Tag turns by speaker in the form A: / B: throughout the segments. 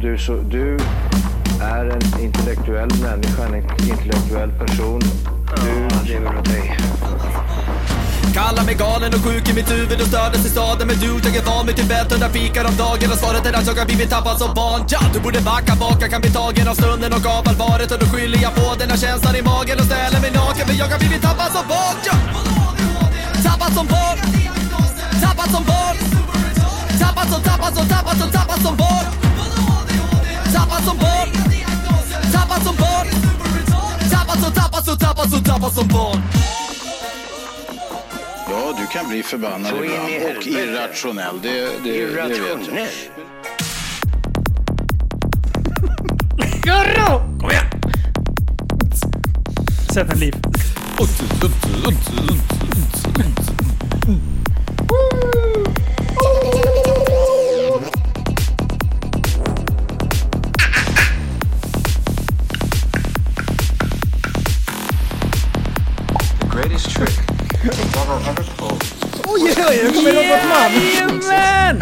A: du, så, du är en intellektuell människa, en intellektuell person. Du lever av dig.
B: Kallar mig galen och sjuk i mitt huvud och stördes i staden Men du, jag är van vid Tibet och där fikar om dagen Och svaret är att jag har blivit tappad som barn ja, Du borde backa bak, jag kan bli tagen av stunden och av allvaret Och då skyller jag på den här känslan i magen och ställer mig naken För jag har blivit tappad som barn ja. Tappad som barn Tappad som barn Tappad som, tappad som, tappad som, tappad som barn Tappad som barn Tappad som barn Tappad som, tappad som, tappad som, tappad som barn
C: Ja, du kan bli förbannad
A: Så in i
C: ibland och
A: helvete.
C: irrationell. Det, det, det vet jag.
A: Irrationell.
D: Gurro!
E: Kom igen!
D: Sätt en liv. Oj, nu kommer Robert Mann!
F: Jajamän!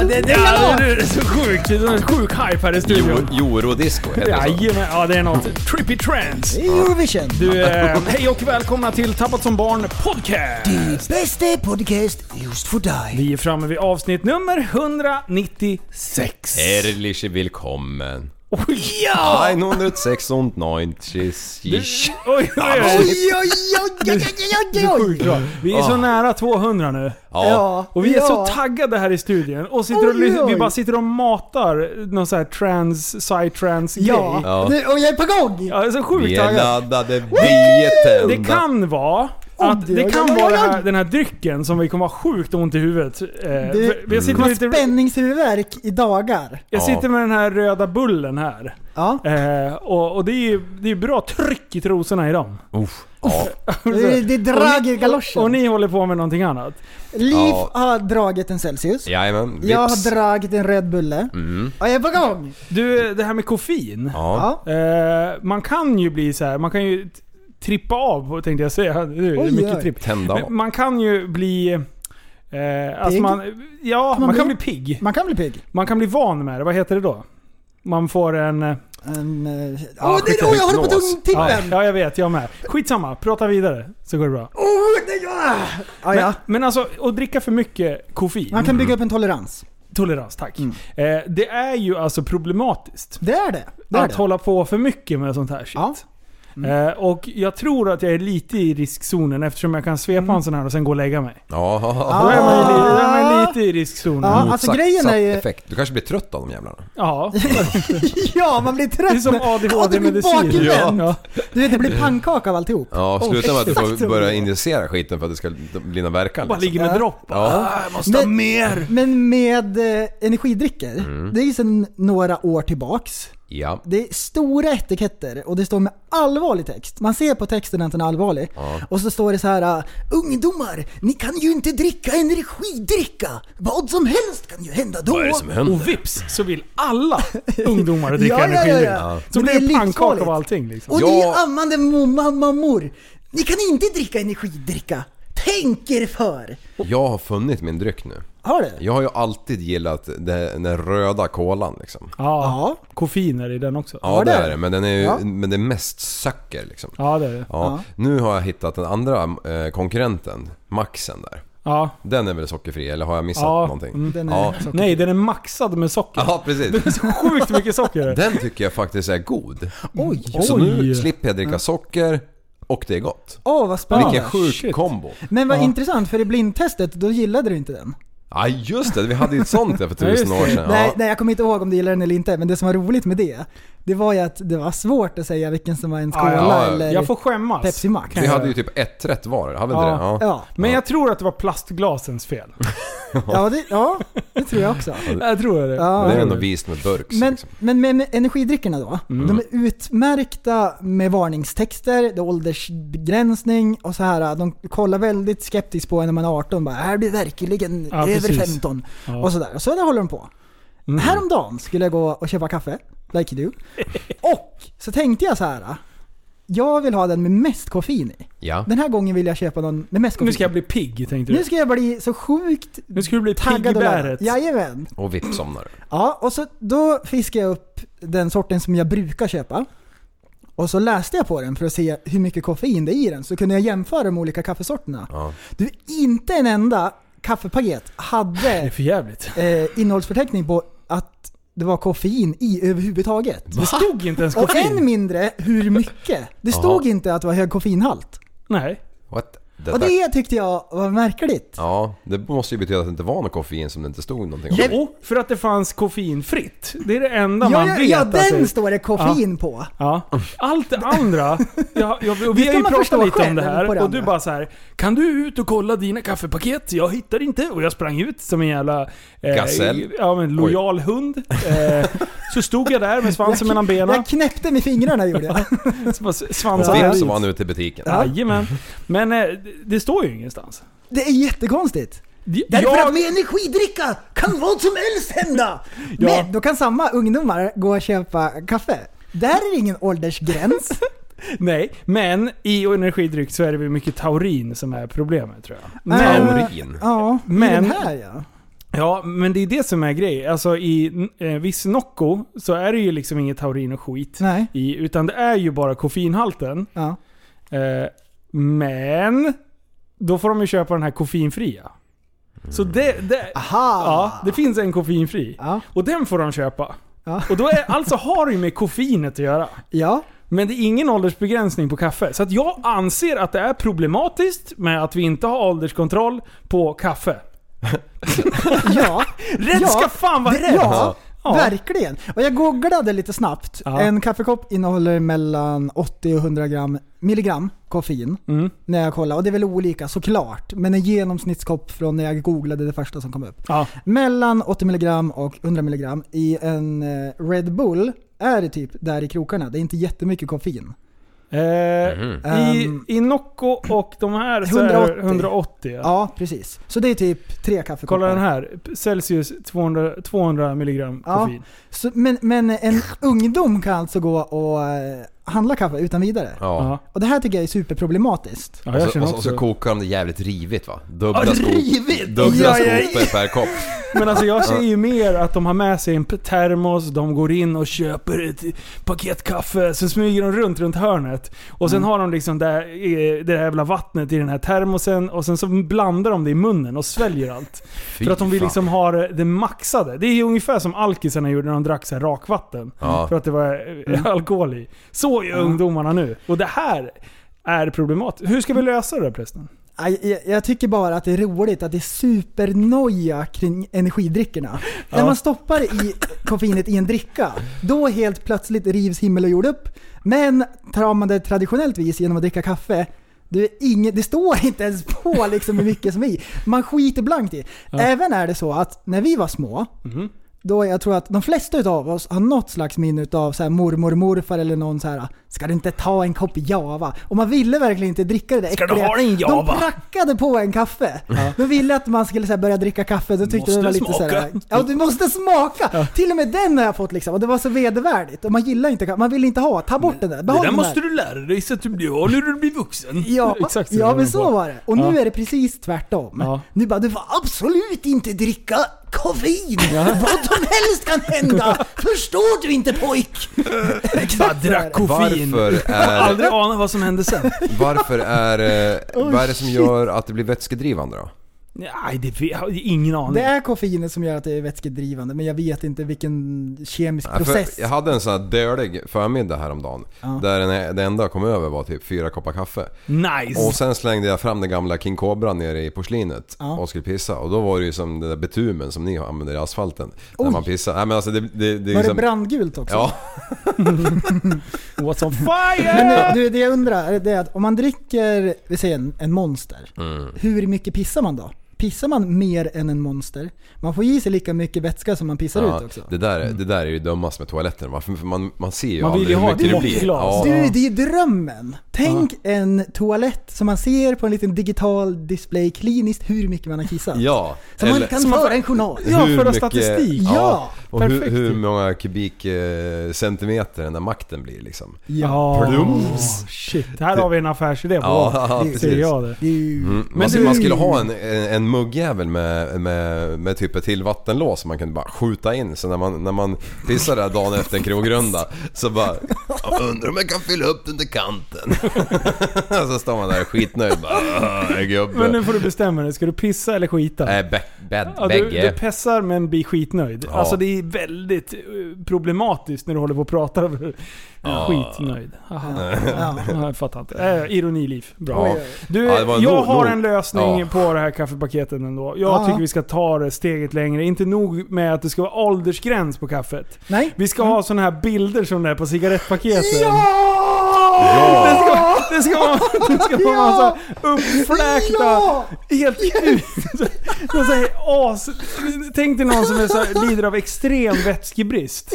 D: Det, det,
F: Ja,
D: ja, det är så sjukt. Det är en sjuk hype här i studion.
E: Eurodisco heter det så.
D: Jajamän, ja det är något. Trippy trance.
F: Eurovision!
D: Du, eh, hej och välkomna till Tappat som barn podcast.
F: Bästa podcast just för dig.
D: Vi är framme vid avsnitt nummer 196.
E: Herzlich willkommen.
D: Oj, ja!
E: 196
D: Oj, oj, oj.
F: Oj, oj, oj, oj, oj, oj, oj.
D: Sjukt bra. Vi är så
E: Ah.
D: nära 200 nu.
E: Ja.
D: Och vi är så
F: ja.
D: taggade här i studion. Och sitter och
F: Oj,
D: lys- vi
F: oj.
D: bara sitter och matar någon sån här trans, psy-trans
F: Ja,
D: grej.
E: Ja.
F: Det- och jag är på gång!
D: Ja, jag är så
E: Vi
D: sjukt
E: är
D: taggad.
E: laddade, vi är
D: Det
E: tända.
D: kan vara att
F: Oj,
D: det
F: oj,
D: kan
F: oj,
D: vara
F: oj,
D: det här,
F: oj.
D: den här drycken som vi kommer ha sjukt ont i huvudet. Eh, för jag,
F: Det
D: sitter
F: kommer
D: med lite,
F: spänningshuvudvärk i dagar.
D: jag
E: Ja.
D: sitter med den här röda bullen här.
F: Ja.
D: Eh, och och det, är ju, det är bra tryck i trosorna i dem.
E: Uff. Ja.
F: Det det drar i galoschen.
D: Och ni håller på med någonting annat.
F: Liv
E: Ja.
F: har dragit en Celsius.
E: Jajamän,
F: Jag
E: vips.
F: har dragit en röd bulle.
E: Mm.
F: Och jag är på gång!
D: Du, det här med koffein.
E: Ja.
F: Ja.
D: Eh, man kan ju bli så här, man kan ju t- trippa av tänkte jag säga. Nu är det
F: Oj,
D: mycket
F: oj.
D: tripp.
E: Tända
D: Men Man kan ju bli... Eh, alltså
F: Pigg?
D: man, ja, man,
F: man
D: kan bli
F: bli?
D: pigg.
F: Man kan bli pigg.
D: Man kan bli van med det. Vad heter det då? Man får en... eh,
F: En, eh,
E: Ah,
F: åh, det,
E: skicka
F: åh, jag håller på
E: hypnos.
D: Ja,
F: tungtippen!
D: ja, jag vet. Jag med. Skitsamma. Prata vidare så går det bra.
F: Åh, nej, ja. Ah, Oh, ja.
D: Men, men alltså, att dricka för mycket koffein.
F: Man kan bygga
E: Mm.
F: upp en tolerans.
D: Tolerans, tack.
F: Mm.
D: Eh, det är ju alltså problematiskt.
F: Det är det. det, är
D: att
F: det.
D: hålla på för mycket med sånt här shit.
F: Ja. Mm.
D: Eh, och jag tror att jag är lite i riskzonen eftersom jag kan svepa en sån här och sen gå och lägga mig.
E: Ja.
F: Ja.
D: Då är man, ju li-
F: Mm. Ah.
D: då är man lite i riskzonen.
F: Ja.
D: Ja.
F: alltså
E: Motsatt
F: grejen är ju-
E: effekt. Du kanske blir trött av de jävlarna.
F: ja, man blir
D: Det
F: trött.
D: är som
F: men- Ja, du blir
D: ADHD-medicin.
F: bakvänd.
D: Ja.
F: Du vet, det blir pannkaka av alltihop.
E: Ja, sluta med att du
F: exakt
E: får
F: så.
E: börja injicera skiten för att det ska bli någon verkan.
D: Bara
E: Liksom.
D: ligger med dropp.
F: Ah,
E: Ja.
F: Men, men med eh, energidrycker,
E: Mm.
F: det är ju sedan några år tillbaks.
E: ja.
F: Det är stora etiketter och det står med allvarlig text. Man ser på texten att den är allvarlig. Och så står det så här eh, Ungdomar, ni kan ju inte dricka energidricka! Vad som helst kan ju hända då!
E: Vad är det som händer?
D: Och vips så vill alla ungdomar dricka
F: Ja, ja, ja, ja.
D: energidryck.
F: Ja.
D: Så
F: Men
D: blir
F: det
D: det
F: är
D: pannkaka
F: livsfarligt.
D: av allting. Liksom.
F: Och
E: Ja.
F: ni ammande mamma, mammor, ni kan inte dricka energidricka! Tänk er för!
E: Jag har funnit min dryck nu.
F: Har du?
E: Jag har ju alltid gillat det, den röda kolan liksom.
D: Ja,
F: Ja.
D: koffein är det i den också.
E: Ja, det
F: det
E: är
F: är
E: det. Men, den är ju,
F: Ja.
E: men det är mest söcker liksom. Ja.
D: Ja, det är det.
E: Nu har jag hittat den andra eh, konkurrenten, Maxen där.
D: Ja.
E: Den är väl sockerfri eller har jag missat
D: Ja,
E: någonting?
D: mm,
F: den är
E: ja.
D: Nej, den är maxad med socker.
E: ja, precis.
D: Sjukt mycket socker.
E: Den tycker jag faktiskt är god.
F: Oj!
E: Så
D: Oj.
E: nu slipper jag dricka socker och det är gott.
F: Åh vad
E: Vilken
F: spännande!
E: sjuk
D: shit.
E: kombo.
F: Men vad intressant, för i blindtestet då gillade du inte den.
E: Ja just det, vi hade ju ett sånt där för
D: Ja, just
E: tusen år
D: det.
E: sedan.
F: Nej,
E: Ja.
F: nej, jag kommer inte ihåg om du gillade den eller inte, men det som var roligt med det, det var ju att det var svårt att säga vilken som var en
D: Ja,
F: cola
E: ja, ja.
F: eller
D: Jag får skämmas.
F: Pepsi Max.
E: Vi hade ju typ ett rätt var, hade vi inte
D: Ja.
E: det? Ja. Mm.
F: Ja,
D: Men jag tror att det var plastglasens fel.
F: ja, det, ja, det tror jag också.
D: Jag tror det.
F: Ja.
E: Men Det är ändå vist med burks
F: Men,
E: liksom.
F: men med energidryckerna då,
D: Mm.
F: de är utmärkta med varningstexter, det är åldersbegränsning och så här. De kollar väldigt skeptiskt på en när man är 18 bara “Är du verkligen
D: Ja,
F: över
D: precis.
F: 15?”
D: Ja. Mm.
F: och sådär. Och så där håller de på. Häromdagen skulle jag gå och köpa kaffe, like you do. Och så tänkte jag så här. jag vill ha den med mest koffein i.
E: Ja.
F: Den här gången vill jag köpa någon med mest koffein.
D: Nu ska jag bli pigg, tänkte du.
F: nu ska jag bli så sjukt
D: Nu ska du bli pigg i
F: taggad och laddad.
D: bäret.
F: Jajamän.
E: Och vips somnar du.
F: Ja, och så då fiskade jag upp den sorten som jag brukar köpa. Och så läste jag på den för att se hur mycket koffein det är i den, så kunde jag jämföra de olika kaffesorterna.
E: Ja.
F: Du, inte en enda kaffepaket
D: Det är
F: hade
D: för jävligt.
F: eh, innehållsförteckning på att det var koffein i överhuvudtaget.
D: Det stod inte ens
F: Och än
D: koffein.
F: mindre hur mycket. Det stod inte att det var hög koffeinhalt.
D: Nej.
E: What? Det
F: Och
E: där-
F: det tyckte jag var märkligt.
E: Ja, det måste ju betyda att det inte var något koffein som det inte stod någonting om.
D: Jo, för att det fanns koffeinfritt. Det är det enda
F: Ja,
D: man
F: ja,
D: vet.
F: ja
D: alltså.
F: den står det koffein på.
D: Ja. Alltså Allt det andra, jag, jag, och vi
F: Det ska
D: har ju
F: man
D: pratat
F: förstå
D: lite om
F: själv,
D: det här
F: på det
D: och du
F: andra.
D: bara så här. Kan du ut och kolla dina kaffepaket? Jag hittar inte. Och jag sprang ut som en jävla... Eh,
E: Gasell.
D: Ja men lojal hund. Eh, så stod jag där med svansen mellan benen.
F: Jag knäppte med fingrarna gjorde jag.
D: Så bara
E: Och
D: Svansen
E: vips så var han ute i butiken.
F: Ja.
D: Jajamän. Men eh, det- det står ju ingenstans.
F: Det är jättekonstigt. Därför att med energidricka kan vad som helst hända!
D: Ja.
F: Men då kan samma ungdomar gå och köpa kaffe. Där är det ingen åldersgräns.
D: Nej, men i energidryck så är det väl mycket taurin som är problemet tror jag.
F: Nej.
D: Men,
E: Taurin.
F: ja, men...
D: Men-
F: den här ja.
D: ja, men det är det som är grejen. Alltså i eh, viss Nocco så är det ju liksom inget taurin och skit.
F: Nej.
D: I, utan det är ju bara koffeinhalten.
F: Ja.
D: Eh, men då får de ju köpa den här koffeinfria. Så det, det,
F: Aha!
D: ja, det finns en koffeinfri.
F: Ja.
D: Och den får de köpa.
F: Ja.
D: Och då är, alltså har det ju med koffeinet att göra.
F: ja.
D: Men det är ingen åldersbegränsning på kaffe. Så att jag anser att det är problematiskt med att vi inte har ålderskontroll på kaffe.
F: Ja.
D: Rätt
F: Ja.
D: ska fan vara rätt!
F: Ja,
D: Ja.
F: verkligen. Och jag googlade lite snabbt.
D: Ja.
F: En kaffekopp innehåller mellan 80 och 100 gram, milligram koffein.
D: Mm.
F: När jag kollade. Och det är väl olika såklart. Men en genomsnittskopp från när jag googlade det första som kom upp.
D: Ja.
F: Mellan 80 mg och 100 mg i en eh, Red Bull är det typ där i krokarna. Det är inte jättemycket koffein.
D: Eh,
E: Mhm.
D: I
F: Ehm,
D: I Nocco och de här så 180. är
F: 180.
D: det 180. ja.
F: ja, precis. Så det är typ tre kaffekoppar.
D: Kolla den här. Celsius 200, 200 milligram
F: Ja.
D: koffein.
F: Så, men, men en ungdom kan alltså gå och eh, handla kaffe utan vidare.
E: Ja. Alltså,
F: Och det här tycker jag är superproblematiskt.
D: Ja,
E: Och
D: jag
E: så,
D: känner
E: och, så, och så
D: också.
E: kokar de det jävligt rivigt va? Dubbla,
D: Ja,
E: skop-
F: rivigt!
E: dubbla
F: Ja, ja, ja.
E: skopor per kopp.
D: Men alltså jag ser ju mer att de har med sig en termos, de går in och köper ett paket kaffe, sen smyger de runt runt hörnet. Och sen har de liksom det här, eh, det här jävla vattnet i den här termosen och sen så blandar de det i munnen och sväljer allt.
E: Fy
D: för att de vill
E: fan.
D: liksom ha det det maxade. Det är ju ungefär som alkisarna gjorde när de drack så här rakvatten.
E: Ja.
D: För att det var eh, alkohol i. Så är ungdomarna nu. Och det här är problematiskt. Hur ska vi lösa det prästen?
F: Aj, Jag, jag tycker bara att det är roligt att det är supernoja kring energidrickorna. När man stoppar i koffeinet i en dricka, då helt plötsligt rivs himmel och jord upp. Men tar man det traditionellt vis genom att dricka kaffe, det, är inget, det står inte ens på liksom hur mycket som är i. Man skiter blankt i. Även är det så att när vi var små, då jag tror att de flesta av oss har något slags minne av så här mormor, morfar eller någon så här Ska du inte ta en kopp Java? Och man ville verkligen inte dricka det där
D: Ska du ha en Java?
F: De prackade på en kaffe. De ville att man skulle så här börja dricka kaffe. Då tyckte
D: Måste
F: det var lite så här,
D: smaka.
F: Ja, du måste smaka! Till och med den har jag fått liksom. Och det var så vedervärdigt. Och man gillar inte kaffe. Man vill inte ha. Ta bort den där. Behåll den där.
D: du lära dig så att du blir av när du blir vuxen.
F: Ja,
D: Exakt
F: ja
D: som
F: men
D: de
F: så
D: bara-
F: var det. Och nu
D: Ja.
F: är det precis tvärtom.
D: Ja.
F: Nu bara, du får absolut inte dricka koffein! Vad som helst kan hända! Förstår du inte pojk?
D: Bara drack koffein.
E: Varför är,
D: Aldrig anat vad som hände sen.
E: varför är, eh, vad är det som gör att det blir vätskedrivande då?
D: Nej, det jag har ingen aning.
F: Det är koffeinet som gör att det är vätskedrivande, men jag vet inte vilken kemisk
E: Ja,
F: process.
E: För jag hade en sån här dölig förmiddag häromdagen. Där den, det enda jag kom över var typ fyra koppar kaffe.
D: Nice!
E: Och sen slängde jag fram den gamla King Cobra nere i porslinet och skulle pissa. Och då var det ju som den där betumen som ni använder i asfalten. När
F: Oj.
E: man pissar. Nej men alltså det... det, det är
F: Var det
E: liksom-
F: brandgult också?
E: Ja.
D: What's on fire!
F: Men du,
E: Mm.
F: det jag undrar det är att om man dricker, vi säger en, en monster, hur mycket pissar man då? Pissar man mer än en monster, man får i sig lika mycket vätska som man pissar
E: Ja,
F: ut också.
E: det, där, det där är ju dummast med toaletten. Varför? För man, man ser ju
D: Man vill ju
E: aldrig hur
D: ha ett
E: mycket det blir.
D: måttglas.
E: Ja.
F: Du, det är ju drömmen! Tänk en toalett som man ser på en liten digital display kliniskt hur mycket man har kissat.
E: Ja.
F: Så man
E: eller-
F: kan
D: man
F: föra
D: får-
F: en journal.
D: Ja,
E: hur
D: föra
E: mycket-
D: statistik.
E: Ja,
F: Ja,
E: och hur,
D: perfekt.
E: hur många kubik eh, centimeter den där makten blir liksom.
D: Ja. Oh,
E: Plums.
D: Shit, här har vi en affärsidé på
E: Ja,
D: gång, ser
E: precis.
D: jag det.
F: Det är ju...
E: Mm.
D: Men
E: man,
D: du-
E: man skulle ha en, en, en muggjävel med, med, med typ ett till vattenlås som man kunde bara skjuta in. Så när man, när man pissar där dagen efter en krogrunda så bara "Jag undrar om jag kan fylla upp den till kanten. så står man där skitnöjd bara "Åh, gubbe.
D: Men nu får du bestämma dig, ska du pissa eller skita?
E: Nej, bä- bädd-
D: Ja, du, du
E: bägge.
D: pessar men blir skitnöjd.
E: Ja.
D: Alltså det är väldigt eh, problematiskt när du håller på och pratar över skitnöjd. Haha.
F: Ja.
D: Ja, jag fattar inte. Äh, ironiliv. Bra.
E: Ja.
D: Du,
E: Ja, det var en
D: jag
E: nog-
D: har
E: nog-
D: en lösning
E: Ja.
D: på det här kaffepaketet ändå. Jag
F: Ja.
D: tycker vi ska ta det steget längre. Inte nog med att det ska vara åldersgräns på kaffet.
F: Nej?
D: Vi ska ha såna här bilder som det är på cigarettpaketen. Det
E: Ja.
D: ska, det ska vara, det ska vara massa uppfläkta...
F: Ja!
D: Helt så, så här, as, Tänk dig någon som är så här, lider av extrem vätskebrist.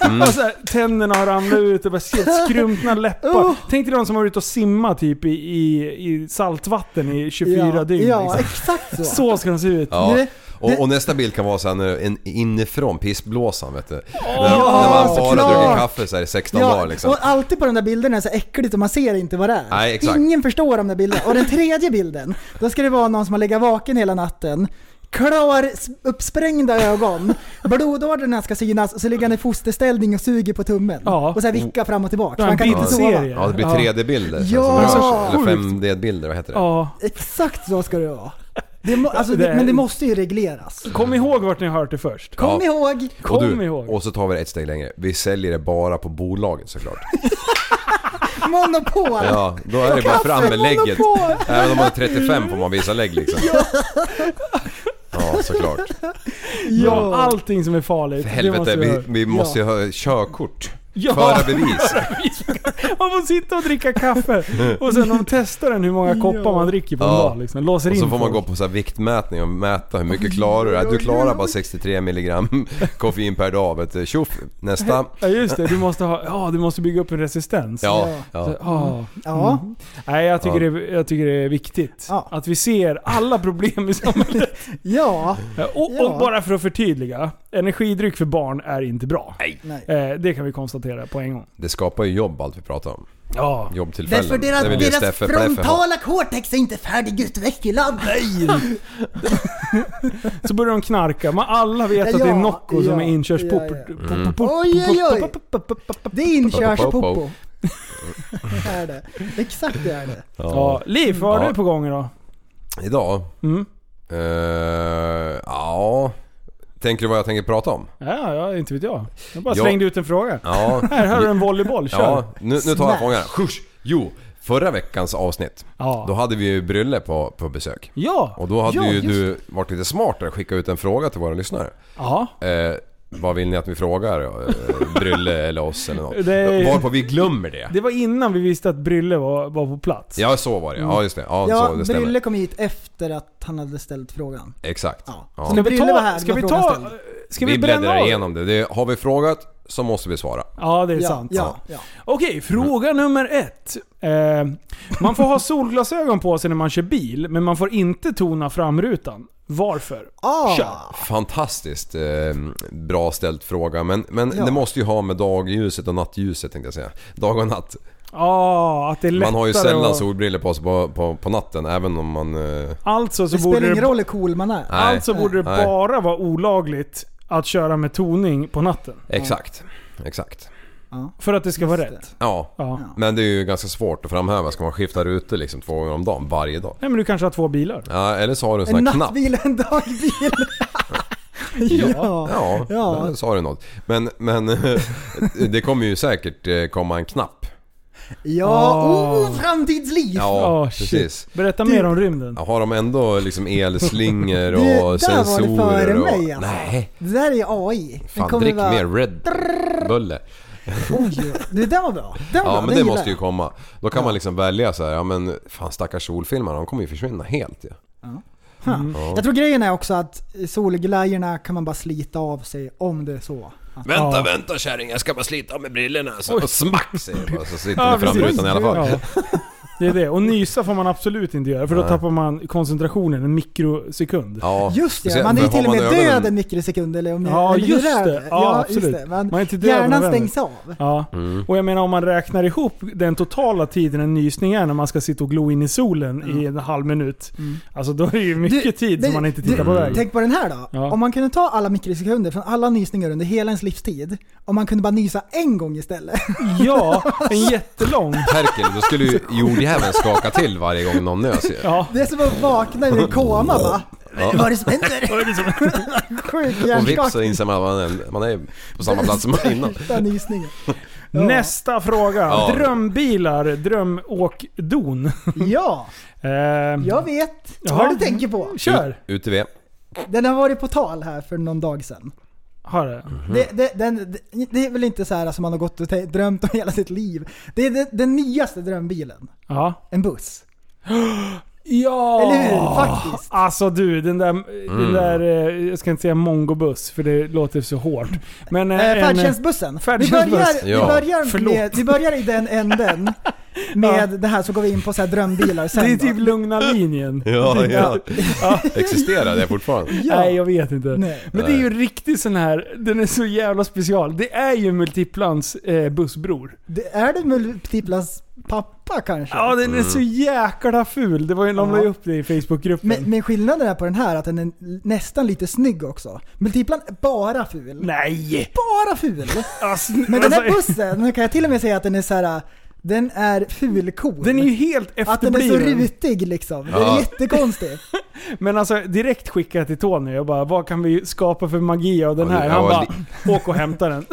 E: Mm.
D: Och så här, tänderna har ramlat ut och bara ser skrumpna läppar.
F: Oh.
D: Tänk dig någon som har varit ute och simmat typ i, i, i saltvatten i 24
F: ja,
D: dygn.
F: Ja,
D: Liksom.
F: exakt så.
D: Så ska de se ut.
E: Ja.
F: Det-
E: Och, och nästa bild kan vara så här när en inifrån, pissblåsan vet du. när,
D: Ja,
E: när man bara
F: såklart.
E: dricker kaffe så här i 16 dagar liksom.
F: Och alltid på de där bilderna är så äckligt och man ser inte vad det är.
E: Nej, exakt.
F: Ingen förstår de där bilderna. Och den tredje bilden, då ska det vara någon som har legat vaken hela natten. Klar, s- uppsprängda ögon. Blodådrorna ska synas och så ligger han i fosterställning och suger på tummen.
D: Ja.
F: Och så här vickar
E: Oh.
F: fram och tillbaka.
D: Ja,
F: Man kan
D: en
F: inte sova.
D: bildserie.
E: Ja, det blir
D: Ja.
E: 3D-bilder. sen
F: Ja.
E: som rör sig.
D: Sjukt.
E: Eller 5D-bilder, vad heter det?
D: Ja.
F: Exakt så ska det vara. Det må, alltså,
D: det är-
F: Men det måste ju regleras.
D: Kom ihåg vart ni har hört det först.
F: Kom
E: Ja.
F: ihåg!
E: Och,
D: Kom
E: du,
D: ihåg.
E: och så tar vi det ett steg längre. Vi säljer det bara på bolaget såklart.
F: Monopol!
E: Ja, då är det bara fram med lägget.
F: Monopol!
E: Även om man är 35 får man visa lägg liksom. Ja, såklart.
D: Ja, allting som är farligt.
E: För
D: det
E: helvete,
D: måste vi
E: vi,
D: göra.
E: vi måste ju ha körkort.
D: Ja.
E: Föra bevis.
D: Man får sitta och dricka kaffe och sen de testar en hur många koppar man dricker på en
E: Ja.
D: dag. Liksom. Låser
E: Och
D: in
E: så får man
D: folk.
E: gå på så här viktmätning och mäta hur mycket klarar du. Ja, Du klarar bara 63 milligram koffein per dag. Vet du. Tjoff, nästa.
D: Ja just det, du måste, ha, ja, du måste bygga upp en resistens.
E: Ja,
D: Så,
E: ja.
D: ja.
F: Ja.
D: Mm. Nej, jag tycker,
E: Ja.
D: det, jag tycker det är viktigt.
F: Ja.
D: Att vi ser alla problem i samhället.
F: Ja.
D: Och,
F: Ja.
D: och bara för att förtydliga. Energidryck för barn är inte bra.
F: Nej.
D: Eh, det kan vi konstatera på en gång.
E: Det skapar ju jobb allt vi pratar om.
D: Ja.
E: Jobbtillfällen.
F: Därför deras,
E: Det vill ju
F: deras
E: Steffe Pleffe ha.
F: frontala cortex är inte färdigutvecklad.
D: Så börjar de knarka. Man alla vet att
F: Ja,
D: det är Nocco som är
F: ja,
D: inkörsport.
F: ja, ja.
D: Pop,
E: Mm.
D: pop, pop,
F: Oj, oj, oj.
D: pop, pop, pop, pop, pop, pop.
F: Det är inkörspoppo. Det är det. Exakt det är det.
D: Ja. Liv, vad har
E: Ja.
D: du på gång idag?
E: Idag?
D: Mm.
E: Eh, ja... Tänker du vad jag tänker prata om?
D: Ja, ja, inte vet jag. Jag bara
E: Ja.
D: slängde ut en fråga.
E: Ja.
D: Här har du en volleyboll, kör.
E: ja nu, nu tar
F: Smash.
E: jag fångarna. Skjuts! Jo, förra veckans avsnitt.
D: Ja.
E: Då hade vi ju Brylle på, på besök.
D: Ja.
E: Och då hade
F: Ja,
E: ju
F: just
E: du varit lite smartare och skickat ut en fråga till våra lyssnare.
D: ja.
E: Eh, vad vill ni att vi frågar? Eh, Brylle eller oss eller något.
D: Det är-
E: Varpå vi glömmer det.
D: Det var innan vi visste att Brylle var, var på plats.
E: Ja, så var det. Ja, just det. Ja,
F: Ja,
E: så, det stämmer.
F: Brylle kom hit efter att han hade ställt frågan.
E: Exakt.
F: Ja.
E: Ja.
F: Så
D: Ska
F: när
D: vi
F: Brylle var här,
D: ta... Ska
F: var
D: vi
F: frågan
D: ta...
F: ställd.
D: Ska vi
E: Vi
D: bränna
E: bläddrar
D: av?
E: igenom det. det. Har vi frågat så måste vi svara.
D: Ja, det är
F: Ja,
D: sant.
F: ja, ja.
D: Okej, fråga nummer ett. Eh, man får ha solglasögon på sig när man kör bil, men man får inte tona framrutan. Varför?
F: Ah,
D: Kör.
E: Fantastiskt eh, bra ställt fråga men, men
F: Ja.
E: det måste ju ha med dagljuset och nattljuset tänkte jag säga. Dag och natt.
D: Ja, Ah, att det är lättare
E: Man har ju sällan
D: att-
E: solbriller på sig på, på, på natten även om man... Eh,
D: Alltså så
F: det spelar
D: borde
F: ingen
D: det,
F: roll hur cool man är.
E: nej,
D: alltså borde det
E: Nej.
D: bara vara olagligt att köra med toning på natten.
E: exakt. Exakt.
D: För att det ska vara
F: det.
D: rätt.
E: Ja.
D: Ja.
E: Men det är ju ganska svårt att framhäva. Ska man skifta rutor liksom två gånger om dagen varje dag?
D: Nej men du kanske har två bilar?
E: Ja, eller så har du en
F: En
E: sån här knapp.
F: nattbil, en dagbil. ja.
E: Ja,
F: Ja.
E: där sa du något. Men, men det kommer ju säkert eh, komma en knapp.
F: Ja,
D: Ah.
F: oh, framtidsliv!
E: Ja,
D: Ah, shit.
E: precis.
D: Berätta mer om rymden.
E: Ja, Har de ändå liksom elslingor
F: Du, där var
E: och
F: det
E: sensorer
F: före
E: och...
F: mig, alltså.
E: Nej,
F: Det där är AI. Den
E: fan
F: kommer
E: drick
F: vara-
E: mer Red Bulle.
F: Oj, det där var bra. Den var
E: Ja men
F: bra, den
E: det
F: gillar
E: måste ju
F: jag.
E: komma. Då kan man liksom välja så här, ja men fan stackars solfilmer, de kommer ju försvinna helt ju. Ja.
D: Mm.
F: Jag tror grejen är också att solglajjorna kan man bara slita av sig om det är så. Att-
E: Vänta,
D: Ja.
E: vänta kärring, jag ska bara slita av mig brillorna. Så, och smack säger det bara, så sitter
D: Ja,
E: det fram
D: precis.
E: utan i alla fall.
D: Ja. Det är det. Och nysa får man absolut inte göra för då
E: Nej.
D: tappar man koncentrationen en mikrosekund.
E: Ja.
F: Just det,
E: Sen-
F: man är ju
E: men har
F: till och med
E: man ögonen-
F: död en mikrosekund eller om
D: Ja,
F: eller
D: just
F: hur är
D: det. Ja, absolut.
F: Men
D: Man är inte död, man
F: hjärnan
D: är
F: stängs av.
D: Ja.
E: Mm.
D: Och jag menar om man räknar ihop den totala tiden en nysning är när man ska sitta och glo in i solen
E: Mm.
D: i en halv minut. Alltså då är det ju mycket
F: Du,
D: tid
F: det-
D: som man inte tittar på
E: du-
D: vägen.
F: Tänk på den här då.
D: Ja.
F: Om man kunde ta alla mikrosekunder från alla nysningar under hela ens livstid, om man kunde bara nysa en gång istället.
D: Ja, en jättelång.
E: Perkele, då skulle ju jordjäveln skaka till varje gång någon nös ju.
D: Ja.
F: Det är som att vakna ur en koma va? Vad är det som händer? Sjuk
E: Och vips så
F: hjärnskakning.
E: inser man att man är, man är på samma plats som innan.
F: Värsta nysningen.
D: Nästa fråga.
E: Ja.
D: Drömbilar, drömåkdon.
F: Ja,
D: Eh,
F: jag vet
D: Jaha.
F: vad du tänker på.
D: Kör!
E: Ut i V.
F: Den har varit på tal här för någon dag sedan.
D: Har det.
F: Det, det, den, det, det är väl inte så här som man har gått och te- drömt om hela sitt liv. Det är den, den nyaste drömbilen.
D: Ja.
F: En buss.
D: Ja!
F: Eller hur? Faktiskt. Eh,
D: Alltså du, den där,
E: Mm.
D: den där eh, jag ska inte säga mongobuss för det låter så hårt. Men eh,
F: Eh,
D: en-
F: färdtjänstbussen.
D: färdtjänstbuss.
F: Vi börjar,
E: Ja.
F: vi, börjar
D: Förlåt.
F: med, vi börjar i den änden. Med det här så går vi in på så här drömbilar sen
D: det är
F: då.
D: typ lugna linjen.
E: Ja,
D: Det-
E: ja. Existerar det fortfarande?
F: Ja.
D: Nej, jag vet inte.
F: Nej.
D: Men det är ju riktigt sån här, den är så jävla special. Det är ju multiplans eh, bussbror.
F: Det, är det multiplas pappa kanske?
D: Ja, den är så
E: Mm.
D: jäkla ful. Det var ju, de la ju
F: Ja.
D: upp det i Facebookgruppen.
F: men, men skillnaden är på den här att den är nästan lite snygg också. Multiplan är bara ful.
D: Nej!
F: Bara ful!
D: Alltså,
F: Men den här
D: alltså,
F: bussen, nu kan jag till och med säga att den är så här. Den är fulcool.
D: den är ju helt
F: Att den är så
D: efterbliven.
F: rutig liksom. Det
E: Ja.
F: är jättekonstigt.
D: Men alltså direkt skickade jag till Tony. Jag bara, vad kan vi skapa för magi av den
E: Ja,
D: här?
E: det-
D: Han
E: ja,
D: bara, åk och hämta den.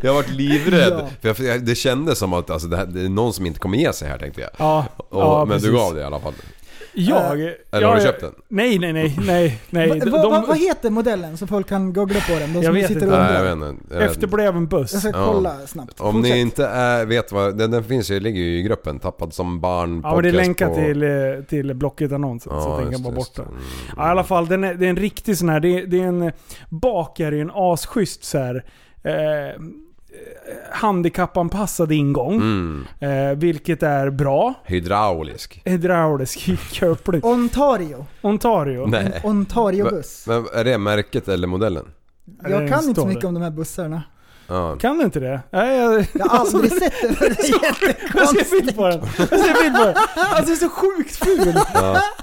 E: Jag har varit livrädd.
F: Ja.
E: För jag- för jag, det kändes som att alltså, det, här, det är någon som inte kommer ge sig här tänkte jag.
D: Ja,
E: Och,
D: ja
E: men
D: precis.
E: du gav det i alla fall.
D: Jag?
E: Eller har du köpt den?
D: Nej, nej, nej, nej, nej.
F: Va-
D: De,
F: va- va- vad
D: de
F: heter modellen så folk kan googla på den? De
D: Jag
F: som
D: vet
F: sitter
D: inte.
F: och
E: Nej, jag
F: undrar.
E: vet inte. Jag vet inte.
D: efterblev en
F: Jag
D: buss.
F: ska
E: Ja.
F: kolla snabbt.
E: Om
F: Fortsätt.
E: ni inte är, vet vad, den, den finns ju, ligger ju i gruppen. Tappad som barn
D: Ja, men det är
E: podcast
D: länkat
E: på-
D: till, eh, till Blocket-annonsen så att den
E: just
D: kan vara
E: det, just
D: borta.
E: det. Mm.
D: Ja, I alla fall, den är, det är en riktig sån här. Det är, det är en, eh, bak är det ju en asschysst så här, eh, handikappanpassad ingång.
E: Mm.
D: Eh, vilket är bra.
E: Hydraulisk.
D: Hydraulisk köpling.
F: Ontario.
D: Ontario.
E: Nej.
F: Ontariobuss.
E: Men är det märket eller modellen?
D: det
F: Jag kan inte
D: står
F: så
D: det.
F: mycket om de här bussarna.
E: Ja.
D: Kan du inte det? Nej, jag,
F: Jag har aldrig sett det för det är
D: Alltså, jag ser
F: jättekonstigt.
D: bild på den. Jag ser bild på den. Alltså det är så sjukt ful.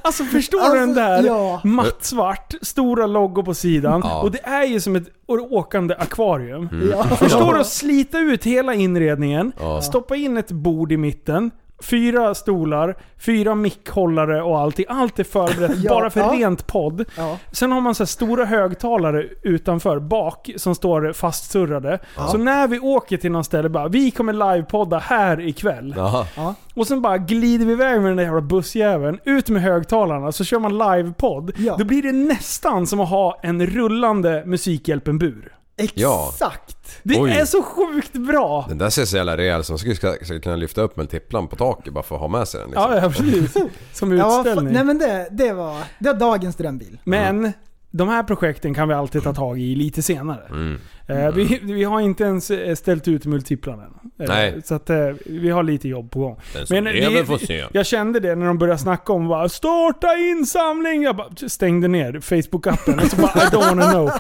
D: Alltså förstår du den där?
F: ja.
D: Mattsvart, stora loggor på sidan.
E: Ja. Mm.
D: Och det är ju som ett åkande akvarium.
F: Ja.
D: Förstår du att slita ut hela inredningen,
E: Ja.
D: stoppa in ett bord i mitten, fyra stolar, fyra mickhållare och allting. Allt är förberett
F: Ja.
D: bara för
F: Ja.
D: rent podd.
F: Ja.
D: Sen har man så här stora högtalare utanför, bak, som står fastsurrade. Så när vi åker till någon ställe bara, vi kommer livepodda här ikväll.
E: Jaha.
D: Och sen bara glider vi iväg med den där jävla bussjäveln, ut med högtalarna, så kör man livepodd.
F: Ja.
D: Då blir det nästan som att ha en rullande Musikhjälpen-bur.
E: Ja.
F: Exakt.
D: Det
E: Oj.
D: är så sjukt bra!
E: Den där ser så jävla rejäl som skulle ska, ska kunna lyfta upp multiplan på taket bara för att ha med sig den liksom.
D: Ja, ja precis. Som
F: Ja, fa-
D: utställning.
F: nej men det, det, var, det var dagens drömbil.
D: Men de här projekten kan vi alltid ta tag i lite senare.
E: Mm.
D: Eh, Vi, vi har inte ens eh, ställt ut multiplan än. Eh,
E: Nej.
D: Så att eh, vi har lite jobb på gång.
E: Den som lever får se.
D: Jag kände det när de började snacka om bara, starta insamling. Jag bara stängde ner Facebook-appen och så bara I don't wanna know.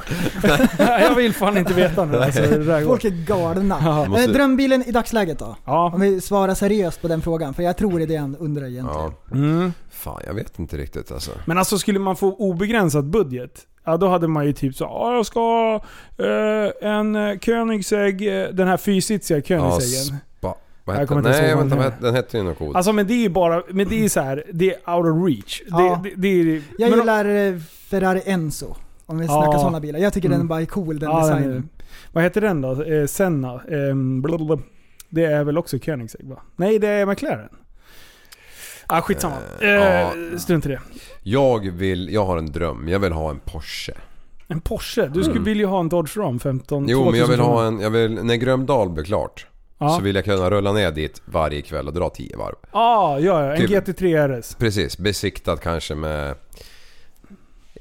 D: jag vill fan inte veta nu. Alltså, det där går.
F: Folk är galna.
D: Ja.
F: Eh,
E: Måste-
F: Drömbilen i dagsläget då? Om
D: Ja.
F: vi svarar seriöst på den frågan, för jag tror det är det han undrar egentligen.
E: Ja.
D: Mm.
E: Fan, jag vet inte riktigt alltså.
D: Men alltså skulle man få obegränsad budget, ja då hade man ju typ så ja jag ska ha eh, en eh, Koenigsegg, eh, den här fyrsitsiga
E: Ja,
D: Koenigseggen.
E: spa, vad
D: Jag
E: hette
D: kommer
E: den?
D: inte ens
E: Nej,
D: ihåg vad
E: vänta,
D: den
E: vad
D: heter.
E: hette- den hette ju något coolt.
D: Alltså men det är ju bara, men det är så här, det är out of reach.
F: Ja.
D: Det, det, det är,
F: Jag
D: men-
F: gillar eh, Ferrari Enzo. Om vi
D: Ja.
F: snackar sådana bilar. Jag tycker
D: Mm.
F: den bara är cool den
D: ja, den är-
F: designen.
D: vad heter den då? Eh, Senna? Eh, blablabla. det är väl också Koenigsegg va? Nej det är McLaren. Ah, skitsamma. Eh,
E: ja.
D: Strunt i det.
E: Jag vill, jag har en dröm. Jag vill ha en Porsche.
D: En Porsche? Du skulle vilja ha en Dodge Ram 15
E: Mm. Jo, men jag vill
D: 2000.
E: ha en, jag vill, när Gröndal blir klart.
D: Ja.
E: så vill jag kunna rulla ner dit varje kväll och dra 10 varv.
D: Ah, ja, ja. En
E: Typ-
D: GT3 RS.
E: Precis, besiktad kanske med...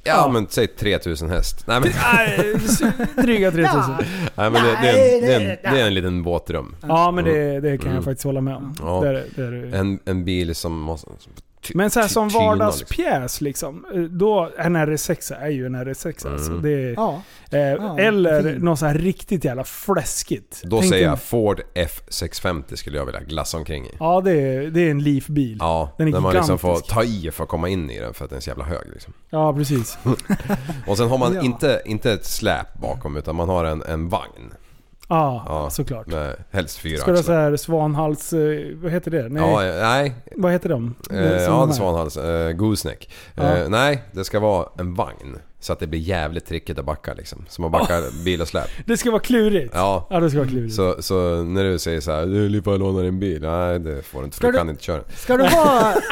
E: Ja,
D: Ja.
E: men säg 3000 häst. Nej men,
D: Nej, s- dryga 3000.
E: nej, men det, det, är en, det, är en, det är en liten båtdröm.
D: Ja, men det, det kan jag faktiskt hålla med om.
E: Mm. Ja.
D: Det är det- det är det.
E: En, en bil som måste... ty-
D: Men så här,
E: ty-
D: som
E: tynar,
D: vardagspjäs liksom. Då, en RS6 är ju en RS6 alltså.
E: Mm.
D: Det är,
F: Ja.
D: eh, eller
F: fin.
D: något så här riktigt jävla fläskigt.
E: Då
D: Tänk
E: säger
D: en-
E: jag Ford F650 skulle jag vilja glassa omkring i.
D: Ja, det är, det är en Leaf-bil. Ja.
E: Ja,
D: Den är
E: när man liksom får
D: gigantisk.
E: ta i för att komma in i den för att den är så jävla hög liksom.
D: precis.
E: Och sen har man
F: Ja.
E: inte, inte ett släp bakom utan man har en, en vagn.
D: Ja,
E: Ja.
D: såklart.
E: Med helst fyra
D: Ska du ha så
E: axlar.
D: här svanhals... eh, Vad heter det? Nej,
E: Ja, eh, nej.
D: vad heter de?
E: Eh,
D: Som
E: ja,
D: de här.
E: svanhals. Eh, gooseneck.
D: Ja.
E: Eh, nej, det ska vara en vagn. Så att det blir jävligt trickigt att backa liksom. Som att backa bil och släp.
D: Det ska vara klurigt.
E: Ja.
D: Ja, det ska vara klurigt.
E: Så, så när du säger så här, du Lipa jag lånar din bil. Nej det får du inte för
F: Ska
E: du
F: du-
E: kan inte köra den.
F: Ska du ha...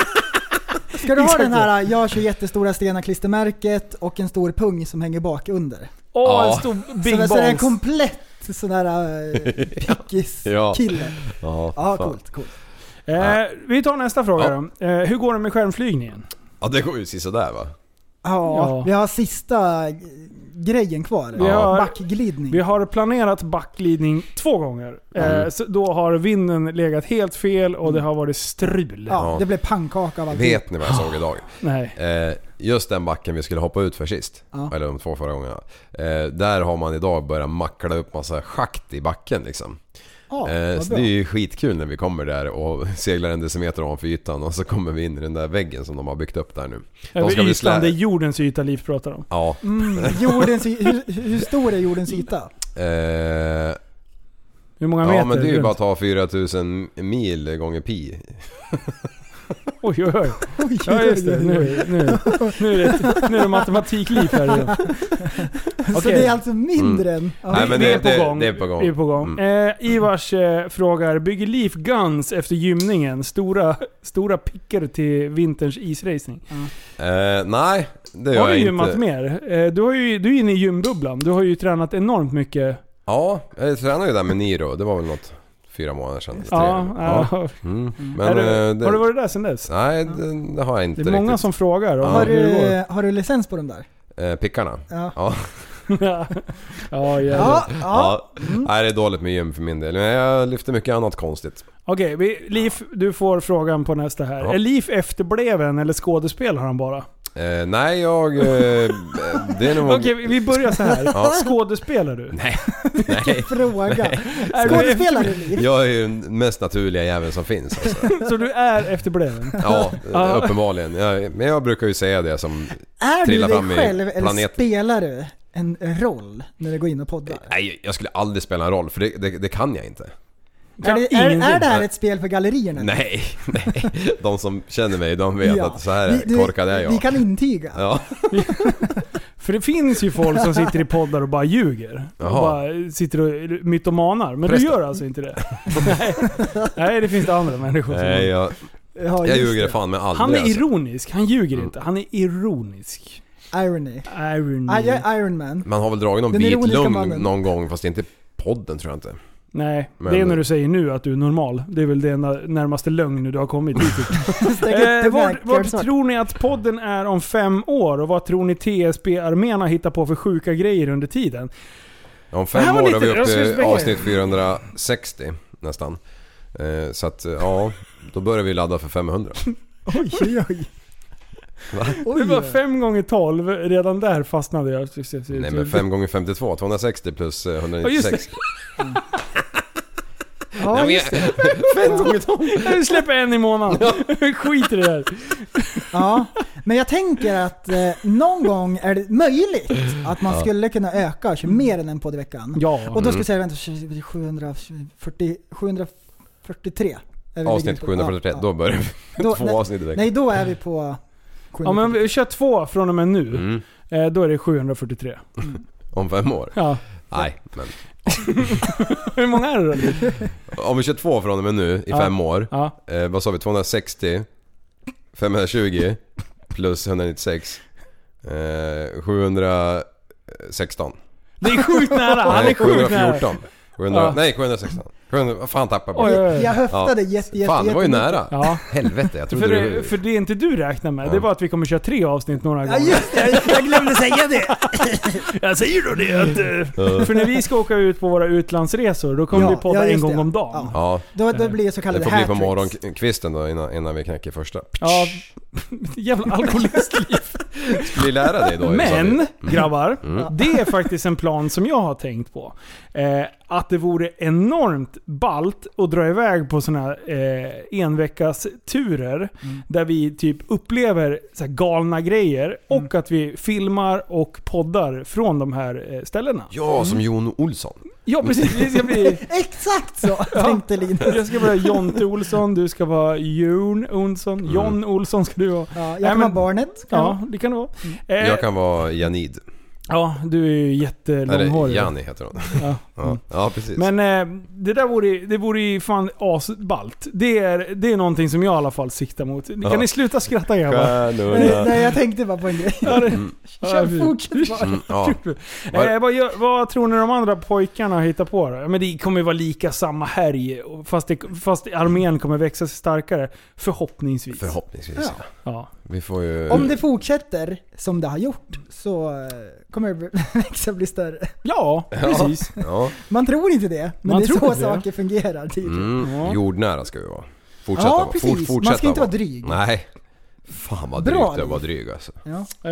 F: Ska du ha den här eh, jag kör jättestora stenar klistermärket och en stor pung som hänger bak under?
D: Åh,
E: Ja.
D: en stor Big
F: Så,
D: Bongs.
F: så det är en komplett sån där eh, pickis-kille.
E: Ja,
F: Ja,
E: fan.
F: coolt, coolt.
D: Eh, vi tar nästa fråga
E: Ja.
D: då. Eh, hur går det med skärmflygningen?
E: ja det går ju sådär va?
F: Ja,
D: Ja.
F: vi har sista eh, grejen kvar.
D: Vi har-
F: Backglidning.
D: Vi har planerat backglidning två gånger. Eh,
E: Mm.
D: så då har vinden legat helt fel och det har varit strul.
F: ja,
E: Ja.
F: det blev pannkaka av allt.
E: Vet ni vad jag såg idag?
D: Nej.
E: Eh, just den backen vi skulle hoppa ut för sist,
F: Ja.
E: eller de två förra gångerna. Eh, där har man idag börjat mackla upp massa schakt i backen liksom.
F: Ja,
E: eh,
F: vad
E: så
F: bra.
E: det är ju skitkul när vi kommer där och seglar en decimeter ovanför ytan och så kommer vi in i den där väggen som de har byggt upp där nu.
D: Över
E: ska bli slä-
D: ytan, det är jordens yta Liv pratar om.
E: Ja.
F: Mm, jordens, y- hur, hur stor är jordens yta?
E: Eh,
D: Hur många meter?
E: ja men det är ju
D: runt?
E: bara att ta 4000 mil gånger pi.
D: Oj, oj, oj. Ja, just det. Nu, nu, nu, är, det, nu är det matematikliv här igen.
F: Så
D: Okej.
F: det är alltså mindre än... Ja,
E: Mm. Nej,
D: Vi-
E: men
D: vi
E: det-
D: är på
E: det-
D: gång.
E: det är på gång.
D: Vi är på gång.
E: Mm.
D: Eh, Ivars eh, frågar, bygger Leaf Guns efter gymningen stora, stora pickor till vinterns isracing?
E: Eh, nej, det gör
D: Har
E: jag
D: du
E: inte.
D: gymmat mer? Eh, du, har ju, du är inne i gymbubblan. Du har ju tränat enormt mycket.
E: Ja, jag tränade ju där med Niro. Det var väl något fyra månader sedan. Tre.
D: Ja, ja.
E: Mm. Men,
D: Är du,
E: eh, det,
D: Har du varit där sedan dess?
E: Nej, det, det har jag inte
D: Det är många
E: riktigt.
D: som frågar om
F: Har,
D: hur det går.
F: du, har du licens på dem där?
E: Eh, pickarna.
F: Ja.
E: Ja.
D: ja, ja. jävlar.
F: Ja, ja.
E: Ja. Nej, det är dåligt med gym för min del. Men jag lyfter mycket annat konstigt.
D: Okej, vi- Leif, du får frågan på nästa här.
E: Ja.
D: Är Leif efterbleven eller skådespel har han bara?
E: Eh, nej, jag... Eh, det är nog...
D: Okej, vi börjar så här.
E: Ja. Mm.
D: Skådespelar du?
E: Nej. nej.
F: Fråga.
D: Är du
F: Skådespelare Liv.
E: Jag är ju den mest naturliga jäveln som finns alltså.
D: efter- Så du är efterbleven?
E: Ja,
D: Ja.
E: uppenbarligen. Jag, men jag brukar ju säga det som...
F: Är du
E: Trilla
F: dig
E: fram i
F: själv eller
E: planeten.
F: spelar du en roll när du går in och poddar?
E: Nej, jag skulle aldrig spela en roll för det, det, det kan jag inte.
F: Är det, är,
D: ingenting.
F: är det här ett spel för gallerierna?
E: Nej, nej. De som känner mig, de vet
F: Ja.
E: att så här
F: Vi- du-
E: korkad är jag.
F: Vi kan intyga.
E: Ja.
D: För det finns ju folk som sitter i poddar och bara ljuger. Och
E: Jaha.
D: bara sitter och mytomanar. Men
E: Prästen.
D: du gör alltså inte det? Nej. Nej, det finns det andra människor som
E: Nej, jag,
F: Ja, just
E: jag ljuger
F: det.
E: fan med aldrig.
D: Han är
E: alltså.
D: ironisk. Han ljuger inte. Han är ironisk.
E: Mm.
F: Irony.
D: Irony.
F: Ah, jag är Iron Man.
E: Man har väl dragit någon
F: Den
E: vit
F: ironiska
E: lögn
F: mannen.
E: någon gång fast inte i podden tror jag inte.
D: Nej,
E: Men-
D: det är när du säger nu att du är normal. Det är väl det na- närmaste lögn du har kommit dit.
F: Stäng upp
D: eh,
F: till
D: vad,
F: Mac,
D: vad
F: James Mac.
D: tror ni att podden är om fem år? Och vad tror ni TSB-armén har hittat på för sjuka grejer under tiden?
E: Om
D: Det här
E: fem
D: var
E: år
D: lite-
E: är vi
D: jag skulle
E: uppe i
D: spela-
E: avsnitt 460 nästan. Eh, Så att eh, ja, då börjar vi ladda för 500.
F: Oj, oj, oj.
E: Va?
D: Det
F: Oj.
D: var fem gånger 12 redan där fastnade jag.
E: Nej men 5 gånger 52, 252 plus eh,
D: Ja, just det.
E: 196.
F: Ja, just det.
D: Fem gånger 12? Jag släpper en i månaden. Skit i det här.
F: Ja. Men jag tänker att eh, någon gång är det möjligt att man skulle kunna öka och köra mer än en podd i veckan.
D: Ja.
F: Och då ska jag säga, vänta, 740, 743. Är vi
E: Avsnitt
F: ligger på-
E: 743,
F: ja, ja.
E: då börjar vi.
F: Då-
E: Två
F: nej,
E: avsnitt i veckan.
F: Nej, då är vi på...
D: Ja men vi kör två från och med nu.
E: Mm.
D: Eh, Då är det 743.
E: Om fem år?
D: Ja.
E: Nej, men.
D: Hur många är det då?
E: Om vi kör två från och med nu i
D: Ja.
E: fem år.
D: Ja.
E: Eh, vad sa vi? 260 520 plus 196 eh, 716
D: Det är sjukt nära. Han är
E: Nej,
D: sjukt nära.
E: 714 700,
D: Ja.
E: nej 716. 700, vad fan tappade
D: Oj, oj,
E: jag
D: oj.
E: bort.
F: Jag höftade
E: Ja.
F: jätte, jätte,
E: Fan, det var ju
F: jättemycket.
E: nära.
D: Ja.
E: Helvete, jag trodde
D: För det,
E: du...
D: för det är inte du räknar med, det var att vi kommer köra tre avsnitt några
F: Ja
D: gånger.
F: just det, jag glömde säga det.
D: Jag säger då det att... eh, För när vi ska åka ut på våra utlandsresor, då kommer
F: Ja,
D: vi podda
F: ja, just
D: en gång
F: det, ja.
D: om dagen.
F: Ja.
E: Ja,
F: Då, då blir det så
E: det
F: kallade
E: får bli på
F: hattricks.
E: morgonkvisten då innan, innan vi knäcker första.
D: Ja, jävla alkoholistliv.
E: Vi lära dig då. sa vi.
D: Men,
E: Mm.
D: grabbar. Det är faktiskt en plan som jag har tänkt på. Eh, att det vore enormt balt att dra iväg på sådana eh, enveckas turer
F: Mm.
D: Där vi typ upplever så här galna grejer
F: Mm.
D: och att vi filmar och poddar från de här eh, ställena.
E: Ja, som Jon Olsson.
D: Ja precis, vi ska bli...
F: Exakt så tänkte Linus.
D: Jag ska vara Jonte Olsson, du ska vara Jon Olsson,
E: Mm.
D: John Olsson ska du vara.
F: Ja, jag
D: Nej,
F: kan
D: men-
F: vara barnet. kan
D: Ja, det kan du vara. Eh,
E: Jag kan vara Janid.
D: Ja, du är ju
E: Eller
D: jättelånghårig.
E: Jani heter hon.
D: Ja.
E: Ja, ja precis.
D: Men eh, det där vore, det vore ju fan asballt. Det är, det är någonting som jag i alla fall siktar mot. Kan
E: Ja.
D: ni sluta skratta grabbar?
F: jag. Nej,
E: Stjärnorna.
F: nej, jag tänkte bara på en grej.
D: Ja, det-
F: Kör,
D: fy.
F: fortsätt bara.
E: Mm, ja.
D: Eh, vad, gör, vad tror ni de andra pojkarna hittar på då? Ja, Men det kommer ju vara lika samma härj, och fast, det, fast armén kommer växa sig starkare. Förhoppningsvis.
E: Förhoppningsvis.
F: Ja.
E: Ja.
D: ja.
E: Vi får ju...
F: Om det fortsätter som det har gjort så eh, kommer det växa och bli större.
D: ja, precis.
E: Ja.
F: Man tror inte det, men
D: Man
F: det är så
D: tror det.
F: saker fungerar tydligen.
D: Ja.
E: Mm. Jordnära ska vi vara. Fortsätta
F: Ja,
E: vara. Fort-
F: precis. Man ska
E: fortsätta
F: inte vara dryg.
E: Nej. Fan vad
F: Bra,
E: drygt det
F: Liv.
E: var dryg alltså.
F: Ja.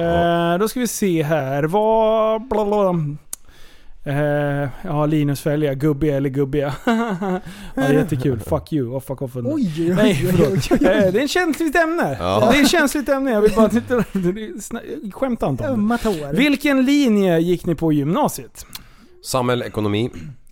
D: Eh, då ska vi se här. Vad... Bla bla bla. Eh, ja, Linus välja. Gubbiga eller gubbiga. ja, det är jättekul. Fuck you. Oh, fuck off.
F: Oj, oj,
D: Nej,
F: oj, oj, oj,
D: Eh, det är ett känsligt ämne.
E: Ja.
D: Det är ett känsligt ämne. Jag vill bara... Sna- Skämta inte om det.
F: Ömma tår.
D: Vilken linje gick ni på i gymnasiet?
E: Samhällsekonomi.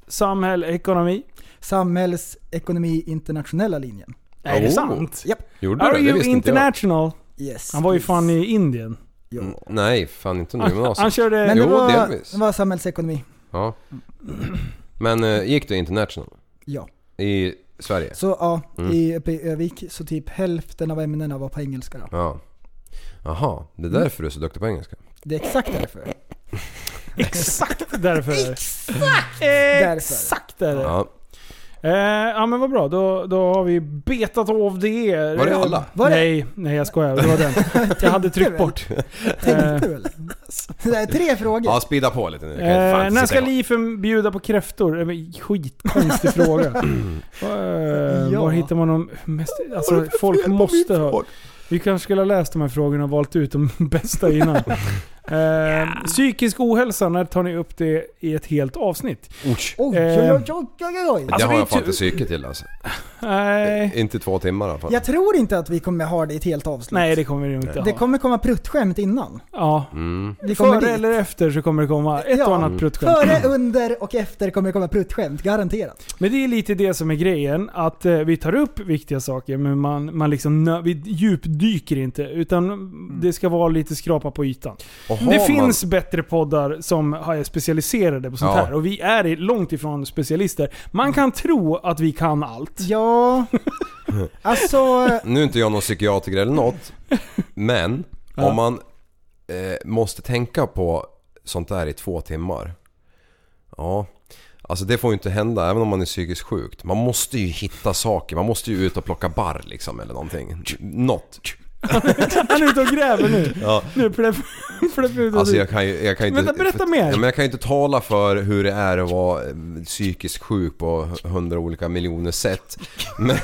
D: Samhälle, ekonomi?
F: Samhällsekonomi internationella linjen.
D: Är det
E: Oh.
D: sant?
F: Japp.
E: Gjorde
D: Are
E: du det? Det
D: you
E: visste inte jag.
D: international?
F: Yes.
D: Han var ju
F: yes.
D: fan i Indien.
F: Ja.
E: Mm, Nej, fan inte under
D: Han, han
E: gymnasiet.
D: körde...
F: Men det
E: Jo,
F: var,
E: delvis.
F: det var samhällsekonomi.
E: Ja. Men eh, gick du international?
F: Ja.
E: I Sverige?
F: Så ja,
E: Mm.
F: i, uppe i Övik så typ hälften av ämnena var på engelska då.
E: Ja. Jaha, det är därför du är så duktig på engelska.
D: Eh,
F: Det är exakt därför.
D: Exakt därför.
F: Exakt!
D: Exakt är det.
E: Ja.
D: Eh, ja men vad bra, då, då har vi betat av det.
E: Var det alla?
F: Var det-
D: Nej, nej jag skojar. Det var den. jag Eh, hade tryckt
F: väl.
D: bort.
F: Tänkte väl. Det är tre frågor.
E: Ja, speeda på lite nu. Jag kan ju fan
D: Eh,
E: inte
D: när
E: sitta
D: ska
E: här.
D: Li förbjuda på kräftor? Eh, men Skitkonstig fråga. Eh,
F: Ja.
D: Var hittar man de mest... Alltså folk måste ha... Vi kanske skulle ha läst de här frågorna och valt ut de bästa innan. Eh, psykisk ohälsa, när tar ni upp det i ett helt avsnitt?
F: Oj,
D: Eh,
F: oj, oj, oj, oj, oj.
E: Det
D: Alltså,
E: har
D: det är
E: jag fan
D: ju- Eh.
E: inte psyke till alltså.
D: Nej,
E: Inte två timmar i alla fall.
F: Jag tror inte att vi kommer ha det i ett helt avslut.
D: nej det kommer vi nog inte ha.
F: det kommer komma pruttskämt innan.
D: ja.
E: Mm.
F: Vi kommer
D: Före
F: dit.
D: eller efter så kommer det komma ett
F: Ja.
D: och annat pruttskämt.
F: Före, under och efter kommer det komma pruttskämt, garanterat.
D: Men det är lite det som är grejen, att eh, vi tar upp viktiga saker men man, man liksom nö- vi djupdyker inte. Utan det ska vara lite skrapa på ytan.
E: Och Mm. har
D: det
E: man-
D: finns bättre poddar som är specialiserade på sånt
E: Ja. Mm.
D: här och vi är i- långt ifrån specialister. Man kan tro att vi kan allt.
F: Ja, alltså...
E: Nu är inte jag någon psykiatriker eller något. Men
D: Ja.
E: om man eh, måste tänka på sånt där i två timmar. Ja. Alltså det får ju inte hända även om man är psykiskt sjukt. Man måste ju hitta saker. Man måste ju ut och plocka barr liksom eller någonting. Något.
D: Han är ute och gräver nu.
E: Ja.
D: Nu pläpp, pläpp ut och
E: Alltså
D: dit.
E: jag kan ju, jag kan ju inte...
D: Vänta, berätta mer.
E: Ja, men jag kan ju inte tala för hur det är att vara eh, psykiskt sjuk på hundra olika miljoner sätt. Men,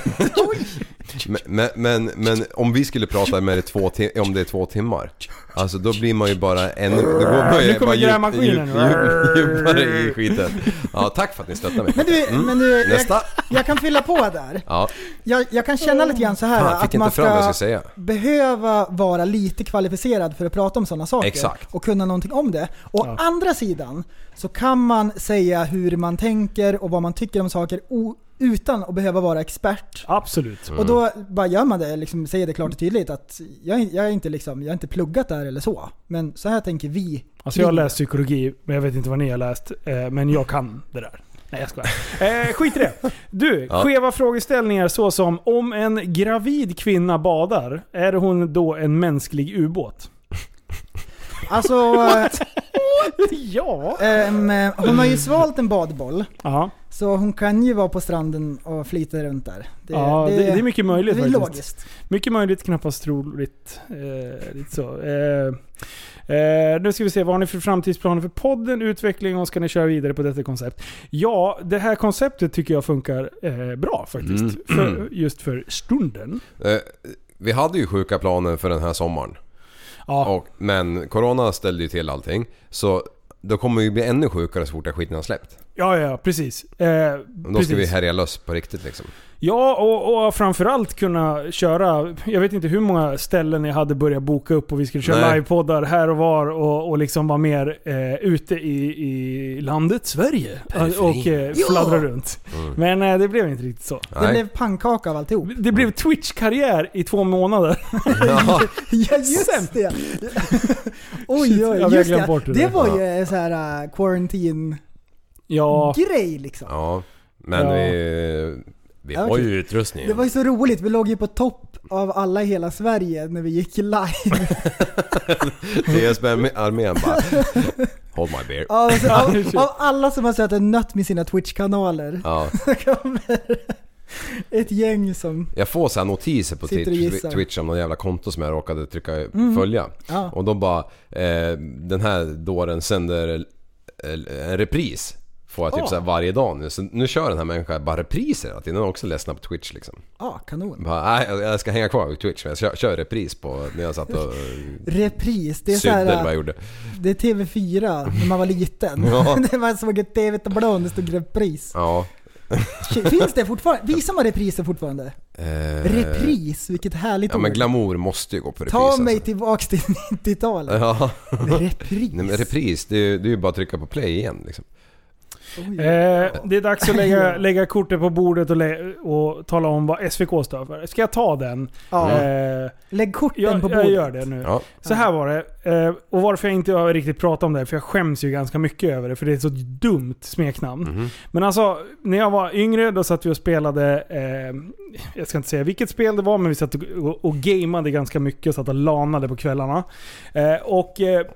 E: men, men, men, men om vi skulle prata med det två, ti- om det är två timmar. Alltså då blir man ju bara ännu... Då går man ju
D: Nu kommer
E: bara djup-
D: grävmaskinen.
E: djup- djup- Djupare i skiten. Ja, tack för att ni stöttar mig.
F: Men du, men du
E: Mm. Nästa!
F: jag, jag kan fylla på där.
E: Ja,
F: Jag, jag kan känna lite grann så här
E: fan, jag
F: att
E: fick inte
F: man
E: fram vad jag
F: ska
E: skulle säga.
F: behöva vara lite kvalificerad för att prata om sådana saker.
E: Exakt.
F: Och kunna någonting om det. Å andra sidan så kan man säga hur man tänker och vad man tycker om saker o- utan att behöva vara expert.
D: Absolut.
F: Och då
D: Mm.
F: bara gör man det, liksom, säger det klart och tydligt att jag, jag, är inte liksom, jag har inte pluggat där eller så. Men så här tänker vi.
D: Alltså jag har läst psykologi, men jag vet inte vad ni har läst. Eh, men jag kan det där. Nej jag skojar. Eh, skit i det. Du,
E: Ja.
D: skeva frågeställningar såsom om en gravid kvinna badar, är hon då en mänsklig ubåt?
F: Alltså,
D: ja.
F: ehm, hon har ju svalt en badboll.
D: Ja.
F: Så hon kan ju vara på stranden och flyta runt där.
D: ja, det, det är mycket möjligt
F: det är
D: faktiskt.
F: logiskt.
D: Mycket möjligt, knappast troligt. Eh, lite så. Eh, eh, nu ska vi se, vad har ni för framtidsplaner för podden, utveckling och ska ni köra vidare på detta koncept? Ja, det här konceptet tycker jag funkar eh, bra faktiskt. För, just för stunden.
E: Eh, vi hade ju sjuka planer för den här sommaren.
D: Ja,
E: Och, men Corona ställde ju till allting. Så då kommer vi bli ännu sjukare så fort den skiten har släppt.
D: ja, ja precis. Eh,
E: Då
D: precis.
E: ska vi härja lös på riktigt liksom.
D: Ja, och, och framförallt kunna köra... Jag vet inte hur många ställen jag hade börjat boka upp och vi skulle köra
E: Nej.
D: livepoddar här och var och, och liksom vara mer eh, ute i, i landet Sverige. Och eh, fladdra runt.
E: Mm.
D: Men eh, det blev inte riktigt så.
F: Det
E: Nej.
F: blev pannkaka av alltihop.
D: Det blev Twitch-karriär i två månader.
E: Ja.
F: Ja just det! oj
D: jag
F: oj,
D: har
F: just
D: glömt
F: det.
D: bort det
F: Det,
D: där.
F: var ju en sån här eh, quarantine-grej
D: Ja,
F: liksom.
E: ja. Men
D: Ja.
E: vi... Vi
F: Ja,
E: har
F: okej.
E: ju utrustningen.
F: Det var ju så roligt, vi låg ju på topp av alla i hela Sverige när vi gick live.
E: DSB-armén bara... Hold my beer.
F: Av, av, av alla som har sett en nött med sina Twitch-kanaler
E: Ja.
F: så kommer ett gäng som...
E: Jag får så här notiser på
F: Sitter och
E: Twitch,
F: gissar. Mm.
E: Twitch om något jävla konto som jag råkade trycka följa.
F: Ja.
E: Och de bara, eh, den här dåren sänder eh, en repris. Får jag typ så här varje dag nu. Så nu kör den här människan bara repriser hela tiden. Den är också ledsna på Twitch liksom.
F: Ja, kanon.
E: Bara, nej, jag- jag ska hänga kvar vid Twitch. men Jag kör, kör repris på när jag satt och
F: Repris, det är så
E: sydde eller vad jag
F: här,
E: gjorde.
F: Det är TV4 när man var liten.
E: Ja.
F: När man såg ett TV-tablå och det stod repris.
E: Ja.
F: Finns det fortfarande? Visar man repriser fortfarande?
E: Eh,
F: Repris, vilket härligt
E: Ja men
F: ord.
E: glamour måste ju gå på repris
F: Ta mig
E: alltså.
F: tillbaks till 90-talet.
E: Ja.
F: Repris.
E: Nej, men repris, det är ju det är ju bara att trycka på play igen liksom.
F: Oj.
D: Eh, det är dags att lägga, lägga kortet på bordet och, lä- och tala om vad SVK står för. Ska jag ta den?
F: ja.
D: Eh,
F: Lägg korten
D: jag,
F: på bordet.
D: jag gör det nu.
E: Ja.
D: Så här var det, eh, och varför jag inte har riktigt pratat om det, här, för jag skäms ju ganska mycket över det, för det är ett så dumt smeknamn.
E: Mm. Mhm.
D: Men alltså, när jag var yngre då satt vi och spelade, eh, jag ska inte säga vilket spel det var, men vi satt och, och, och gameade ganska mycket och satt och lanade på kvällarna. Eh, och eh,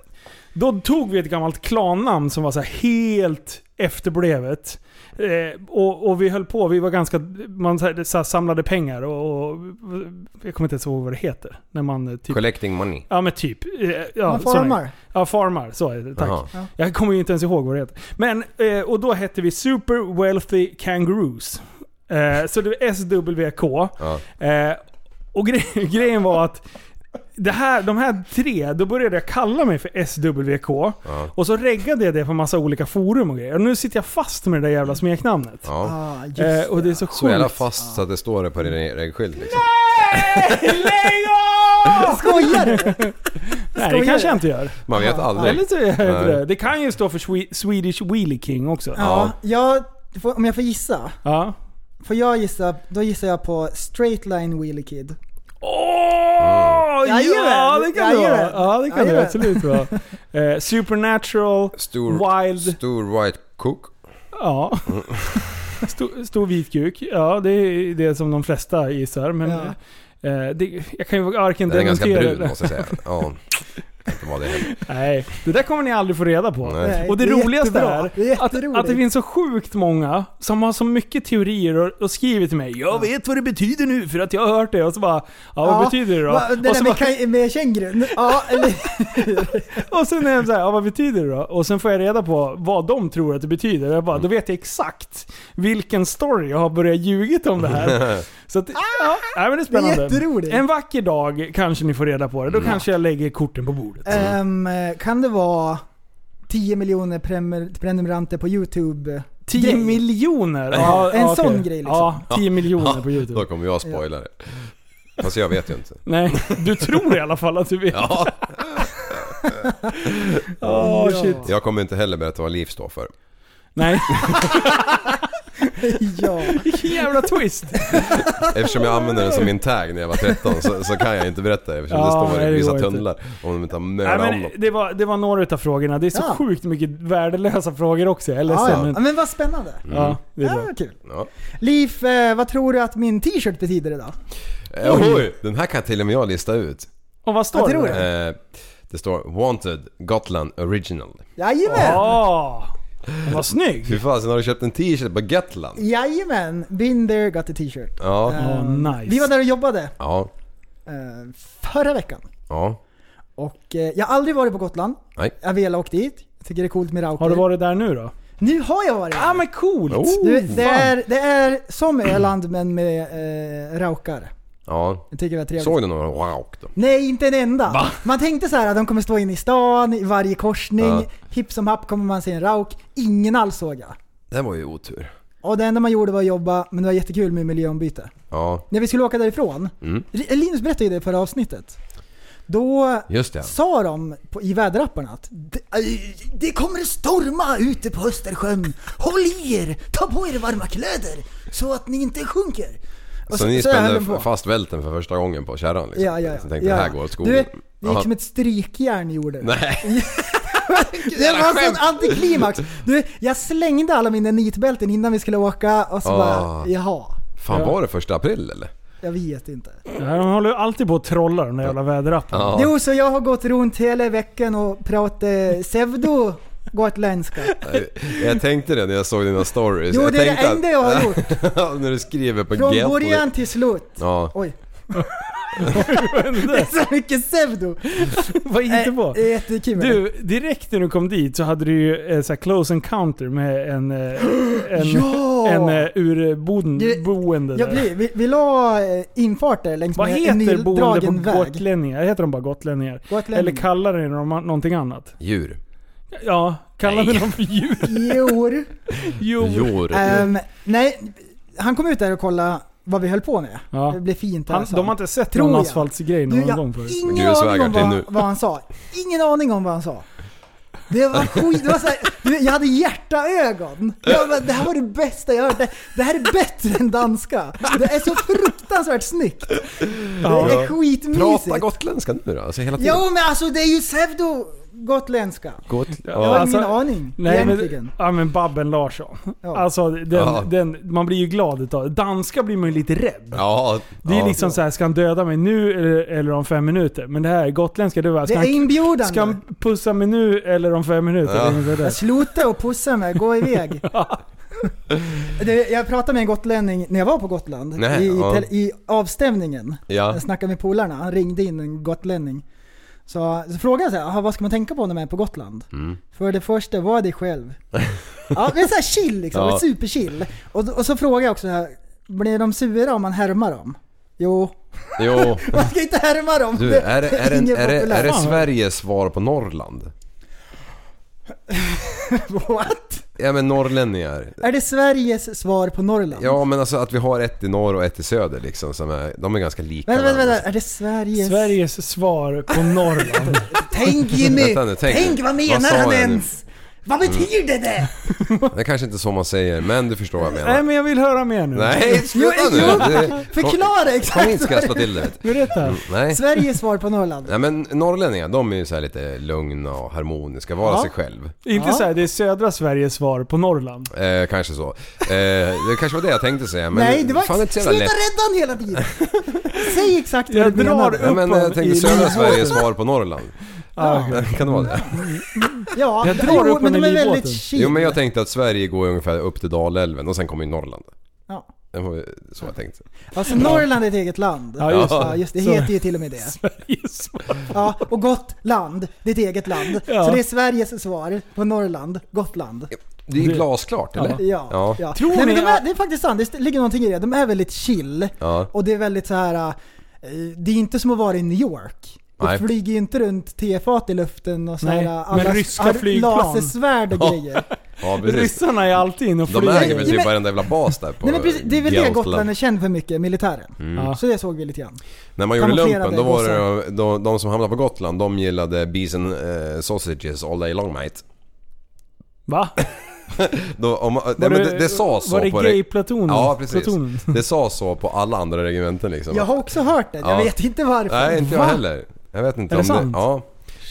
D: då tog vi ett gammalt klannamn som var så här helt efterblevet. Eh, och, och vi höll på, vi var ganska, man så här, så här, samlade pengar och, och jag kommer inte ens ihåg vad det heter. När man eh, typ
E: Collecting money.
D: Ja men typ. Eh, Ja,
F: Man
D: sån här-
F: formar.
D: Ja, farmar. Så är det. Tack.
E: Jaha.
D: Jag kommer ju inte ens ihåg vad det heter. Men, eh, och då hette vi Super Wealthy Kangaroos. Eh, så det är SWK.
E: Ja.
D: Eh, och gre- grejen var att det här, de här tre, då började jag kalla mig för SWK.
E: Ja.
D: Och så reggade jag det på massa olika forum och grejer. Och nu sitter jag fast med det där jävla smeknamnet.
E: Ja.
F: Ah, just
D: Eh, och det är
F: det.
D: så
E: Så jävla
D: sjukt.
E: fast så att det står det på din regnskylt liksom.
D: Lägg av!
F: Skojar du?
D: Nej, det kanske jag inte gör.
F: Ah.
E: Man vet
D: Eller
E: aldrig.
D: så är det
E: Nej.
D: det. Det kan ju stå för Swe- Swedish Wheelie King också.
F: Ja, jag, får- om jag får gissa.
D: Ja.
F: Får jag gissa, då gissar jag på Straight Line Wheelie Kid.
D: Åh! Ja,
F: Jajamän.
D: det kan det vara.
F: Jajamän.
D: Ja, det kan det
F: Jajamän.
D: absolut vara. Eh, Supernatural,
E: Stor,
D: Wild,
E: stor white cook.
D: ja. Stor, stor vit kuk. Ja, det är det som de flesta gissar. Men
F: Ja.
D: eh, det, jag kan ju varken
E: Den är ganska
D: dementera
E: brun
D: eller...
E: måste jag säga. Ja. Inte vad det heller.
D: Nej, det där kommer ni aldrig få reda på.
E: Nej.
D: Och det,
F: är
D: roligaste
F: jättebra.
D: är,
F: det är
D: att, att det finns så sjukt många som har så mycket teorier och, och skriver till mig Jag vet vad det betyder nu för att jag har hört det. Och så bara, ja vad
F: Ja,
D: betyder det då?
F: Va, det
D: och,
F: där
D: så
F: med,
D: bara,
F: kan- med kängurun? Ja, eller...
D: och sen är de så här, ja vad betyder det då? Och sen får jag reda på vad de tror att det betyder. Jag bara,
F: Mm.
D: Då vet jag exakt vilken story jag har börjat ljugit om det här. så att, ja, nej, men det är
F: Det är
D: spännande.
F: jätteroligt. Mm.
D: en vacker dag kanske ni får reda på det. Då kanske jag lägger korten på bordet.
F: Ehm, kan det vara 10 miljoner prenumer- prenumeranter på YouTube?
D: 10
F: Grej.
D: miljoner?
F: En
D: okej.
F: sån grej liksom.
D: Ja, 10 miljoner på
E: Då
D: YouTube.
E: kommer jag spoila det. Fast jag vet ju inte.
D: Nej, du tror i alla fall att du vet.
E: Ja.
D: Åh,
F: Ja.
D: shit.
E: Jag kommer inte heller berätta vad liv står för.
D: Nej,
F: ja.
D: vilken jävla twist.
E: Eftersom jag använde den som min tag när jag var 13 så, så kan jag inte berätta det. Eftersom
D: Ja,
E: det står
D: nej,
E: i
D: det går
E: vissa
D: inte.
E: tunnlar. Om de inte har
D: Nej,
E: mördat om
D: men
E: dem.
D: det, var, det var några utav frågorna. Det är så
F: Ja.
D: sjukt mycket värdelösa frågor också. Jag är
F: Ja,
D: ledsen,
F: ja.
D: men,
F: Men vad spännande.
D: ja, det är
F: Ja,
D: bra.
F: vad kul.
E: Ja.
F: Liv, eh, vad tror du att min t-shirt betyder idag?
E: Eh, Oj! Den här kan till och med jag lista ut.
D: Och vad står
F: Vad tror
D: det?
F: du?
E: Eh, Det står Wanted Gotland Original.
F: Jajamän!
D: Ja, Vad snygg!
E: Fy fan, sen har du köpt en t-shirt på Gotland.
F: Jajamän, been there got a t-shirt.
E: Ja,
D: Åh,
F: Eh,
D: nice.
F: Vi var där och jobbade
E: ja,
F: eh, förra veckan.
E: ja.
F: Och eh, jag har aldrig varit på Gotland.
E: Nej.
F: Jag vill åkt dit. Jag tycker det är coolt med rauker.
D: Har du varit där nu då?
F: Nu har jag varit!
D: Ah men coolt!
E: Oh.
F: Du,
D: fan.
F: det, är, det är som Öland men med eh, raukar.
E: ja.
F: Jag tycker det var trevligt.
E: Såg du några wow då?
F: Nej, inte en enda. Man tänkte så här att de kommer stå inne i stan, i varje korsning.
E: Ja.
F: Hipp som happ kommer man se en rauk. Ingen alls såg jag.
E: Det var ju otur.
F: Och det enda man gjorde var att jobba, men det var jättekul med miljöombyte.
E: Ja,
F: När vi skulle åka därifrån,
E: Mm.
F: R- Linus berättade ju det i förra avsnittet. Då
E: just det.
F: sa de på, i väderapparna att det, aj, det kommer storma ute på Östersjön. Håll i er! Ta på er varma kläder så att ni inte sjunker. Och
E: Så, ni
F: höll de
E: spände
F: på.
E: fast välten för första gången på kärran liksom.
F: Ja, ja, ja.
E: Så tänkte
F: ja.
E: det här går åt skogen.
F: Du, det gick
E: Jaha.
F: som ett strykjärn gjorde det.
E: Nej.
F: Det var en sån antiklimax. Du, jag slängde alla mina nitbälten innan vi skulle åka och så
E: Ah.
F: bara, jaha.
E: Fan var det första april eller?
F: Jag vet inte.
D: Ja, de håller ju alltid på och trollar de där jävla väderapparna.
E: Ja.
F: Jo, så jag har gått runt hela veckan och pratat pseudo gotländska.
E: Jag tänkte det när jag såg dina stories.
F: Jo,
E: jag
F: det är det
E: tänkte att-
F: enda jag har gjort.
E: när du skriver på
F: Från
E: Gently.
F: början till slut.
E: Ja.
F: Oj. det är så mycket pseudo.
D: Vad inte på?
F: Eh, Jättekul. med det.
D: Du, direkt när du kom dit så hade du ju eh, så här close encounter med en, eh, en,
F: Ja!
D: en eh, urboden
F: Du,
D: boende
F: Jag
D: där.
F: blir, vi, vi la eh, infarter längs
D: Vad
F: med en
D: heter boende
F: nydragen
D: på
F: väg.
D: gotlänningar? Heter de bara gotlänningar?
F: Gotlänning.
D: Eller kallar ni dem någonting annat?
E: Djur.
D: Ja, kallar ni dem för djur?
F: Jo.
D: Jo.
E: Djur.
F: Ehm, nej, han kom ut där och kollade vad vi höll på med.
D: Ja.
F: Det blev fint alltså. här.
D: Han,
F: sa
D: de har
F: han.
D: inte sett
F: Tror
D: någon
F: jag.
D: asfaltsgrej
F: Du,
D: någon
F: jag
D: gång förut.
F: ingen aning
E: Grusvägar
F: om
E: till
F: vad,
E: nu.
F: vad han sa. Ingen aning om vad han sa. Det var skit, det var så här, du, jag hade hjärtaögon. Jag bara, det här var det bästa jag hört. Det, det här är bättre än danska. Det är så fruktansvärt snyggt. Det är
D: Ja.
E: Prata
F: skitmysigt.
E: gotländska nu då, alltså hela tiden.
F: Jo men alltså det är ju pseudo-gotländska.
E: Gott.
F: Jag har
E: Ja.
D: alltså,
F: ingen aning
D: Nej,
F: egentligen.
D: men, ja, men Babben Larsson.
F: Ja.
D: Alltså, den,
E: Ja.
D: den, man blir ju glad utav det. Danska blir man ju lite rädd.
E: Ja,
D: Det är
E: ja.
D: liksom så här, ska han döda mig nu eller, eller om fem minuter? Men det här gotländska, det var,
F: Det
D: ska,
F: är
D: han,
F: inbjudande.
D: ska han pussa mig nu eller om fem minuter?
E: Ja.
D: Det är ungefär
F: Jag
D: det.
F: sluta och pussa mig, gå iväg. Det- jag pratade med en gotlänning när jag var på Gotland.
E: Nej,
F: I,
E: ja.
F: tel- I avstämningen.
E: Ja.
F: Jag snackade med polarna, han ringde in en gotlänning. Så, så frågade jag så här, "Aha, vad ska man tänka på när man är på Gotland?
E: Mm.
F: För det första, var dig själv. ja, men så här chill liksom,
E: Ja.
F: superchill. Och, och så frågade jag också så här, blir de sura om man härmar dem? Jo,
E: Jo.
F: man ska inte härma dem.
E: Du, är det, är, det,
F: inget
E: är, det, är det
F: populärt.
E: Sveriges svar på Norrland?
F: What?
E: Ja men norrlänningar.
F: Är det Sveriges svar på Norrland?
E: Ja men alltså att vi har ett i norr och ett i söder liksom som är, de är ganska lika
F: Vänta, vänta,
E: varandra.
F: vänta. Är det Sveriges...
D: Sveriges svar på Norrland.
F: Tänk Jimmy!
E: Vänta nu, tänk. Vad sa jag nu? Mm.
F: Vad betyder det?
E: Det är kanske inte är så man säger men du förstår vad jag menar.
D: Nej men jag vill höra mer nu.
E: Nej
F: Jo,
E: sluta nu!
F: jo,
E: Det-
F: förklara
E: Kom in
F: exakt!
E: ska jag slå till dig. vet du.
D: Berätta.
E: Nej.
F: Sveriges svar på Norrland.
E: Nej men norrlänningar de är ju så här lite lugna och harmoniska, vara
F: Ja.
E: sig själv.
D: Inte
F: Ja.
D: så här, det är södra Sveriges svar på Norrland.
E: Eh, kanske så. Eh, det kanske var det jag tänkte säga men
F: Nej, det var...
E: fan det är inte så
F: Sluta
E: jävla lätt.
F: rädda honom hela tiden! Säg exakt vad
D: Jag
F: du
D: drar
F: menar.
E: Nej, men eh,
D: upp
E: jag
D: i
E: tänkte södra
D: nivån.
E: Sveriges svar på Norrland.
D: Ja.
E: Kan det vara det?
F: Ja,
D: Jag drar
F: jo,
D: upp
F: men de
D: honom
F: är
D: i
F: väldigt
D: båten.
F: chill.
E: Jo men jag tänkte att Sverige går ungefär upp till Dalälven och sen kommer ju Norrland.
F: ja.
E: Det var ju så jag tänkte.
F: Alltså Norrland är ett eget land.
D: Ja, just det.
F: det.
D: Så-
F: heter ju till och med det.
D: Sveriges svar.
F: Ja, och Gotland, det är ett eget land.
D: Ja.
F: Så det är Sveriges svar på Norrland, Gotland.
E: Det är ju glasklart eller?
F: Ja. ja.
D: Tror
F: Nej, men
D: ni
F: de är,
D: att-
F: det är faktiskt sant, det ligger någonting i det. De är väldigt chill.
E: Ja.
F: Och det är väldigt så här. eh, Det är inte som att vara i New York. Det
E: Nej.
F: flyger ju inte runt tefat i luften och så
D: Nej,
F: här, eh,
D: men
F: alla
D: ryska
F: ar-
D: flygplan.
F: lasersvärd och
E: Ja.
F: grejer.
E: Ja precis.
D: Ryssarna är alltid inne och
E: De äger väl
F: Ja,
E: typ
F: men-
E: varenda jävla bas där på
F: Nej, men precis, det är väl det
E: Gotland.
F: Gotland är känd för mycket, militären.
D: Ja.
F: Så det såg vi lite grann.
E: När man gjorde
F: Kamouflerade
E: lumpen då var
F: gossar.
E: det de, de som hamnade på Gotland de gillade beesen eh, sausages all day long mate.
D: Va?
E: Då, om, nej, men det, det sa så
D: Var det
E: på
D: gay-platonen?
E: Ja precis.
D: Platonen?
E: Det sa så på alla andra regementen liksom.
F: Jag har också hört det, jag
E: Ja.
F: vet inte varför.
E: Nej inte jag
F: Va?
E: heller. Jag vet inte
D: Är
E: om
D: det sant?
E: det... Ja.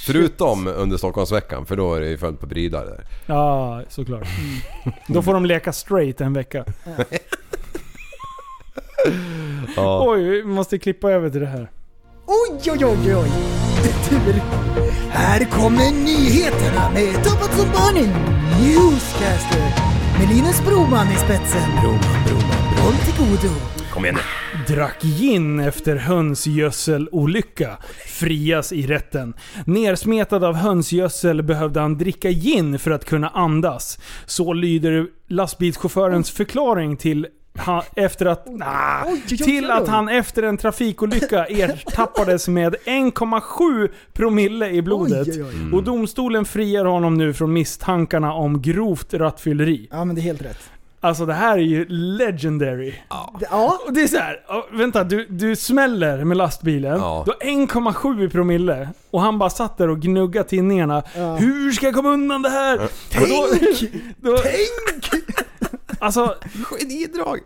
E: Förutom under Stockholmsveckan för då är det ju följt på brydar där.
D: Ja, såklart. Då får de leka straight en vecka.
E: Ja.
D: Oj, vi måste klippa över till det här.
F: Oj, oj, oj, oj! tur. Här kommer nyheterna med Tappat som barnen Newscaster. Med Linus Broman i spetsen. Broman, Broman, Håll till godo.
E: Kom igen nu.
D: Drack gin efter hönsgödselolycka. Frias i rätten. Nersmetad av hönsgödsel behövde han dricka gin för att kunna andas. Så lyder lastbilschaufförens förklaring till han, efter att, nah,
F: Oj, oj, oj,
D: till
F: oj.
D: att han efter en trafikolycka ertappades med 1,7 promille i blodet.
F: Oj, oj, oj.
D: Och domstolen friar honom nu från misstankarna om grovt rattfylleri.
F: Ja men det är helt rätt.
D: Alltså det här är ju legendary.
F: Ja,
D: Och Det är så här, ja, vänta, du, du smäller med lastbilen,
E: Ja.
D: du har 1,7 i promille och han bara satt där och gnuggade tinningarna.
F: Ja.
D: Hur ska jag komma undan det här? Och Då, då,
F: tänk!
D: alltså,
E: Genidrag.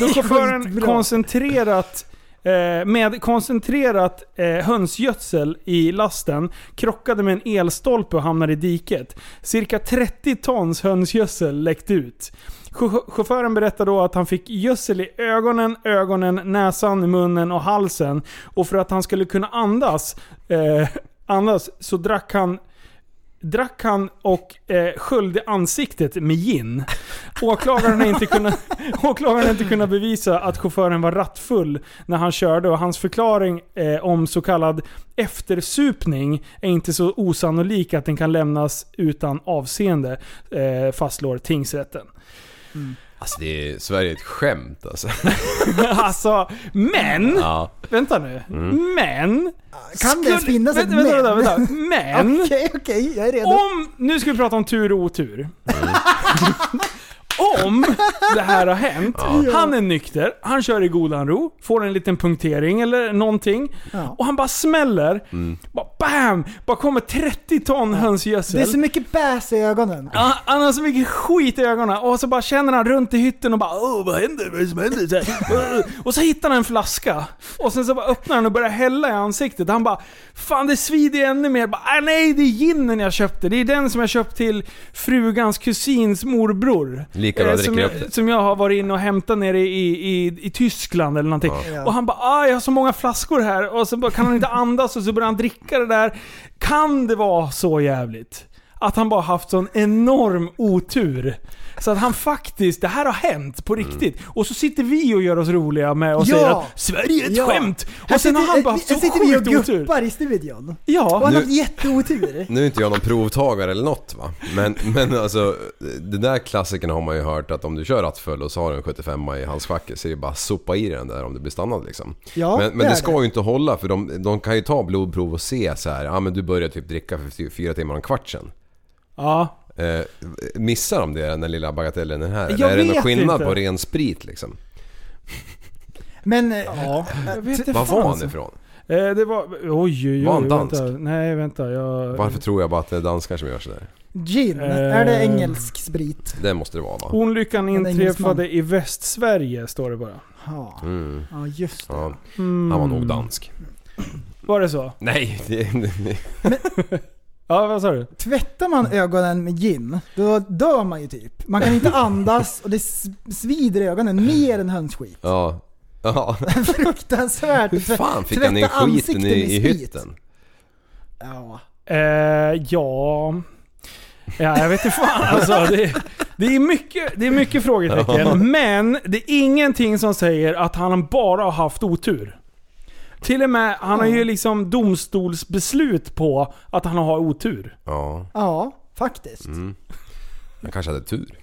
D: då chauffören
F: Skitbra.
D: koncentrerat eh, med koncentrerat eh, hönsgödsel i lasten krockade med en elstolpe och hamnade i diket. Cirka 30 tons hönsgödsel läckte ut. Chau- Chauffören berättade då att han fick gödsel i ögonen, ögonen, näsan, munnen och halsen. Och för att han skulle kunna andas, eh, andas så drack han drack han och eh, sköljde ansiktet med gin. Åklagaren har inte kunnat, åklagaren har inte kunnat bevisa att chauffören var rattfull när han körde och hans förklaring eh, om så kallad eftersupning är inte så osannolik att den kan lämnas utan avseende, eh, fastslår tingsrätten.
E: Alltså det är, Sverige är ett skämt alltså.
D: alltså, men!
E: Ja.
D: Vänta nu. Men!
F: Kan det ens
D: skulle-
F: finnas ett
D: vänta, vänta, vänta,
F: men?
D: vänta. Men!
F: Okej, okej, jag är redo.
D: Om, nu ska vi prata om tur och otur. Om det här har hänt, han är nykter, han kör i godan ro, får en liten punktering eller någonting.
F: Ja.
D: Och han bara smäller. Bara BAM! Bara kommer 30 ton hönsgödsel.
F: Det är så mycket bäs i ögonen.
D: Ja, Han har så mycket skit i ögonen och så bara känner han runt i hytten och bara Åh, vad händer? Vad är det som händer? Så här, "Åh." och så hittar han en flaska. Och sen så bara öppnar han och börjar hälla i ansiktet. Han bara Fan det svider ju ännu mer. Bara, "Ah, nej, det är ginen jag köpte. Det är den som jag köpt till frugans kusins morbror.
E: Lika bra
D: Eh,
E: dricker
D: som,
E: jag
D: jag,
E: upp det.
D: som jag har varit inne och hämtat nere i, i, i Tyskland eller någonting.
F: Ja.
D: Och han bara ah, jag har så många flaskor här. Och så bara, kan han inte andas och så börjar han dricka det där. Kan det vara så jävligt? Att han bara haft sån enorm otur. Så att han faktiskt, det här har hänt
E: Mm.
D: på riktigt. Och så sitter vi och gör oss roliga med och
F: Ja.
D: säger att Sverige är ett
F: Ja.
D: skämt.
F: Här
D: Och sen har
F: sitter-
D: han bara
F: här
D: så
F: sitter vi och
D: sjukt otur.
F: guppar i studion. Och
D: Ja.
F: han
E: Nu-
F: har haft jätteotur.
E: Nu är inte jag någon provtagare eller något va. Men, men alltså, den där klassiken har man ju hört att om du kör rattfull och så har du en 75 i handskfacket så är det bara att sopa i den där om du blir stannad liksom.
F: Ja,
E: men men
F: det
E: det,
F: är
E: ska
F: det.
E: ju inte hålla för de, de kan ju ta blodprov och se så här, ja ah, men du började typ dricka för fy- fyra timmar och en kvart sedan.
D: ja.
E: Eh, missar de det, den där lilla bagatellen den här?
D: Jag
E: Eller är det någon
D: vet
E: skillnad
D: inte.
E: på ren sprit liksom?
F: Men
D: Ja,
F: Eh,
D: jag vet inte
E: Var
D: fan,
E: var han
D: alltså.
E: ifrån?
D: Eh, det var... Oj, oj,
E: Var
D: oj.
E: han dansk?
D: Vänta. Nej, vänta. Jag...
E: Varför tror jag bara att det är danskar som gör sådär?
F: gin,
D: Eh.
F: är det engelsk sprit?
E: Det måste det vara va?
D: Olyckan
F: En engelsman.
D: inträffade i Västsverige, står det bara.
F: Ja,
E: Mm.
F: ja just det.
E: Ja,
D: Mm.
E: han var nog dansk.
D: Var det så?
E: Nej, det, det,
D: Ja, vad sa du?
F: Tvättar man ögonen med gin, då dör man ju typ. Man kan inte andas och det s- svider i ögonen mer än hönsskit.
E: ja. ja.
F: Fruktansvärt.
E: Hur fan fick han in
F: Tvätta ansikten
E: skiten i,
F: med
E: i
F: sprit.
E: hytten?
F: Ja.
D: Eh, ja... Ja, jag vet inte fan alltså. Det, det, är mycket, det är mycket frågetecken. Men det är ingenting som säger att han bara har haft otur. Till och med, han har ju liksom domstolsbeslut på att han har otur.
E: Ja,
F: ja, faktiskt.
E: han kanske hade tur.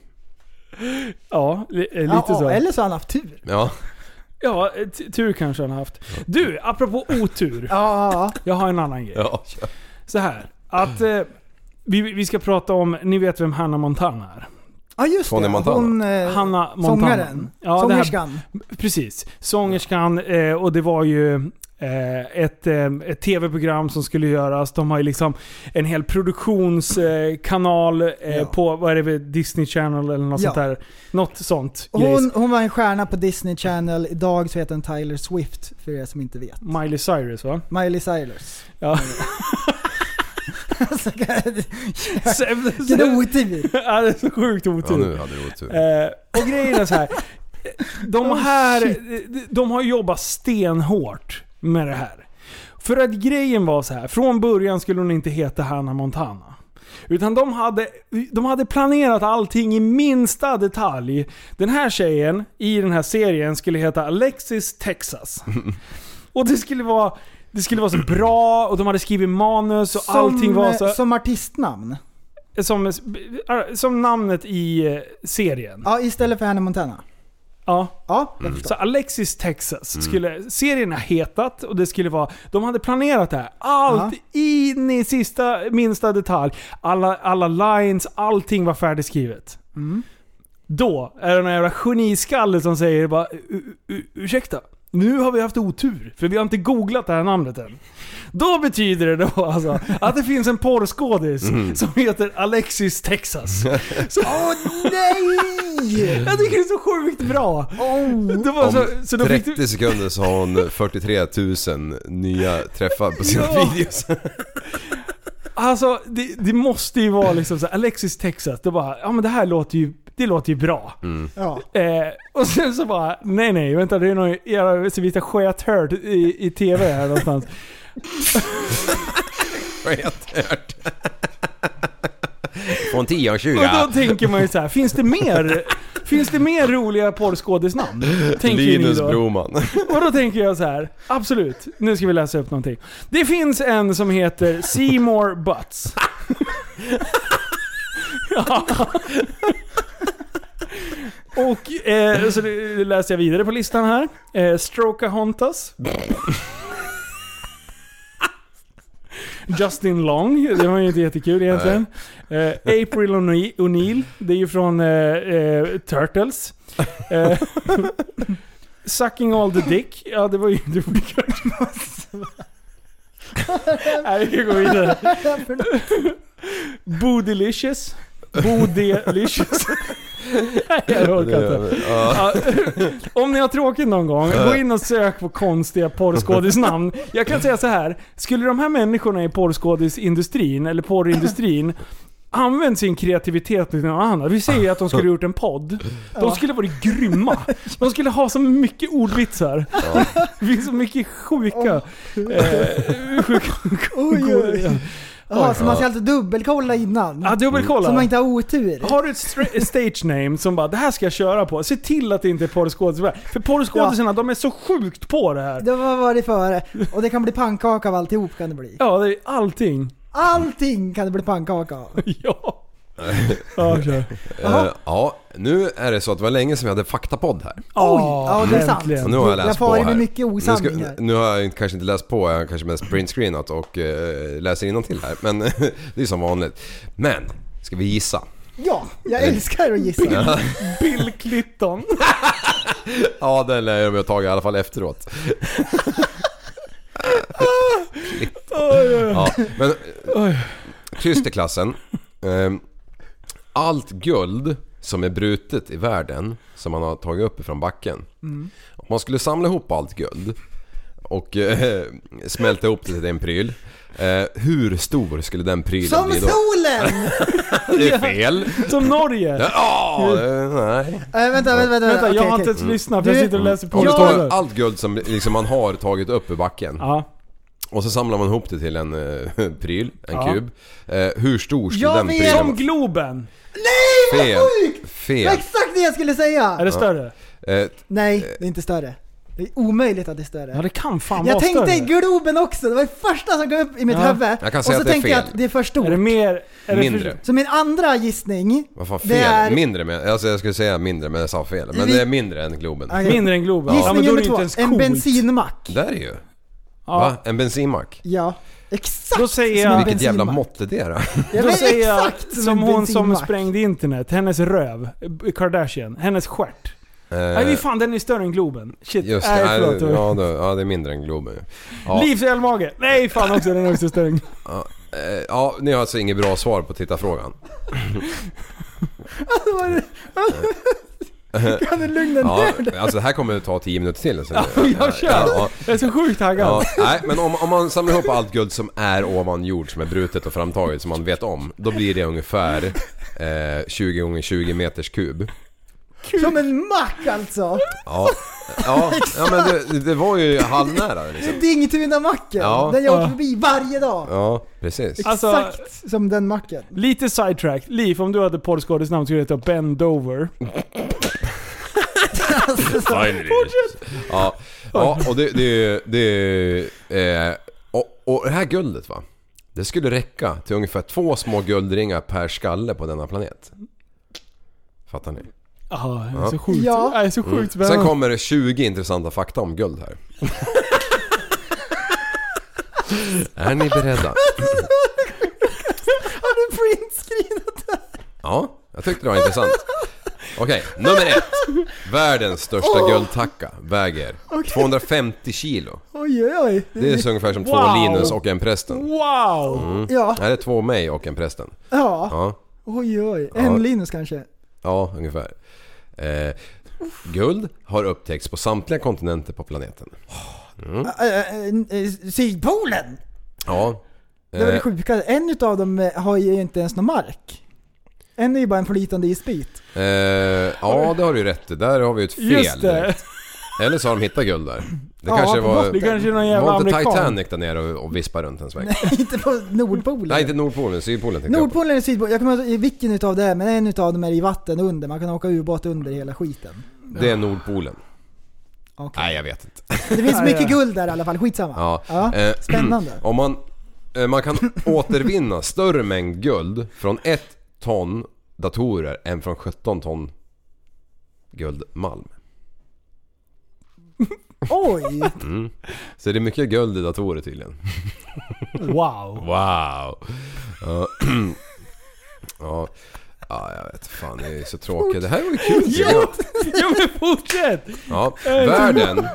D: Ja, li, eh, lite
F: ja,
D: så.
F: Eller så har han haft tur.
E: Ja,
D: Ja, eh, t- tur kanske han har haft. Du, apropå otur.
F: Ja, ja,
D: Jag har en annan grej.
E: ja.
D: Så här, att eh, vi, vi ska prata om, ni vet vem Hanna Montana är?
F: ja just
E: Tony
F: det.
E: Montana.
F: Hon, eh,
D: Hanna Montana.
F: sångaren.
D: Ja, det här,
F: Sångerskan.
D: precis. Sångerskan eh, och det var ju eh, ett, eh, ett tv-program som skulle göras. De har ju liksom en hel produktionskanal eh, kanal, eh,
F: Ja.
D: på, vad är det, för Disney Channel eller något
F: Ja.
D: sånt där. Något sånt.
F: Hon,
D: grejs.
F: hon var en stjärna på Disney Channel, idag så heter hon Tyler Swift för er som inte vet.
D: Miley Cyrus va?
F: Miley Cyrus.
D: Ja.
F: Alltså,
D: Sen-
F: Vilken otur!
D: ja, det är så sjukt
E: ja
D: otur.
E: nu hade du otur.
D: Eh, och grejen är så här. De här, de har jobbat stenhårt med det här. För att grejen var så här. från början skulle hon inte heta Hannah Montana. Utan de hade, de hade planerat allting i minsta detalj. Den här tjejen i den här serien skulle heta Alexis Texas. Och det skulle vara, det skulle vara så bra och de hade skrivit manus och allting var så...
F: Som artistnamn?
D: Som, som namnet i eh, serien.
F: Ja, istället för Hannah Montana.
D: Ja.
F: Ja, jag
D: Så
F: förstår.
D: Alexis Texas skulle serien ha hetat och det skulle vara... De hade planerat det här. Allt in i sista minsta detalj. Alla, alla lines, allting var färdigskrivet. Då är det någon jävla geniskalle som säger bara "U- u- ursäkta. Nu har vi haft otur, för vi har inte googlat det här namnet än. Då betyder det då alltså att det finns en porrskådis som heter Alexis Texas. Så,
F: Nej!
D: jag tycker det är så sjukt bra!
F: Oh,
D: Det var så, Alltså, så då
E: Om
D: fick du,
E: 30 sekunder så har hon 43 000 nya träffar på sina
D: Ja.
E: videos.
D: Alltså, det, det måste ju vara liksom så här, Alexis Texas, det bara, ja men det här låter ju, det låter ju bra.
F: Ja.
D: Eh, och sen så bara, nej nej, vänta det är någon jävla Civita Skeathörd i, i TV här någonstans.
E: Skethört. Från 10 och 20.
D: Och då tänker man ju så här, finns det mer, finns det mer roliga porrskådisnamn? Tänker ju ni
E: Linus
D: då.
E: Broman.
D: Och då tänker jag så här, absolut, nu ska vi läsa upp någonting. Det finns en som heter Seymour Butts. Ja. Och eh, så det- läser jag vidare på listan här. Eh, Strokahontas. Justin Long, det var ju inte jättekul egentligen. Eh, April O'Ne- O'Neil, det är ju från eh, eh, Turtles. Eh, Sucking all the dick. Ja, det var ju inte oklart. Nej, vi kan gå vidare. Boodylicious. Boodylicious. Nej, jag orkar inte.
E: Ja.
D: Ja, om ni har tråkigt någon gång, gå in och sök på konstiga porrskådisnamn. Jag kan säga så här. skulle de här människorna i porrskådisindustrin, eller porrindustrin, använt sin kreativitet till något annat. Vi säger att de skulle ha gjort en podd. De skulle ha varit grymma. De skulle ha så mycket ordvitsar. Det finns så mycket sjuka... Eh, sjuka
F: Oj, oj, oj. Jaha, så man ska alltså dubbelkolla innan?
D: ja, dubbelkolla.
F: Så man inte har otur?
D: Har du ett stra- stage name som bara det här ska jag köra på, se till att det inte är porrskådisar. För porrskådisarna de är så sjukt på det här.
F: Det var vad det före. Och det kan bli pannkaka av alltihop kan det bli.
D: Ja, det är allting.
F: Allting kan det bli pannkaka av.
D: Ja. ja, kör.
E: Eh, ja, nu är det så att det var länge sedan vi hade faktapodd här.
F: ja, det är sant.
D: äntligen.
E: Och nu har jag läst
F: Jag
E: på
F: far
E: här.
F: med mycket osanningar.
E: Nu, ska, nu har jag inte- kanske inte läst på, jag har kanske mest printscreenat och eh, läser till här. Men det är som vanligt. Men, ska vi gissa?
F: Ja, jag älskar att gissa.
D: Bill Clinton.
E: Ja, den lär jag mig att ta i alla fall efteråt. ja, men, eh, tyst i klassen. Ehm, Allt guld som är brutet i världen, som man har tagit upp från backen. Om man skulle samla ihop allt guld och eh, smälta ihop det till en pryl. Eh, hur stor skulle den prylen
F: Som
E: bli då?
F: solen!
E: Det är fel!
D: Som Alltså, Norge.
E: Ja, eh, nej.
F: Äh, vänta, vänta, vänta.
D: Vänta, jag
F: okej,
D: har
F: okej.
D: inte ens lyssnat för jag
F: Du-
D: sitter och läser på.
E: Om du
D: Ja.
E: tar allt guld som liksom, man har tagit upp ur backen.
D: Ja.
E: Och så samlar man ihop det till en eh, pryl, en
D: Ja.
E: kub. Eh, hur stor skulle
F: Jag
E: den
F: vet
E: prylen
D: Som Globen.
F: Nej,
E: Fel.
F: vad sjukt! Det var
E: Fel.
F: exakt det jag skulle
D: Är
F: säga!
D: det större?
E: Eh,
F: Nej, det är inte större. Det är omöjligt att det är
D: Ja,
F: större.
D: det kan fan
F: Jag
D: vara
F: tänkte
D: större.
F: Globen också, det var det första som kom upp i mitt
D: Ja.
F: huvud.
E: Jag kan
F: och
E: säga
F: så
E: att det är
F: tänkte jag
E: fel.
F: att det är för stort.
D: Är det mer? Är
E: mindre.
D: Det för,
F: Så min andra gissning...
E: Vad fan
F: Det
E: fel?
F: är-
E: Mindre men, alltså jag skulle säga mindre men jag sa fel. Men
F: Vi-
E: det är mindre än Globen.
F: Okej.
D: mindre än Globen?
F: Gissning
D: Ja, men då är
F: nummer
D: det inte ens
F: två, en
D: coolt.
F: bensinmack.
E: Där är ju. Va?
D: Ja.
E: En bensinmack.
F: Ja, exakt
D: Då säger
F: som en
D: jag-
E: Vilket jävla
F: bensinmack.
E: mått är det då?
F: Jag
D: Då
F: vet
D: säger jag
F: exakt
D: som
F: en
D: hon som
F: bensinmack.
D: sprängde internet, hennes röv, Kardashian, hennes stjärt. Nej det är fan den är större än Globen. Shit.
E: Eh, Just det,
D: Nej
E: nej,
D: förlåt. det var-
E: ja, då, ja det är mindre än Globen ju. ja.
D: Livs ölmage. Nej fan också den är också större än
E: Eh, ja, ni har alltså inget bra svar på tittarfrågan.
F: Kan du lugna
E: Ja,
F: ner dig?
E: alltså det här kommer att ta 10 minuter till. Så,
D: Jag kör!
E: Ja.
D: Jag är så sjukt taggad.
E: Ja, nej, men om, om man samlar ihop allt guld som är ovan jord, som är brutet och framtaget, som man vet om. Då blir det ungefär eh, 20 gånger 20 meters kub.
F: Som en mack alltså!
E: Ja. Ja, ja men det, det var ju halvnära liksom.
F: Dingtunamacken!
E: Ja.
F: Den jag åker
D: Ja.
F: förbi varje dag!
E: Ja, precis.
D: Alltså-
F: Exakt som den macken.
D: Lite sidetrack. Liv, om du hade porrskådis namn skulle du heta Ben Dover.
E: Ja, ja och det, det, det eh, och, och det här guldet va? Det skulle räcka till ungefär två små guldringar per skalle på denna planet. Fattar ni?
D: Ah, det är så
E: Ja.
D: sjukt,
F: Ja.
D: det är så sjukt spännande.
E: Mm. Sen kommer det 20 intressanta fakta om guld här. Är ni beredda?
F: Har du printscreenat det?
E: Ja, jag tyckte det var intressant. Okej, nummer ett. Världens största guldtacka väger 250 kilo.
F: Oj oj oj.
E: Det är så ungefär som två
D: Wow.
E: Linus och en prästen.
D: Wow!
F: Ja,
E: Nej, det är två mig och en prästen.
F: ja.
E: Ja,
F: Oj oj.
E: Ja.
F: En Linus kanske.
E: ja ungefär. Eh, guld har upptäckts på samtliga kontinenter på planeten. Mm.
F: Äh, äh, äh, Sydpolen!
E: Ja.
F: Det var det
E: eh,
F: sjuka. En utav dem eh, har ju inte ens någon mark. En är ju bara en flytande isbit.
E: eh, ja, det har du ju rätt i. Där har vi ju ett fel.
D: Just det.
E: direkt. Eller så har de hittat guld där. Det
F: Ja,
E: kanske
F: på
E: var...
D: Det kanske är någon jävla
E: Var inte
D: amerikan.
E: Titanic där nere och, och vispade runt en sväng?
F: inte på Nordpolen.
E: Nej, inte Nordpolen, Sydpolen tänkte jag på.
F: Nordpolen eller Sydpolen, jag kommer inte ihåg vilken utav det är, men en utav dem är i vatten under. Man kan åka ubåt under hela skiten.
E: Det är Nordpolen.
F: Okej.
E: Nej, jag vet inte.
F: Det finns
D: Ja,
F: mycket
D: ja.
F: guld där i alla fall, skitsamma.
E: Ja.
F: Ja,
E: Eh,
F: Spännande.
E: Om man, eh, man kan återvinna större mängd guld från ett ton datorer än från 17 ton guldmalm.
F: Oj!
E: Så det är mycket guld i datorer tydligen.
D: Wow.
E: Wow! Ja, ja, ja jag vet fan det är så tråkigt. Det här var ju kul tycker jag.
D: ja men fortsätt!
E: Ja, världen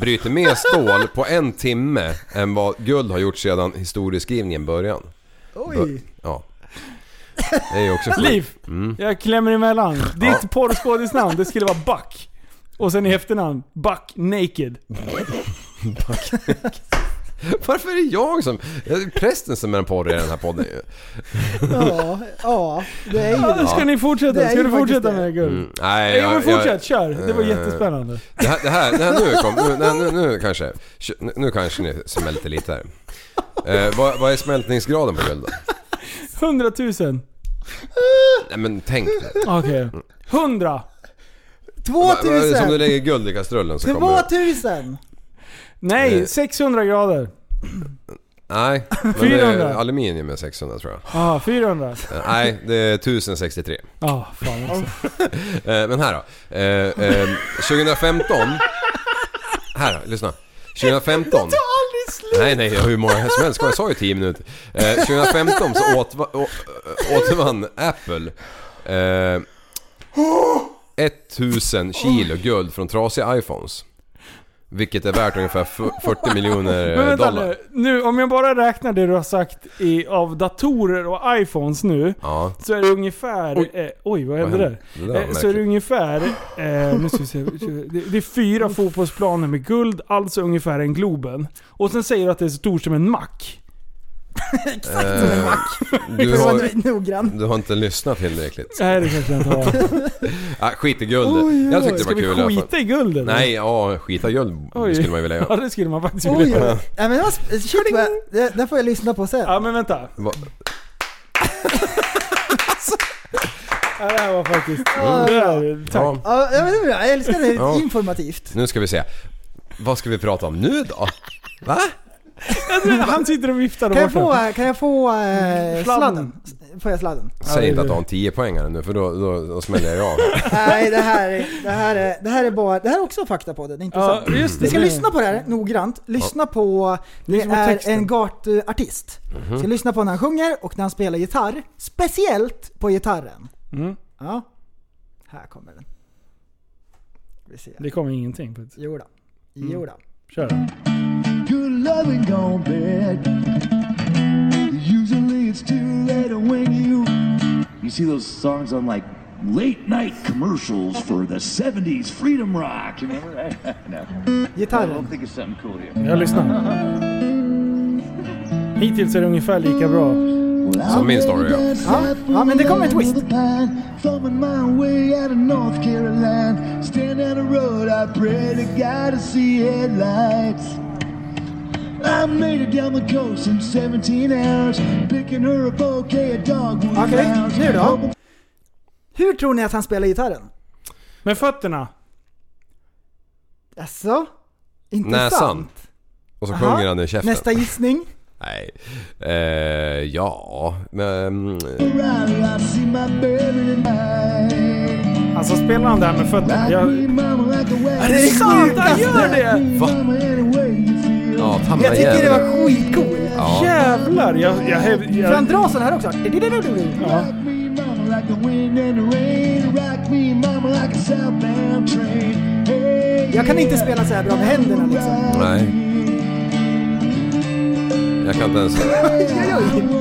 E: bryter mer stål på en timme än vad guld har gjort sedan historieskrivningen början.
F: Oj!
E: Ja. Det är ju också sjukt.
D: Liv, jag klämmer emellan. Ditt porrskådisnamn, det skulle vara Buck. Och sen i efternamn, Buck Naked.
E: Varför är det jag som... Det är prästen som är en porr i den här podden ju.
F: Ja, ja, det är ju det.
D: Ska ni
F: Det är
D: fortsätta? Ska
F: ju
D: du
F: faktiskt
D: fortsätta
F: det.
D: med det guld?
E: Mm, Nej,
D: Ja, men fortsätt, kör. Det var
E: eh,
D: jättespännande.
E: Det här, det här, det här nu, kom, nu, nej, nu, nu kanske. Nu, nu kanske ni smälter lite här. Eh, vad, vad är smältningsgraden på guld då?
D: 100 000.
E: Nej men tänk nu.
D: Okej. 100.
E: Vad- vad är det Som du
F: 2000!
E: lägger guld i kastrullen så kommer
F: 2000!
D: Nej,
E: Eh.
D: 600 grader.
E: Nej, men det är
D: 400.
E: aluminium är 600 tror jag.
D: Ah, 400.
E: Eh, Nej, det är 1063.
D: Ah, fan också.
E: Eh, Men här då. Eh, eh, 2015. Här då, lyssna. 2015. Det tar aldrig slut! Nej, nej, jag har hur många som helst kvar. Jag sa ju 10 minuter. Eh, 2015 så åtva, å, ö, återvann Apple eh, 1000 kilo guld från trasiga iPhones. Vilket är värt ungefär f- 40 miljoner
D: Men
E: eh,
D: vänta
E: dollar.
D: nu. nu. Om jag bara räknar det du har sagt i, av datorer och iPhones nu.
E: Ja.
D: Så är det ungefär...
E: Oj.
D: Oj, eh, oj vad hände
E: Vad
D: där?
E: hände? Det där var
D: eh, så är det
E: märkligt.
D: ungefär... Eh, nu ska vi se, det, det är fyra fotbollsplaner med guld, alltså ungefär en Globen. Och sen säger du att det är så stor som en mack.
F: Exakt som en mack.
E: eh, Du
F: För att
E: har,
F: vara noggrann.
E: du har inte lyssnat tillräckligt.
D: Nej det kanske jag inte har.
E: Ah, skit i guldet. Jag tyckte det
D: Ska
E: var
D: vi
E: kul i alla fall.
D: skita i guld eller?
E: Nej, ja skita i guld
D: Oj.
E: skulle man ju vilja göra.
D: Ja det skulle man faktiskt
F: Oj, oj.
D: vilja.
F: Nej, men det var sp- shit, vad jag- det, det får jag lyssna på sen.
D: Ja men vänta.
E: Va-
D: Ja, det här var faktiskt... Det här, tack.
E: Ja,
F: Ja, jag, vet inte, jag älskar det.
E: Ja.
F: Informativt.
E: nu ska vi se. Vad ska vi prata om nu då? Va?
D: Han sitter och viftar
F: Kan
D: där
F: jag
D: borta.
F: få, kan jag få eh, sladden?
D: Sladden.
F: Får jag sladden?
E: Säg
D: det-
E: inte att du har en 10 poängare nu för då, då, då smäller jag av.
F: Nej, det här, är- det här, är, det här är bara... Det här är också fakta på det. Det är
D: Ja,
F: intressant.
D: just det.
F: Vi ska
D: Det-
F: lyssna på det här noggrant. Lyssna på... Det
D: Lyssna på
F: är
D: texten.
F: en gatuartist. Vi ska lyssna på när han sjunger och när han spelar gitarr. Speciellt på gitarren.
D: Mm.
F: Ja. Här kommer den. Vi ser.
D: Det kommer ingenting. på ett-
F: Jodå. Jodå.
D: Kör då.
G: good loving gone bad. Usually it's too late when you you see those songs on like late night commercials for the 70s freedom rock. You remember that? no. I'll
F: Gitarren.
G: think of something cool here.
D: Jag lyssnar. Hittills är det ungefär lika bra.
E: Som min story ja.
F: Ja, ja, men det kommer en twist.
G: Thumbing my way out of North Carolina. Stand down the road, I pray to God to see headlights. I made it down the coast in 17 hours, picking her a bouquet of dogwood
F: Okej,
G: flowers.
F: nu då? Hur tror ni att han spelar gitarren?
D: Med fötterna.
F: Alltså, intressant.
E: Näsan. Och så
F: Aha.
E: sjunger han i käften.
F: Nästa gissning.
E: Nej. Eh, ja. Men,
G: O'Reilly, I see my baby tonight.
D: Alltså spelar han det här med fötterna?
G: I need
D: Jag,
G: mama like the way
F: det är sjukt!
D: han gör
G: I
D: det!
G: need
E: Va?
G: mama any way you feel.
E: ja, tamma
F: Jag tycker det
E: jävlar.
F: var skitcoolt.
E: Ja.
D: Jävlar! Jag, jag, jag,
F: För han
D: jag,
F: drar sån här också.
D: ja.
G: Rock me, mama, like the wind and the rain. Rock me, mama, like a southbound train. Hey,
F: Jag kan inte spela så här bra med händerna liksom.
E: Nej. Jag kan inte ens...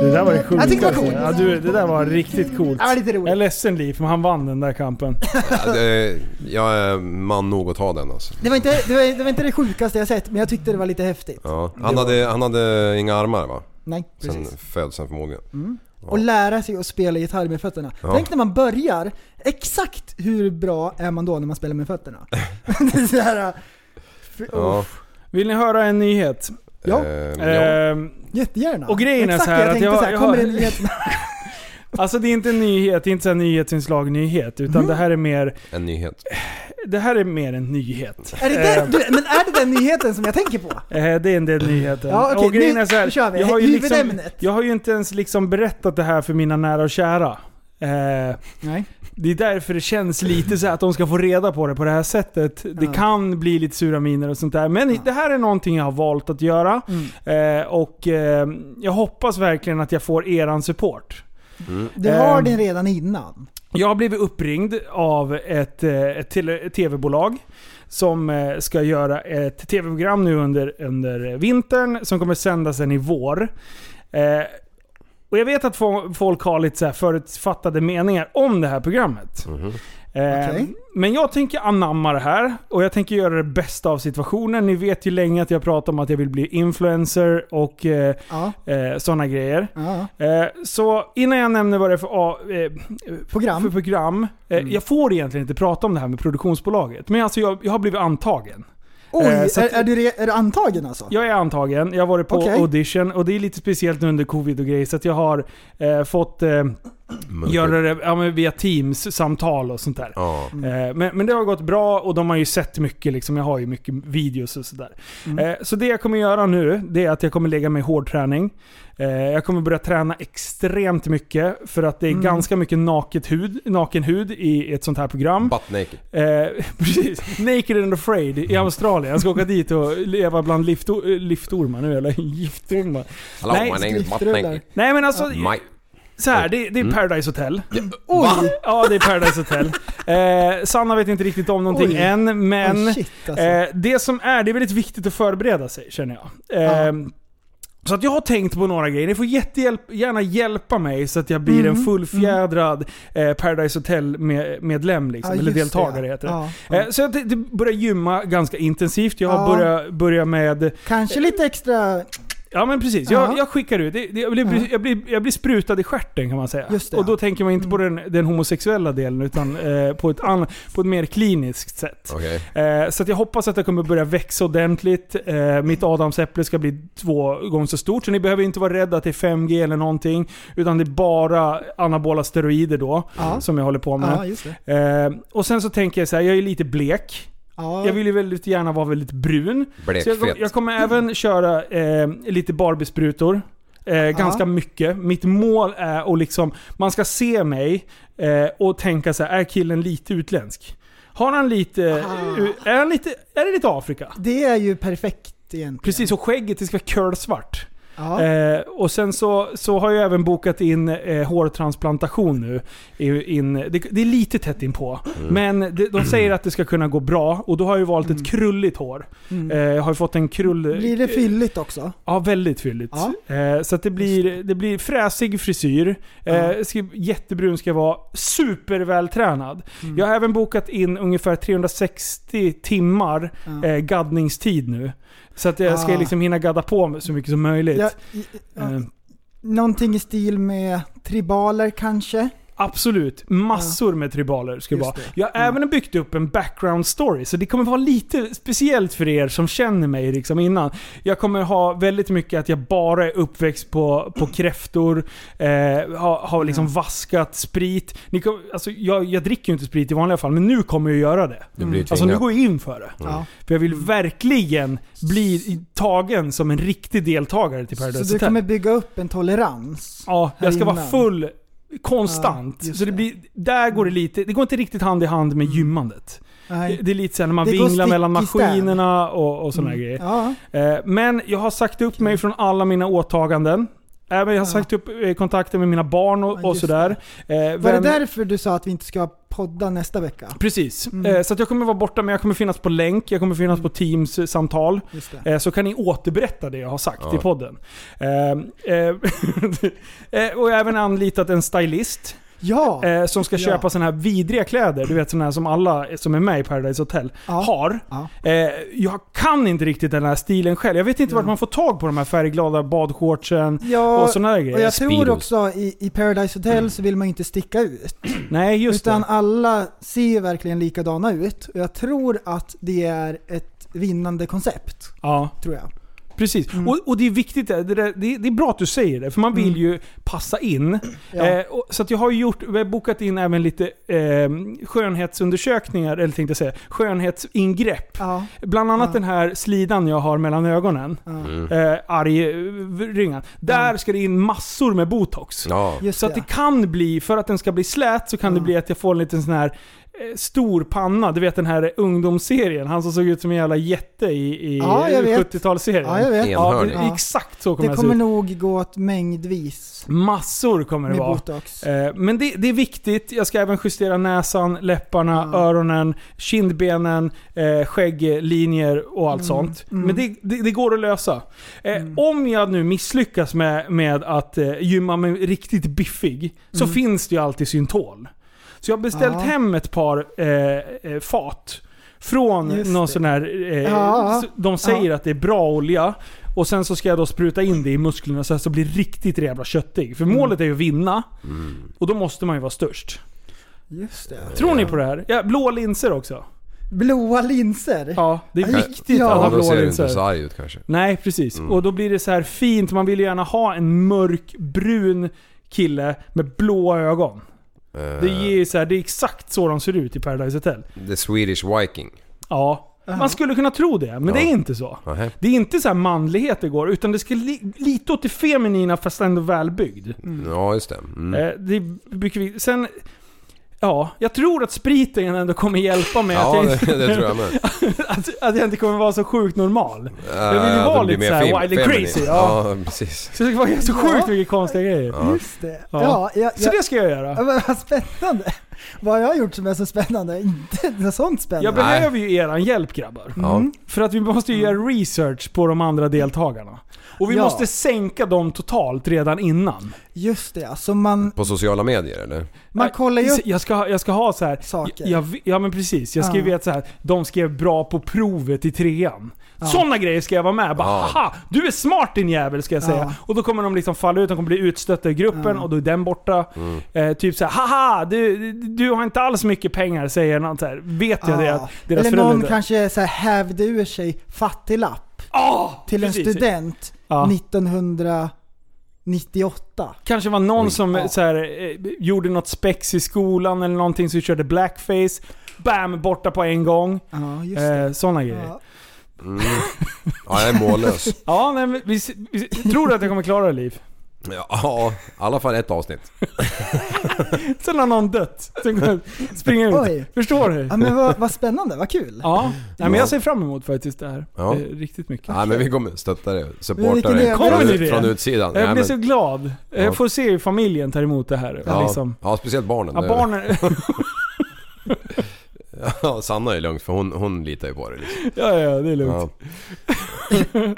D: Det där var det sjukaste.
F: Jag tyckte det var coolt.
D: Ja, du, det där var riktigt coolt.
F: Ja, lite roligt.
D: Jag är ledsen Liv, men han vann den där kampen.
E: Ja, det- Jag är man nog att ta den alltså.
F: Det var, inte, det, var, det var inte det sjukaste jag sett, men jag tyckte det var lite häftigt.
E: Ja. Han, hade, han hade inga armar va?
F: Nej,
E: Sen
F: precis.
E: födseln förmodligen.
F: Och lära sig att spela gitarr med fötterna.
E: Ja.
F: Tänk när man börjar, exakt hur bra är man då när man spelar med fötterna? det är så här, för,
E: Ja.
D: Vill ni höra en nyhet?
F: Ja.
E: Ehm, ja.
D: Ehm,
F: Jättegärna.
D: Och grejen är
F: Exakt
D: så här
F: det
D: att
F: jag
D: jag-
F: tänkte så här,
D: jag
F: kommer
D: har-
F: det en nyhet?
D: alltså det är inte en nyhet, det är inte så här nyhetsinslag-nyhet. Utan det här är mer...
E: En nyhet.
D: Det här är mer en nyhet.
F: Är det den, du, men är det den nyheten som jag tänker på?
D: Eh, det är en del nyheter.
F: Ja, okej,
D: och grejen
F: nu
D: är så här,
F: kör vi.
D: Jag har, ju liksom,
F: Huvudämnet.
D: jag har ju inte ens liksom berättat det här för mina nära och kära. Eh,
F: Nej.
D: det är därför det känns lite så här att de ska få reda på det på det här sättet. Det
F: Ja.
D: kan bli lite sura miner och sånt där. Men det här är någonting jag har valt att göra.
F: Mm.
D: Eh, och eh, jag hoppas verkligen att jag får eran support.
F: Du har
D: Ehm.
F: den redan innan.
D: Jag har blivit uppringd av ett, eh, ett tele- ett tv-bolag som eh, ska göra ett tv-program nu under, under vintern som kommer sändas sen i vår. Eh, Och jag vet att fo- folk har lite så här förutfattade meningar om det här programmet.
E: Mhm.
D: Eh,
F: Okej.
D: Men jag tänker anamma det här och jag tänker göra det bästa av situationen. Ni vet ju länge att jag pratar om att jag vill bli influencer och eh,
F: Ja.
D: eh, sådana grejer.
F: ja.
D: Eh, Så innan jag nämner vad det är för, a- eh,
F: Program.
D: för program. eh, Jag får egentligen inte prata om det här med produktionsbolaget. Men alltså jag, jag har blivit antagen.
F: Oj,
D: Eh, så
F: är,
D: att-
F: är, du, re- är du antagen alltså?
D: Jag är antagen, jag har varit på
F: Okej.
D: audition och det är lite speciellt nu under covid och grejer. Så att jag har eh, fått eh, göra det ja, men via Teams-samtal och sånt där.
E: Ja.
D: Eh, Men, men det har gått bra och de har ju sett mycket. Liksom. Jag har ju mycket videos och sådär. Eh, Så det jag kommer göra nu, det är att jag kommer lägga mig i hård träning. Eh, Jag kommer börja träna extremt mycket för att det är ganska mycket naket hud, naken hud i ett sånt här program.
E: Butt naked.
D: Eh, precis. Naked and afraid i
F: Mm.
D: Australien. Jag ska åka dit och leva bland lifto- eh, liftormar nu, eller giftormar.
E: Hello,
D: Nej,
E: my name is butt
F: skrifter
E: naked.
D: Nej men alltså,
E: My...
D: så här, det, det är Paradise Hotel.
F: Oj!
D: Ja, det är Paradise Hotel. Eh, Sanna vet inte riktigt om någonting
F: Oj.
D: än, men
F: Oj, shit, alltså.
D: eh, det som är, det är väldigt viktigt att förbereda sig känner jag. Eh, Så att jag har tänkt på några grejer. Ni får jättehjälp, gärna hjälpa mig så att jag blir
F: Mm.
D: en fullfjädrad eh, Paradise Hotel-medlem. Liksom,
F: Ja,
D: eller
F: just det,
D: deltagare
F: ja.
D: heter det.
F: Ja,
D: Eh, Så jag t- t- börjar gymma ganska intensivt. Jag har
F: Ja.
D: börjat, börjat med...
F: Kanske lite extra...
D: Ja men precis, jag,
F: Ja.
D: jag skickar ut. Det, det, jag, blir, jag, blir, jag blir sprutad i stjärten kan man säga.
F: Just det,
D: och då
F: ja. Mm.
D: tänker man inte på den, den homosexuella delen utan eh, på, ett ann- på ett mer kliniskt sätt.
E: Okej.
D: Eh, så att jag hoppas att jag kommer börja växa ordentligt. Eh, mitt adamsäpple ska bli två gånger så stort. Så ni behöver inte vara rädda att det är 5G eller någonting. Utan det är bara anabola steroider då,
F: Ja.
D: som jag håller på
F: Ja,
D: med.
F: just det.
D: Eh, och sen så tänker jag så här, jag är lite blek.
F: Ja.
D: Jag vill ju väldigt gärna vara väldigt brun. Så jag,
E: Blekfet.
D: kom, jag kommer även köra eh, lite Barbiesprutor. Eh, ganska mycket. Mitt mål är att liksom, man ska se mig eh, och tänka så här, är killen lite utländsk? Har han lite,
F: Ah.
D: eh, är han lite, är det lite Afrika?
F: Det är ju perfekt egentligen.
D: Precis, och skägget det ska vara curlsvart.
F: Ja.
D: Eh, och sen så, så har jag även bokat in eh, hårtransplantation nu. I- In, det, det är lite tätt inpå. Men det, de säger att det ska kunna gå bra och då har jag ju valt
F: Mm.
D: ett krulligt hår. Eh, jag har ju fått en krull...
F: Blir det fylligt också?
D: Ja, väldigt fylligt. Eh, så att det blir, det blir fräsig frisyr. Eh, ska, jättebrun ska jag vara. Supervältränad.
F: Mm.
D: Jag har även bokat in ungefär 360 timmar eh, gaddningstid nu. Så att jag ska
F: Ah.
D: liksom hinna gadda på mig så mycket som möjligt.
F: Jag, ja.
D: Eh,
F: Någonting i stil med tribaler kanske?
D: Absolut, massor med tribaler ska det
F: Just
D: vara.
F: det. Mm.
D: Jag har även byggt upp en background story, så det kommer vara lite speciellt för er som känner mig liksom innan. Jag kommer ha väldigt mycket att jag bara är uppväxt på, på kräftor, eh, har, har liksom vaskat sprit. Ni kom, alltså, jag, jag dricker ju inte sprit i vanliga fall, men nu kommer jag göra det.
E: Du blir
D: Alltså nu
E: tvingad.
D: går jag in för det.
F: Ja.
D: För jag vill verkligen bli tagen som en riktig deltagare till Paradise
F: Så du
D: Hotel.
F: kommer bygga upp en tolerans?
D: Ja,
F: här
D: jag ska vara
F: innan.
D: full konstant.
F: Ja, just
D: så det
F: det. Mm.
D: blir, där går det lite, det går inte riktigt hand i hand med gymmandet. Det,
F: Nej.
D: det är lite såhär när man
F: Det går
D: vinglar
F: stick
D: mellan
F: i stäv.
D: maskinerna och, och sådana
F: Mm.
D: grejer.
F: Ja.
D: Eh, Men jag har sagt upp mig från alla mina åtaganden. Även jag har
F: Ja.
D: sagt upp eh, kontakten med mina barn och,
F: Ja,
D: och
F: just
D: sådär. Eh,
F: Var det
D: vem-
F: därför du sa att vi inte ska podda nästa vecka?
D: Precis.
F: Mm.
D: Eh, Så att jag kommer vara borta men jag kommer finnas på länk, jag kommer finnas på Teams-samtal.
F: Just det.
D: Eh, Så kan ni återberätta det jag har sagt
E: Ja.
D: i podden. Eh, eh, eh, och jag har även anlitat en stylist.
F: Ja!
D: Eh, som ska
F: Ja.
D: köpa sådana här vidriga kläder. Du vet sådana här som alla som är med i Paradise Hotel
F: Ja.
D: har.
F: Ja.
D: Eh, jag kan inte riktigt den här stilen själv. Jag vet inte
F: Ja.
D: vart man får tag på de här färgglada badshortsen
F: Ja,
D: och sådana här grejer.
F: och jag tror
E: Speedos.
F: också i, i Paradise Hotel så vill man ju inte sticka ut.
D: Nej, just
F: utan
D: det.
F: alla ser ju verkligen likadana ut. Och jag tror att det är ett vinnande koncept,
D: Ja,
F: tror jag.
D: precis. Och, och det är viktigt, eh, det, där- det, det är bra att du säger det, för man vill
F: Mm.
D: ju passa in.
F: Ja.
D: Eh, och, så att jag har ju gjort, jag har bokat in även lite eh, skönhetsundersökningar, eller tänkte jag säga, skönhetsingrepp.
F: Ja,
D: Bland annat
F: Ja.
D: den här slidan jag har mellan ögonen.
F: ja.
E: Mm.
D: eh, argringar. Där ska det in massor med botox.
E: Ja.
F: Just
D: Så att det kan bli, för att den ska bli slät, så kan det
F: Ja.
D: bli att jag får en liten sån här eh, stor panna. Du vet den här ungdomsserien, han som såg ut som en jävla jätte i, i
F: Ja, jag vet.
D: 70-talsserien.
F: Ja, jag vet.
D: Ja, det-
F: Enhörning.
D: exakt så kommer
F: Det
D: det kommer
F: kommer
D: jag se ut.
F: nog gå åt mängdvis
D: Massor kommer det
F: med
D: vara.
F: botox.
D: Eh, Men det, det är viktigt. Jag ska även justera näsan, läpparna,
F: Ja.
D: öronen, kindbenen, eh, skägglinjer och allt sånt.
F: mm.
D: Men det, det, det går att lösa. Eh, Om jag nu misslyckas med, med att eh, gymma mig riktigt biffig, så finns det ju alltid syntol. Så jag har beställt
F: Mm. Ja.
D: hem ett par eh, eh, fat. Från
F: Just
D: någon
F: det.
D: sån här... Eh,
F: Ja.
D: s- De säger att det är bra olja. Och sen så ska jag då spruta in det i musklerna så att jag blir riktigt jävla köttig. För
F: Mm.
D: målet är ju att vinna.
E: Mm.
D: Och då måste man ju vara störst.
F: Just det.
D: Tror ni på det här? Ja, blå linser också.
F: Blåa linser.
D: Ja, det är
F: Ja,
D: viktigt
F: ja.
D: att ha
E: ja, då
D: blå
E: ser du inte
D: linser.
E: Mm. så arg ut kanske.
D: Nej, precis. Och då blir det så här fint. Man vill ju gärna ha en mörkbrun kille med blåa ögon. Det,
E: Det,
D: ger ju så här, det är exakt så de ser ut i Paradise Hotel.
E: The Swedish Viking.
D: Ja. Man skulle kunna tro det, men det är inte så.
E: Nähä.
D: Det är inte så här manlighet det går, utan det ska li- lite åt det feminina fast ändå välbyggd.
E: Ja, just det. Mm.
D: Eh, Det är mycket viktigt. Sen... Ja, jag tror att spriten ändå kommer hjälpa mig
E: Ja,
D: att, jag,
E: det, det tror jag med.
D: att, att jag inte kommer vara så sjukt normal.
E: Jag
D: vill ju vara lite så här wild and crazy, ja.
E: Ja, precis.
D: Så det ska vara så sjukt mycket konstiga grejer.
F: Just det.
D: Ja.
F: Ja, jag,
D: Så
F: jag,
D: det ska jag
F: ja,
D: göra.
F: men vad spännande. Vad har jag gjort som är så spännande? Inte något sånt
D: Jag
F: spännande.
D: behöver ju eran hjälp grabbar.
E: Ja.
D: För att vi måste ju göra research på de andra deltagarna. Och vi
F: Ja.
D: måste sänka dem totalt redan innan.
F: Just det, alltså man,
E: På sociala medier eller?
F: man kollar ju upp.
D: Jag ska, jag ska ha så här.
F: Saker.
D: Jag, jag, ja men precis. Jag ska ju
F: Ja.
D: veta så här. de skrev bra på provet i trean. Sådana grejer ska jag vara med. Bara,
E: Ja.
D: Aha, du är smart din jävel ska jag säga.
F: Ja.
D: Och då kommer de liksom falla ut, de kommer bli utstötta i gruppen och då är den borta. Eh, typ så här, haha du, du har inte alls mycket pengar säger någon så här. Vet jag det att deras
F: Eller
D: föräldrar
F: någon
D: inte-
F: kanske så här hävde ur sig fattiglapp
D: Ah,
F: till
D: precis.
F: en student
D: Ja.
F: 1998.
D: Kanske var någon som
F: Ja.
D: så här, eh, gjorde något spex i skolan eller någonting så körde blackface. Bam! Borta på en gång.
F: Ja, just det.
D: Eh, Sådana grejer.
F: Ja.
E: Mm. Ja, jag är mållös.
D: Ja, nej, men vi, vi, tror du att jag kommer klara det Liv?
E: Ja, i alla fall ett avsnitt.
D: Sen har någon dött. Sen går jag- springer jag ut.
F: Oj.
D: Förstår du?
F: Ja, men vad, vad spännande, vad kul.
D: Ja, nej, men jag ser fram emot faktiskt det här.
E: Ja.
D: Eh, Riktigt mycket.
E: Nej men vi kommer stötta dig,
F: Men
E: supporta
F: vilken
E: dig
F: jävla-
D: Kommer
E: från,
D: ni det? Eh,
E: ut- från utsidan.
D: Jag
E: Nej,
D: blir
E: men-
D: så glad.
E: Ja.
D: Jag får se hur familjen tar emot det här. Ja.
E: ja,
D: Liksom.
E: ja, speciellt barnen.
D: Ja,
E: Det-
D: barnen...
E: Ja, Sanna är lugnt för hon, hon litar ju på det liksom.
D: ja, ja, det är
E: ja.
D: lugnt. Oj,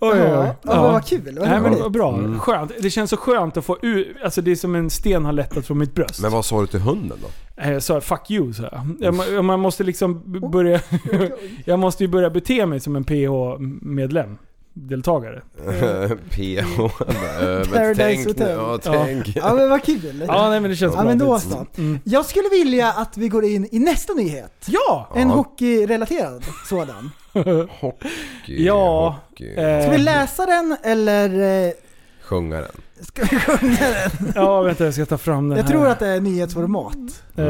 D: oj, oj.
F: Ja, men
D: Ja.
F: Vad kul, vad
D: Nej men
F: roligt.
D: vad bra.
E: Mm.
D: Skönt. Det känns så skönt att få ut... Alltså det är som en sten har lättat från mitt bröst.
E: Men vad sa du till hunden då?
D: Eh, Jag sa 'fuck you' så jag. Jag, må- man måste liksom b- börja... jag måste ju börja bete mig som en PH-medlem. deltagare. Mm.
E: PH.
F: Paradise
E: Tänk nu,
F: Hotel.
E: ja tänk.
F: Ja men vad kul!
D: Ja, nej men det känns
F: Ja
D: bra. Mm.
F: men då så. Jag skulle vilja att vi går in i nästa nyhet.
D: Ja!
F: En hockeyrelaterad sådan.
E: Hockey,
D: Ja,
E: hockey.
F: Ska vi
D: Eh,
F: läsa den eller eh,
E: Sjunga den.
F: ska vi sjunga den?
D: ja, vänta jag ska ta fram den
F: Jag
D: här.
F: tror att det är nyhetsformat.
D: Eh,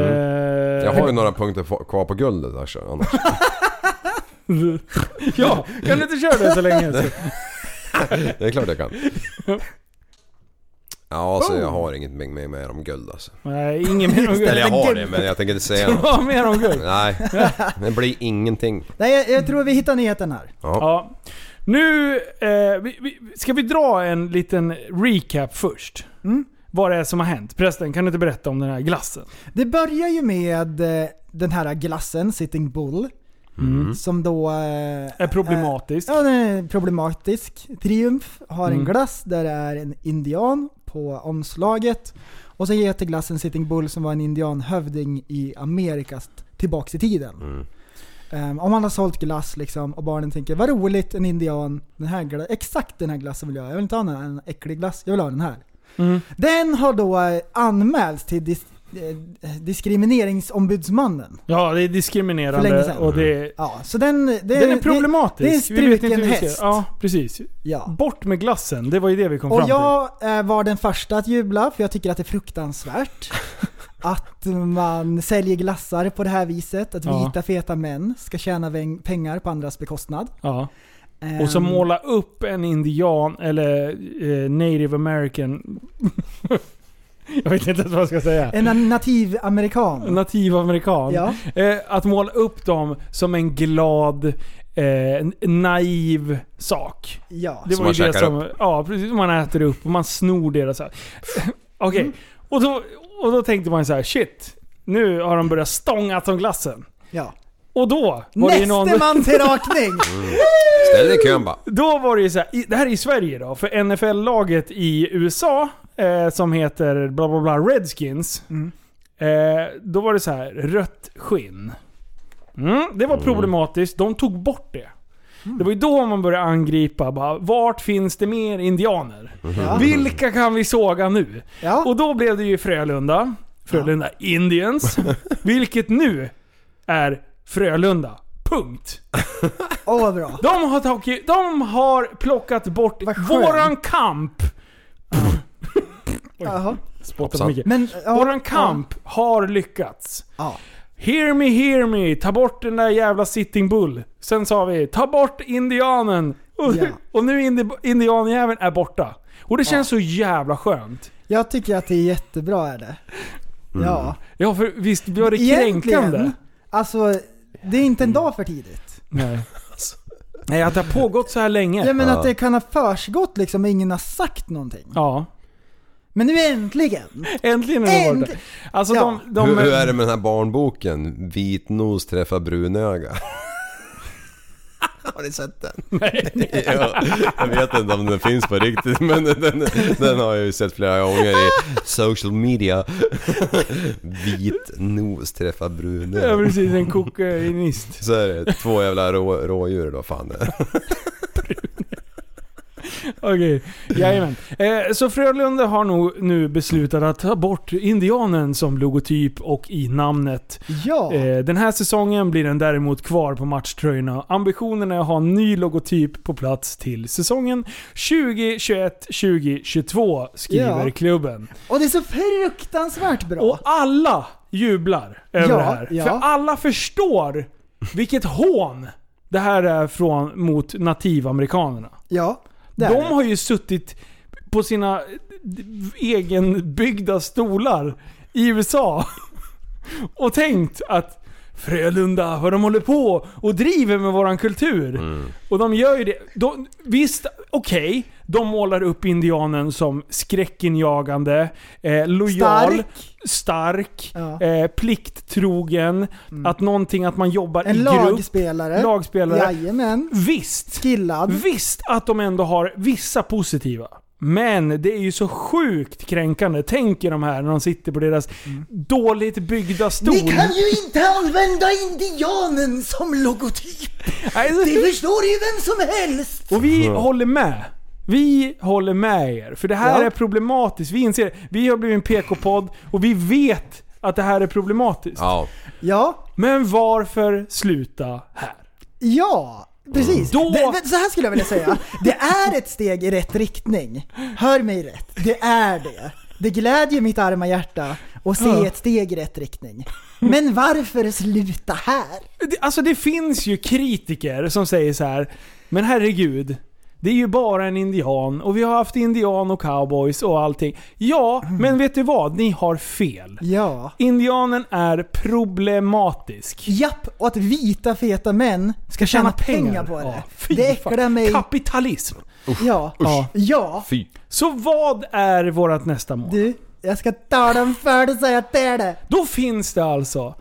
E: Mm. Jag har ju några punkter fa- kvar på guldet här så annars.
D: Ja, kan du inte köra den så länge? Så.
E: Det är klart jag kan. Ja, så jag har inget med med mer om guld alltså.
D: Nej, ingen mer om
E: Eller jag
D: guld.
E: har det men jag tänker inte säga något.
D: Vad mer om guld?
E: Nej, det blir ingenting.
F: Nej jag, jag tror vi hittar nyheten här.
D: Ja. Nu, eh, vi, vi, ska vi dra en liten recap först?
F: Mm.
D: Vad det är som har hänt. Prästen, kan du inte berätta om den här glassen?
F: Det börjar ju med eh, den här glassen, Sitting Bull.
E: Mm.
F: Som då... eh,
D: Mm. Är problematisk.
F: eh, Ja, den är problematisk. Triumf har en
D: Mm.
F: glass där det är en indian på omslaget. Och så heter glassen Sitting Bull som var en indianhövding i Amerikas tillbaks i tiden.
E: Mm.
F: Ehm, om man har sålt glass liksom och barnen tänker vad roligt, en indian. Den här gla- exakt den här glassen vill jag ha. Jag vill inte ha en annan äcklig glass, jag vill ha den här.
D: Mm.
F: Den har då eh, anmälts till dis eh, diskrimineringsombudsmannen.
D: Ja, det är
F: För länge
D: diskriminerande
F: sedan.
D: och det...
F: Ja, så den... Det,
D: Den är
F: Det, det är en
D: problematisk. Vi vet inte hur
F: struken
D: vi ska-
F: häst.
D: Ja, precis.
F: Ja.
D: Bort med glassen, det var ju det vi kom
F: Och
D: fram till.
F: jag eh, var den första att jubla, för jag tycker att det är fruktansvärt. Att man säljer glassar på det här viset, att
D: Ja.
F: vita feta män ska tjäna väng- pengar på andras bekostnad.
D: Ja.
F: Ehm,
D: Och så måla upp en indian eller eh, native american. jag vet inte ens vad jag ska säga.
F: En na- nativ
D: En
F: amerikan.
D: nativ amerikan.
F: Ehm. Ja.
D: Eh, att måla upp dem som en glad, eh, naiv sak.
F: ja.
D: Det
E: Som
D: var
E: man
D: ju det
E: käkar
D: som... Ja, precis. Man äter upp och man snor deras... Okej.
F: Mm.
D: Och, då, och då tänkte man så här: shit. Nu har de börjat stånga som glassen.
F: ja.
D: Och då var det ju någon...
F: Näste man till rakning!
E: Ställ dig i kön bara.
D: Då var det ju så här, i- det här är i Sverige då, för NFL-laget i USA eh, som heter bla bla bla Redskins. Eh, då var det så här rött skinn. Mm, det var problematiskt, de tog bort det. Det var ju då man började angripa, bara, vart finns det mer indianer?
F: Ja.
D: Vilka kan vi såga nu?
F: Ja.
D: Mhm. Och då blev det ju Frölunda. Frölunda Indians. vilket nu är Frölunda. Punkt.
F: Åh vad bra.
D: De har, tagit, de har plockat bort
F: Vad skönt.
D: våran kamp.
F: Jaha.
D: Spottar
E: Hoppsan.
D: för mycket.
F: Men, ja,
D: Våran kamp har lyckats.
F: Ja.
D: Hear me, hear me. Ta bort den där jävla sitting bull. Sen sa vi, ta bort indianen. Och,
F: Ja.
D: och nu indi, indianjäveln är borta. Och det känns så jävla skönt.
F: Jag tycker att det är jättebra är det. Ja.
D: Ja, för visst var det
F: Egentligen,
D: kränkande?
F: Alltså, det är inte en dag för tidigt.
D: Nej. Nej, att det har pågått så här länge.
F: Jag menar att det kan ha försiggått liksom och ingen har sagt någonting.
D: Ja.
F: Men nu äntligen!
D: Äntligen har det varit
F: Änt-
D: det. Alltså
F: Ja.
D: de... de
E: Hur, hur är det med den här barnboken? Vit nos träffar brunöga. Har ni sett den? Nej. Ja, jag vet inte om den finns på riktigt men den, den har jag ju sett flera gånger i social media. Vit nos träffar
D: Ja,
E: brunöga.
D: precis. En kokainist.
E: Så är det två jävla rå, rådjur då fan.
D: Okej, jajamän. Eh, så Frölunda har nog nu beslutat att ta bort indianen som logotyp och i namnet.
F: Ja!
D: Eh, den här säsongen blir den däremot kvar på matchtröjorna. Ambitionen är att ha en ny logotyp på plats till säsongen 2021-2022, skriver
F: Ja.
D: klubben.
F: Och det är så fruktansvärt bra!
D: Och alla jublar över
F: Ja,
D: det här.
F: ja.
D: För alla förstår vilket hån det här är från, mot nativamerikanerna.
F: ja, det är
D: De
F: det.
D: har ju suttit på sina egenbyggda stolar i USA och tänkt att Frölunda, vad de håller på och driver med våran kultur. Och de gör ju det. De, visst, okej, de målar upp indianen som skräckinjagande, eh, lojal,
F: Stark.
D: stark,
F: Ja. Mm.
D: eh, plikttrogen, att någonting, att man jobbar i
F: En
D: grupp.
F: lagspelare.
D: Lagspelare.
F: Jajamän.
D: Visst!
F: Skillad.
D: Visst att de ändå har vissa positiva. Men det är ju så sjukt kränkande. Tänk er de här när de sitter på deras dåligt byggda stol.
F: Mm. Ni kan ju inte använda indianen som logotyp!
D: Nej,
F: Det förstår ju vem som helst!
D: Och vi håller med. Vi håller med er. För det här
F: Ja.
D: är problematiskt. Vi inser det. Vi har blivit en PK-podd och vi vet att det här är problematiskt.
E: Ja.
F: Ja,
D: Men varför sluta här?
F: Ja, precis.
D: Då-
F: Det, men så här skulle jag vilja säga. Det är ett steg i rätt riktning. Hör mig rätt. Det är det. Det glädjer mitt arma hjärta att se ett steg i rätt riktning. Men varför sluta här?
D: Det, alltså det finns ju kritiker som säger så här. Men herregud. Det är ju bara en indian och vi har haft indian och cowboys och allting. Ja, men vet du vad? Ni har fel.
F: Ja.
D: Indianen är problematisk.
F: Japp, och att vita feta män ska tjäna pengar på
D: Ja,
F: det.
D: fy
F: det
D: fan.
F: äcklar mig.
D: Kapitalism.
F: Ja.
D: Ja.
F: Ja.
E: Fy.
D: Så vad är vårt nästa mål?
F: Du, jag ska ta den för dig och säga att det är det.
D: Då finns det alltså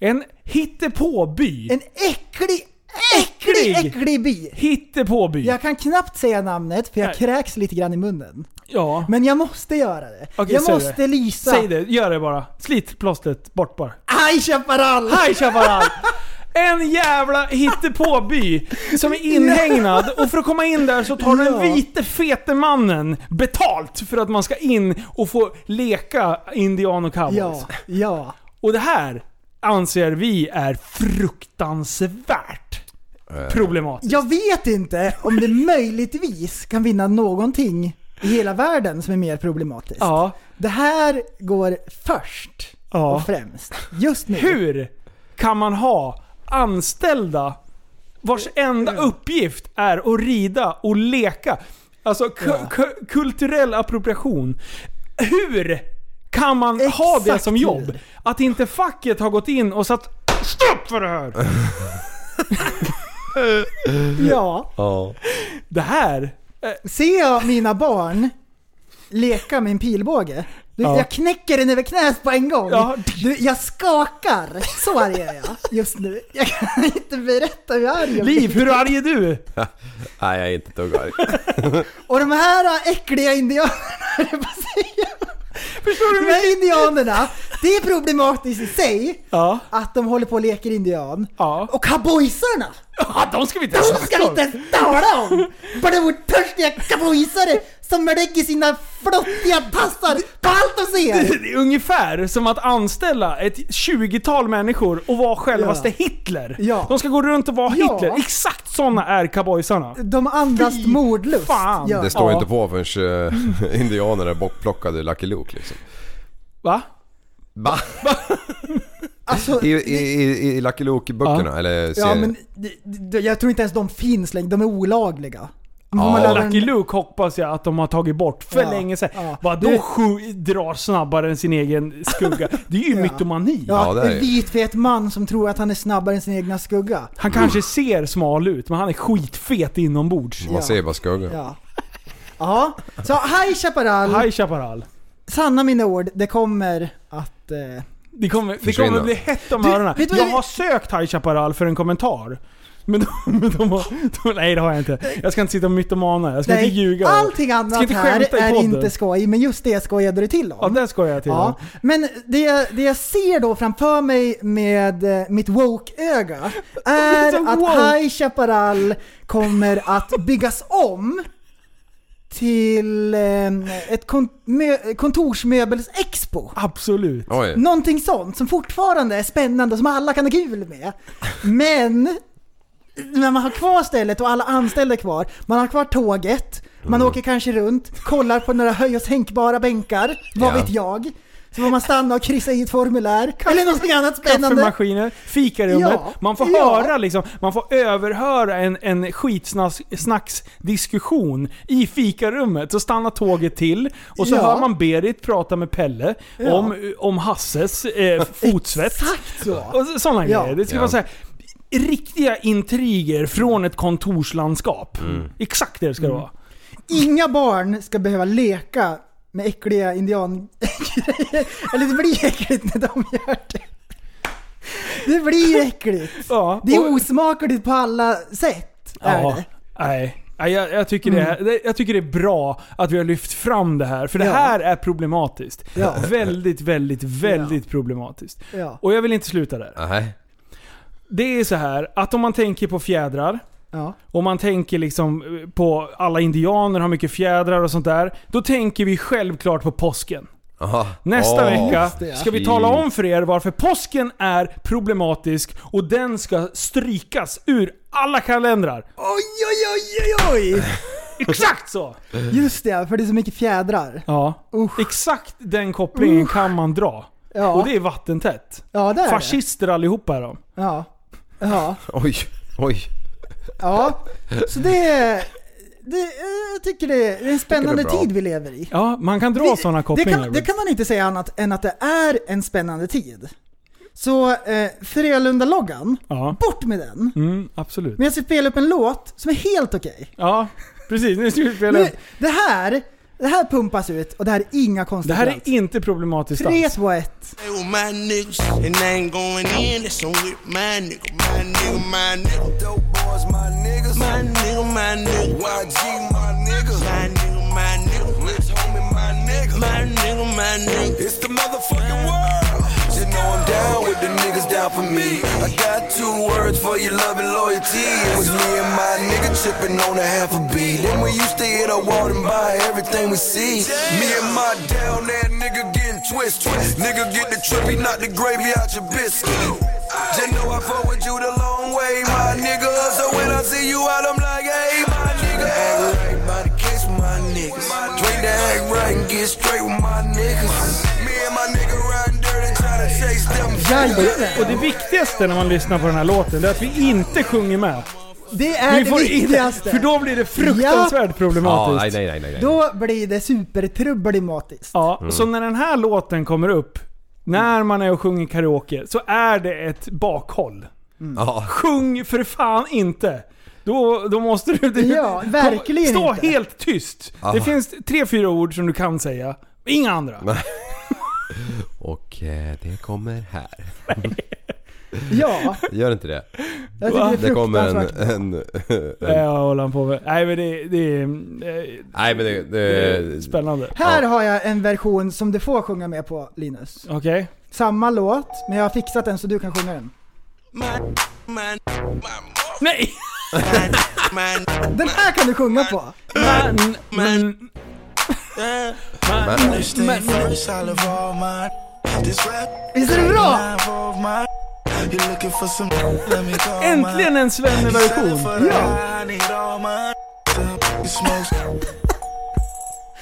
D: en hittepåby.
F: En äcklig, äcklig,
D: Äcklig!
F: äcklig by.
D: hittepåby.
F: Jag kan knappt säga namnet för jag
D: Nej.
F: kräks lite grann i munnen.
D: ja.
F: Men jag måste göra det.
D: Okej,
F: jag
D: säg
F: måste
D: det.
F: lysa.
D: Säg det, gör det bara. Slit plåstret bort bara.
F: High Chaparral!
D: High Chaparral! En jävla hittepåby som är inhägnad och för att komma in där så tar den
F: Ja.
D: vite fete mannen betalt för att man ska in och få leka indian och cowboys.
F: Ja, ja.
D: Och det här anser vi är fruktansvärt problematiskt.
F: Jag vet inte om det möjligtvis kan vinna någonting i hela världen som är mer problematiskt.
D: Ja.
F: Det här går först
D: Ja.
F: och främst. Just nu.
D: Hur kan man ha anställda vars enda uppgift är att rida och leka? Alltså ku- ku- kulturell appropriation. Hur kan man ha det
F: Exakt
D: som
F: hur?
D: jobb? Att inte facket har gått in och satt stopp för det här!
F: Ja.
E: Ja.
D: Det här?
F: Ser jag mina barn leka med en pilbåge, du,
D: Ja.
F: jag knäcker den över knät på en gång.
D: Ja.
F: Du, jag skakar. Så arg är jag just nu. Jag kan inte berätta hur arg jag
D: Liv, hur arg är du?
E: Nej, jag är inte ett dugg arg.
F: Och de här äckliga indianerna, höll jag på att säga.
D: Förstår du?
F: De här indianerna, det är problematiskt i sig
D: Ja.
F: att de håller på och leker indian.
D: Ja.
F: Och cowboysarna,
D: ja, de ska vi inte
F: de ska
D: snacka
F: vi
D: om.
F: inte ens tala om! Blodtörstiga cowboysare som lägger sina flottiga tassar på allt de ser!
D: Det är ungefär som att anställa ett 20-tal människor och vara självaste
F: Ja.
D: Hitler.
F: Ja.
D: De ska gå runt och vara
F: Ja.
D: Hitler. Exakt såna är cowboysarna.
F: De andas
D: Fy
F: mordlust.
D: fan.
F: Ja.
E: Det står
D: Ja.
E: inte på förrän eh, indianerna är bortplockade i Lucky Luke liksom.
D: Va?
E: Va?
F: Alltså,
E: I, i, i, i Lucky Luke-böckerna? Eller
F: ja,
E: serien?
F: men, det- det- jag tror inte ens de finns längre, de är olagliga. De får
E: Ja.
F: man laga
D: Lucky
F: en-
D: Luke hoppas jag att de har tagit bort för
F: Ja.
D: länge sedan.
F: Ja.
D: Vadå
F: Du-
D: sju drar snabbare än sin egen skugga? Det är ju mytomani.
F: Ja,
E: Ja, det är
F: en
E: det.
F: vitfet man som tror att han är snabbare än sin egna skugga.
D: Han kanske ser smal ut, men han är skitfet inombords.
E: Man ser bara skuggor.
F: Ja. Ja, så High Chaparral,
D: High Chaparral.
F: sanna mina ord, det kommer att... Eh,
D: Det kommer, det
E: Försvinna.
D: kommer bli hett om
F: Du,
D: öronen.
F: vet du vad
D: Jag
F: jag-
D: har sökt High Chaparral för en kommentar. Men de, men de har... De, nej det har jag inte. Jag ska inte sitta och mytomana. Jag ska inte ljuga.
F: allting
D: Ska
F: annat
D: inte
F: här
D: skämta i
F: är
D: podden.
F: inte skoj, men just det skojade du till om.
D: Ja, där skojar jag till
F: Ja,
D: ja.
F: men det, det jag ser då framför mig med eh, mitt woke-öga
D: är
F: är
D: så
F: att
D: woke.
F: High Chaparral kommer att byggas om till eh, ett kon- mö- kontorsmöbelsexpo.
D: Absolut.
E: Oj.
F: Någonting sånt som fortfarande är spännande och som alla kan ha kul med. Men när man har kvar stället och alla anställda är kvar, man har kvar tåget, man åker kanske runt, kollar på några höj och sänkbara bänkar, vad
E: Ja.
F: vet jag. Så får man stanna och kryssa i ett formulär, eller någonting annat spännande.
D: Kaffemaskiner, fikarummet.
F: Ja,
D: man får
F: ja.
D: höra liksom, man får överhöra en, en skitsnacksdiskussion i fikarummet. Så stannar tåget till och så
F: Ja.
D: hör man Berit prata med Pelle
F: Ja.
D: om, om Hasses eh, fotsvett.
F: Exakt så!
D: Och så- sådana
F: Ja.
D: grejer. Det ska
E: Ja.
D: vara så här, riktiga intriger från ett kontorslandskap. Exakt det ska det
F: Mm.
D: vara.
F: Inga barn ska behöva leka med äckliga indian... eller det blir äckligt när de gör det. Det blir äckligt.
D: Ja,
F: Det
D: och-
F: är osmakligt på alla sätt. Är
D: Ja.
F: det.
D: Nej. Ja, Jag, jag, tycker det är, det- jag tycker det är bra att vi har lyft fram det här, för det
F: Mm. Ja.
D: här är problematiskt.
F: Ja.
D: Väldigt, väldigt, väldigt problematiskt.
F: Ja.
D: Och jag vill inte sluta där.
E: Nej.
D: Det är så här att om man tänker på fjädrar,
F: Ja.
D: och man tänker liksom på alla indianer har mycket fjädrar och sånt där. Då tänker vi självklart på påsken.
E: Aha.
D: Nästa
E: Åh.
D: vecka
F: det, ja.
D: ska vi tala om för er varför påsken är problematisk och den ska strykas ur alla kalendrar.
F: Oj, oj, oj, oj, oj!
D: Exakt så!
F: Just det, för det är så mycket fjädrar.
D: Ja.
F: Usch.
D: Exakt den kopplingen kan man dra.
F: Ja,
D: Och det är vattentätt.
F: ja där är det.
D: Fascister allihopa är de.
F: Ja. Ja.
E: Oj, oj.
F: ja. Så det, det... Jag tycker det är en spännande
E: Jag tycker det är bra.
F: tid vi lever i.
D: Ja, man kan dra
F: Vi-
D: sådana
F: det
D: kopplingar.
F: kan, det kan man inte säga annat än att det är en spännande tid. Så eh, Frölunda-loggan,
D: Ja.
F: bort med den.
D: Mm, absolut.
F: Men jag ska spela upp en låt som är helt okej.
D: Ja, precis. Nu ska vi spela
F: Nu,
D: upp.
F: Det här, det här pumpas ut och det här är inga
D: Det
F: konstigheter.
D: här är inte problematiskt
F: Tre,
D: alls.
F: två, ett.
H: Stay with my niggas, and I ain't going in. That's on with my nigga, my nigga, my nigga. Dope boys, my niggas. My nigga, my nigga. YG, my niggas. My nigga, my nigga. Rich homie, my nigga. My nigga, my nigga. It's the motherfucking world. You know I'm down with the niggas down for me. I got two words for your love and loyalty. It was me and my nigga tripping on a half a beat. Then we used to hit a wall and buy everything we see. Me and my down that nigga getting twist, twist. Nigga get the trippy, not the gravy out your biscuit. Just know I fuck with you the long way, my nigga. So when I see you out, I'm like, hey, my nigga. Act right by the case with my niggas. Drink the act right and get straight with my niggas. Me and my nigga riding dirty, try to chase them.
D: Och det viktigaste när man lyssnar på den här låten, det är att vi inte sjunger med.
F: Det är
D: vi
F: det viktigaste.
D: för då blir det fruktansvärt
E: Ja, nej,
D: problematiskt.
E: nej, nej, nej. nej.
F: Då blir det supertrubbelmatiskt.
D: Ja,
E: Mm.
D: så när den här låten kommer upp, när man är och sjunger karaoke, så är det ett bakhåll.
F: Mm.
E: Ja.
D: Sjung för fan inte! Då, då måste du... du
F: Ja, verkligen
D: Stå
F: inte.
D: helt tyst. Det finns tre, fyra ord som du kan säga. Inga andra.
E: Och eh, det kommer här.
F: Ja,
E: Gör inte det.
F: jag tycker det
E: Det
F: är
E: kommer en...
F: fruktansvärt. Eh,
E: en,
D: Det
E: en
D: Eh, håller han på med. Nej men det, det är... eh,
E: nej men det... det
D: Spännande.
F: Här har jag en version som du får sjunga med på Linus.
D: Okej.
F: Samma låt, men jag har fixat den så du kan sjunga den.
D: Nej!
F: Den här kan du sjunga på!
D: Man, man, man,
H: Stay first, I love all mine. This rap
F: Visst är det bra?
H: involve mine. You looking for some? Let me call
D: Äntligen en
H: For
D: Svenne-version.
H: the
F: Ja.
H: high, I need all mine. You smoke.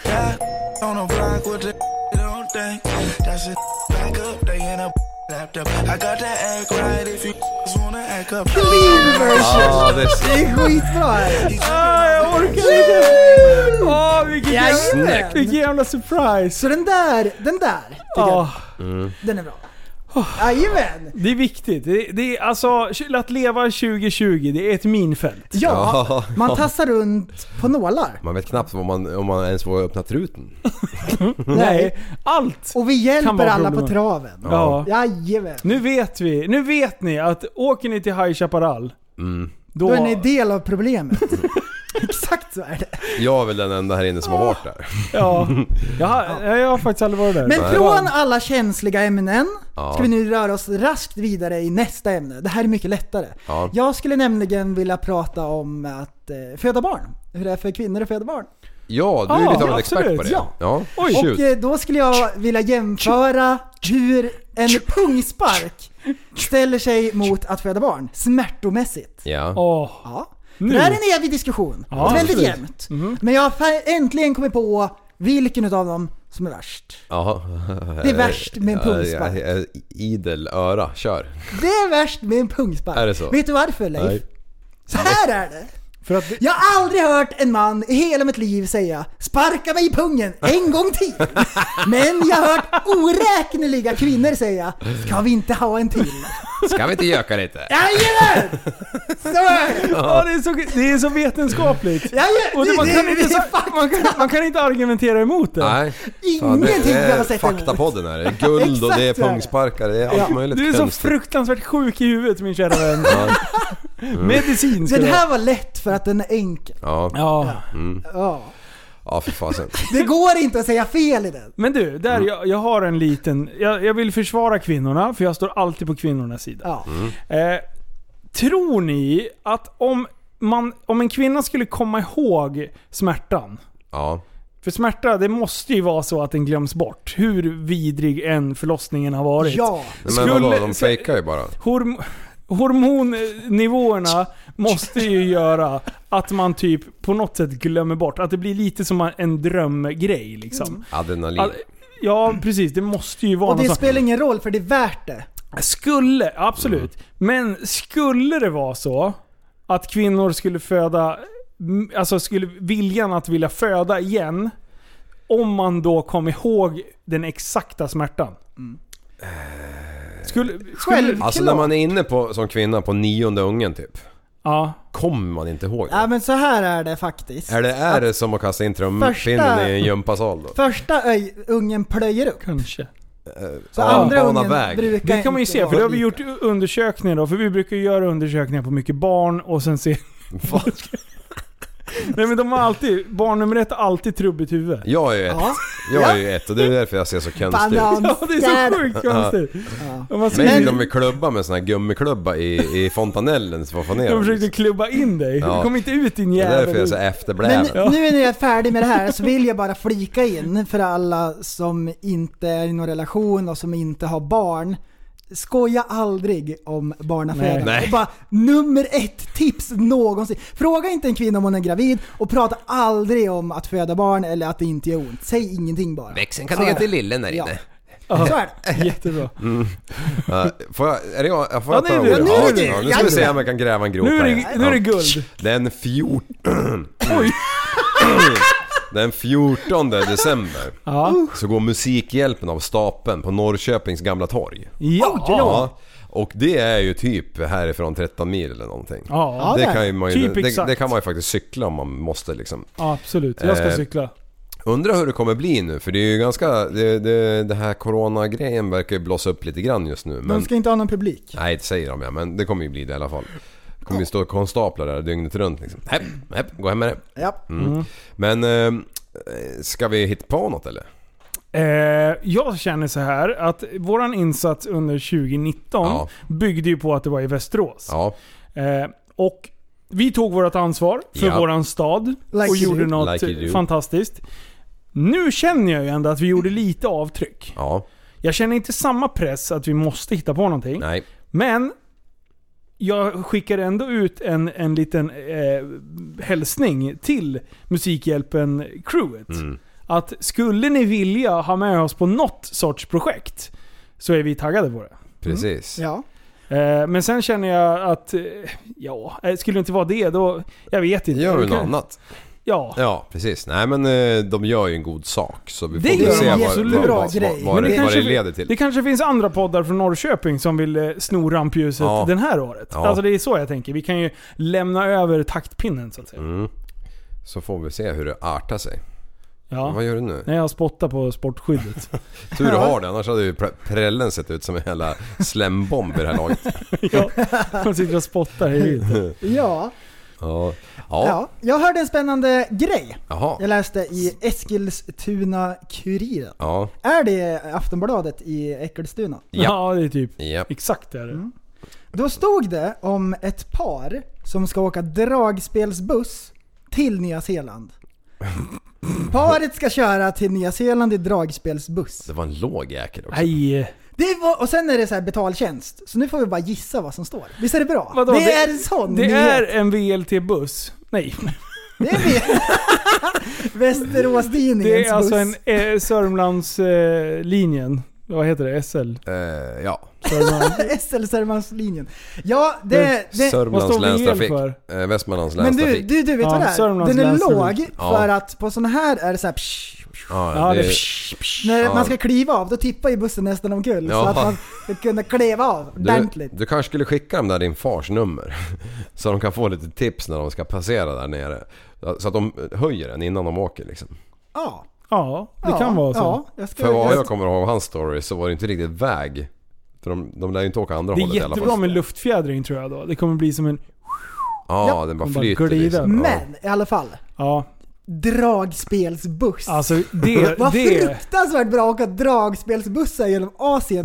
H: Got on a block with the don't think. That's it. Back up, they in a laptop. I got that act right if you wanna act up.
F: Clean version!
E: Ja, Ah, det är
F: Det är skitbra! här.
D: Ah, jag orkar inte. Åh, vilken jävla,
F: Jajamän.
D: vilken jävla surprise.
F: Så den där, den där, tycker jag,
D: Ja,
F: den är bra. Jajamän!
D: det är viktigt. Det, det är, alltså, att leva 2020, det är ett minfält.
F: Ja,
E: Ja.
F: man tassar runt på nålar.
E: Man vet knappt om man, om man ens vågar öppna truten.
D: Mm. Nej, allt.
F: Och vi
D: Kan
F: hjälper
D: vara
F: alla på
D: problematiskt.
F: traven.
D: Ja.
F: Jajamän.
D: Nu vet vi. Nu vet ni att åker ni till High Chaparral, då,
F: Då är ni del av problemet. Exakt så är det.
E: Jag är väl den enda här inne som har varit där.
D: Ja. Jag, har, jag har faktiskt aldrig varit där.
F: Men
D: Nej.
F: från alla känsliga ämnen
E: Ja.
F: ska vi nu röra oss raskt vidare i nästa ämne. Det här är mycket lättare.
E: Ja.
F: Jag skulle nämligen vilja prata om att eh, föda barn. Hur det är för kvinnor att föda barn.
E: Ja, du är
F: Ah,
D: Ja,
E: lite av en expert
D: absolut,
E: på det.
D: ja.
E: ja.
D: Oj.
E: Shoot.
F: Och eh, då skulle jag vilja jämföra hur en pungspark ställer sig mot att föda barn smärtomässigt.
E: Ja.
D: Åh.
F: Ja.
D: Nu.
F: Det här är en evig diskussion.
D: Ja,
F: väldigt
D: absolut.
F: jämnt. Men jag har fa- äntligen kommit på vilken utav dem som är värst.
E: Ja.
F: Det är värst med en
E: Ja,
F: pungspark.
E: ja, ja, Idel öra, kör.
F: Det är värst med en pungspark.
E: Är det så?
F: Vet du varför Leif?
E: Nej.
F: Så här är det.
D: För att det,
F: Jag har aldrig hört en man i hela mitt liv säga “sparka mig i pungen en gång till”. Men jag har hört oräkneliga kvinnor säga “ska vi inte ha en till?”
E: Ska vi inte göka lite?
F: Jajamän! Så är det!
D: ja, det, är så, det är så vetenskapligt.
F: Jajamän!
D: Och det, man, kan
F: det-
D: inte,
F: det är
D: sa- man, kan, man kan inte argumentera emot det.
E: Nej. Fan,
F: Ingenting
E: det
F: jag
E: är
F: har sett emot.
E: Faktapodden här. Det är guld och
F: Exakt
E: det är
F: så är det.
E: pungsparkar, det är allt möjligt
D: Du är så
E: konstigt.
D: fruktansvärt sjuk i huvudet min kära vän.
E: Ja.
D: Medicin ska
F: Den
D: det vara.
F: här var lätt för att den är enkel.
E: Ja,
D: Ja.
F: Ja.
E: ja för fasen.
F: Det går inte att säga fel i den.
D: Men du, där jag, jag har en liten... Jag, jag vill försvara kvinnorna, för jag står alltid på kvinnornas sida.
F: Ja.
E: Mm.
D: Eh, tror ni att om, man, om en kvinna skulle komma ihåg smärtan,
E: Ja.
D: för smärta det måste ju vara så att den glöms bort, hur vidrig än förlossningen har varit.
F: Ja.
E: Men vadå,
D: Skulle-
E: de fejkar ju bara.
D: Horm- hormonnivåerna måste ju göra att man typ på något sätt glömmer bort, att det blir lite som en drömgrej liksom.
E: Adrenalin.
D: Att, ja, precis. Det måste ju vara
F: Mm. Och
D: något
F: det
D: sånt.
F: spelar ingen roll för det är värt det.
D: Skulle, absolut.
F: Mm.
D: Men skulle det vara så att kvinnor skulle föda, m- alltså skulle viljan att vilja föda igen, om man då kom ihåg den exakta smärtan?
F: Mm.
D: Skulle, skulle,
F: Självklart.
E: Alltså när man är inne på, som kvinna på nionde ungen typ.
D: ja.
E: Kommer man inte ihåg
F: Ja
E: det?
F: men så här är det faktiskt.
E: Är det, är det som att kasta in trumpinnen i en gympasal då?
F: Första öj, ungen plöjer upp.
D: Kanske.
F: Så
E: Ja,
F: andra
E: bana
F: ungen
E: väg.
F: brukar
D: Det kan man ju
F: inte
D: se, för
F: vara
D: det har vi
F: lika.
D: gjort undersökningar då. För vi brukar ju göra undersökningar på mycket barn och sen se... Nej men de har alltid, barn nummer ett har alltid trubbigt huvud.
E: Jag är ju ett.
F: Ja.
E: Jag är ju ett och det är därför jag ser så konstig ut.
F: Banan.
D: Ja, det är så sjukt konstigt. Om man
E: Mig
D: skulle,
E: vill de med klubba med sån här gummiklubba i, i fontanellen så får få ner
D: de
E: dem.
D: försökte klubba in dig. Du
E: Ja.
D: kom inte ut din
E: Det är därför jag är
D: jävel.
E: så
F: Men
E: efterbläven.
F: nu när jag är färdig med det här så vill jag bara flika in för alla som inte är i någon relation och som inte har barn. Skoja aldrig om barnafödande.
E: Nej.
F: Det är Bara nummer ett tips någonsin. Fråga inte en kvinna om hon är gravid och prata aldrig om att föda barn eller att det inte gör ont. Säg ingenting bara.
E: Växeln
F: Så är det.
E: lillen där
F: Ja. Så är det.
D: Jättebra.
E: Ja, Får jag, är det jag, får
D: Ja,
E: jag
D: nu
E: ta
D: är det-
E: ordet?
D: nu är
E: Ja,
D: det-
E: ja, Nu
F: jag
E: ska vi
F: tror
E: se om jag kan gräva en grop
D: Nu är
E: här.
D: det, nu är det
E: Ja.
D: guld.
E: Den fjort...
D: Oj.
E: Den 14 december
D: Ja.
E: så går Musikhjälpen av stapeln på Norrköpings gamla torg.
D: Oh, Ja.
E: Ja. Och det är ju typ härifrån 13 mil eller någonting.
D: Ja,
E: det, kan ju man ju,
D: typ
E: det,
D: exakt.
E: det kan man ju faktiskt cykla om man måste liksom.
D: Ja, absolut. Jag ska
E: Eh,
D: cykla.
E: Undrar hur det kommer bli nu för det är ju ganska... Det, det, det här coronagrejen verkar ju blossa upp lite grann just nu. Men,
F: De ska inte ha någon publik.
E: Nej det säger de ja men det kommer ju bli det i alla fall. Det kommer ju stå konstaplar där dygnet runt liksom. Hepp, hepp, gå hem med det.
F: Ja.
E: Mm. Men eh, ska vi hitta på något eller?
D: Eh, jag känner så här att våran insats under 2019
E: Ja.
D: byggde ju på att det var i Västerås.
E: Ja,
D: Eh, och vi tog vårt ansvar för
E: Ja.
D: våran stad
F: Like
D: och
F: you
D: gjorde
F: do.
D: något
E: Like you do.
D: fantastiskt. Nu känner jag ju ändå att vi gjorde lite avtryck.
E: ja,
D: Jag känner inte samma press att vi måste hitta på någonting.
E: nej.
D: Men jag skickar ändå ut en, en liten eh, hälsning till Musikhjälpen-crewet.
E: Mm.
D: Att skulle ni vilja ha med oss på något sorts projekt så är vi taggade på det.
E: Precis.
D: Mm.
F: ja.
D: Eh, men sen känner jag att, eh, ja, eh, skulle det inte vara det då, jag vet inte.
E: Gör vi något
D: Kan-
E: annat?
D: Ja.
E: Ja, precis. Nej men eh, de gör ju en god sak så vi
D: Det
E: får
D: gör
E: väl se
D: de,
E: vad, vad,
D: absolut.
E: vad,
D: Bra
E: vad,
F: grej.
E: vad,
D: Men
E: det, vad
D: kanske
E: det
D: fin-
E: leder
D: Det
E: till.
D: kanske finns andra poddar från Norrköping som vill eh, sno rampljuset
E: Ja.
D: den här året.
E: Ja.
D: Alltså det är så jag tänker. Vi kan ju lämna över taktpinnen så att säga.
E: Mm. Så får vi se hur det artar sig.
D: Ja.
E: Vad gör du nu?
D: Nej, jag spottar på sportskyddet.
E: Tur du har det annars hade ju pre- prällen sett ut som en jävla slembomb i det här laget.
D: Ja, han sitter och spottar hej vilt.
F: Ja.
E: Ja.
F: ja.
E: Ja.
F: Jag hörde en spännande grej. Jag
E: Jaha.
F: läste i Eskilstuna-Kuriren.
E: Ja.
F: Är det Aftonbladet i Äckelstuna?
D: Ja, det är typ
E: Ja.
D: exakt det är
F: Mm.
D: det.
F: Då stod det om ett par som ska åka dragspelsbuss till Nya Zeeland. Paret ska köra till Nya Zeeland i dragspelsbuss.
E: Det var en låg jäkel också.
D: Nej.
F: Det var, och sen är det så här betaltjänst. Så nu får vi bara gissa vad som står. Visst är det bra?
D: Vadå?
F: det, är en sån
D: Det
F: nyhet.
D: är en VLT-buss. Nej.
F: Det är Västeråstidningens
D: Det är alltså
F: buss.
D: en eh, Sörmlandslinjen. Eh, linjen. Vad heter det? SL?
E: Eh, ja.
D: Sörmland.
F: SL Sörmlandslinjen. Ja, det... det
E: Sörmlands
D: vad står VL
E: länstrafik.
D: för?
E: Eh, Västmanlands
F: men du,
E: länstrafik.
F: du, du vet
D: Ja,
F: vad det är?
D: Sörmlands
F: Den är
D: länstrafik.
F: låg
E: Ja.
F: för att på sån här är det så här, psh,
E: ja,
D: Ja, det
E: det,
D: är
F: När
E: Ja.
F: man ska kliva av, då tippar ju bussen nästan omkull. Så
E: Ja.
F: att man ska kunna kliva av
E: du,
F: ordentligt.
E: du kanske skulle skicka dem där din fars nummer. Så de kan få lite tips när de ska passera där nere. Så att de höjer den innan de åker liksom.
F: Ja.
D: Ja, det
F: ja,
D: kan vara så.
F: Ja, jag ska,
E: För vad
F: jag,
E: jag kommer ihåg av hans story så var det inte riktigt väg För de, de lär ju inte åka andra
D: Det
E: hållet
D: är
E: i alla
D: jättebra
E: fall.
D: med luftfjädring tror jag då. Det kommer bli som en...
E: Ja, den bara
D: De bara
E: flyter
D: glider.
E: liksom. Ja.
F: Men i alla fall.
D: Ja,
F: Dragspelsbuss.
D: alltså det,
F: Vad
D: det,
F: fruktansvärt bra att åka dragspelsbussar genom Asien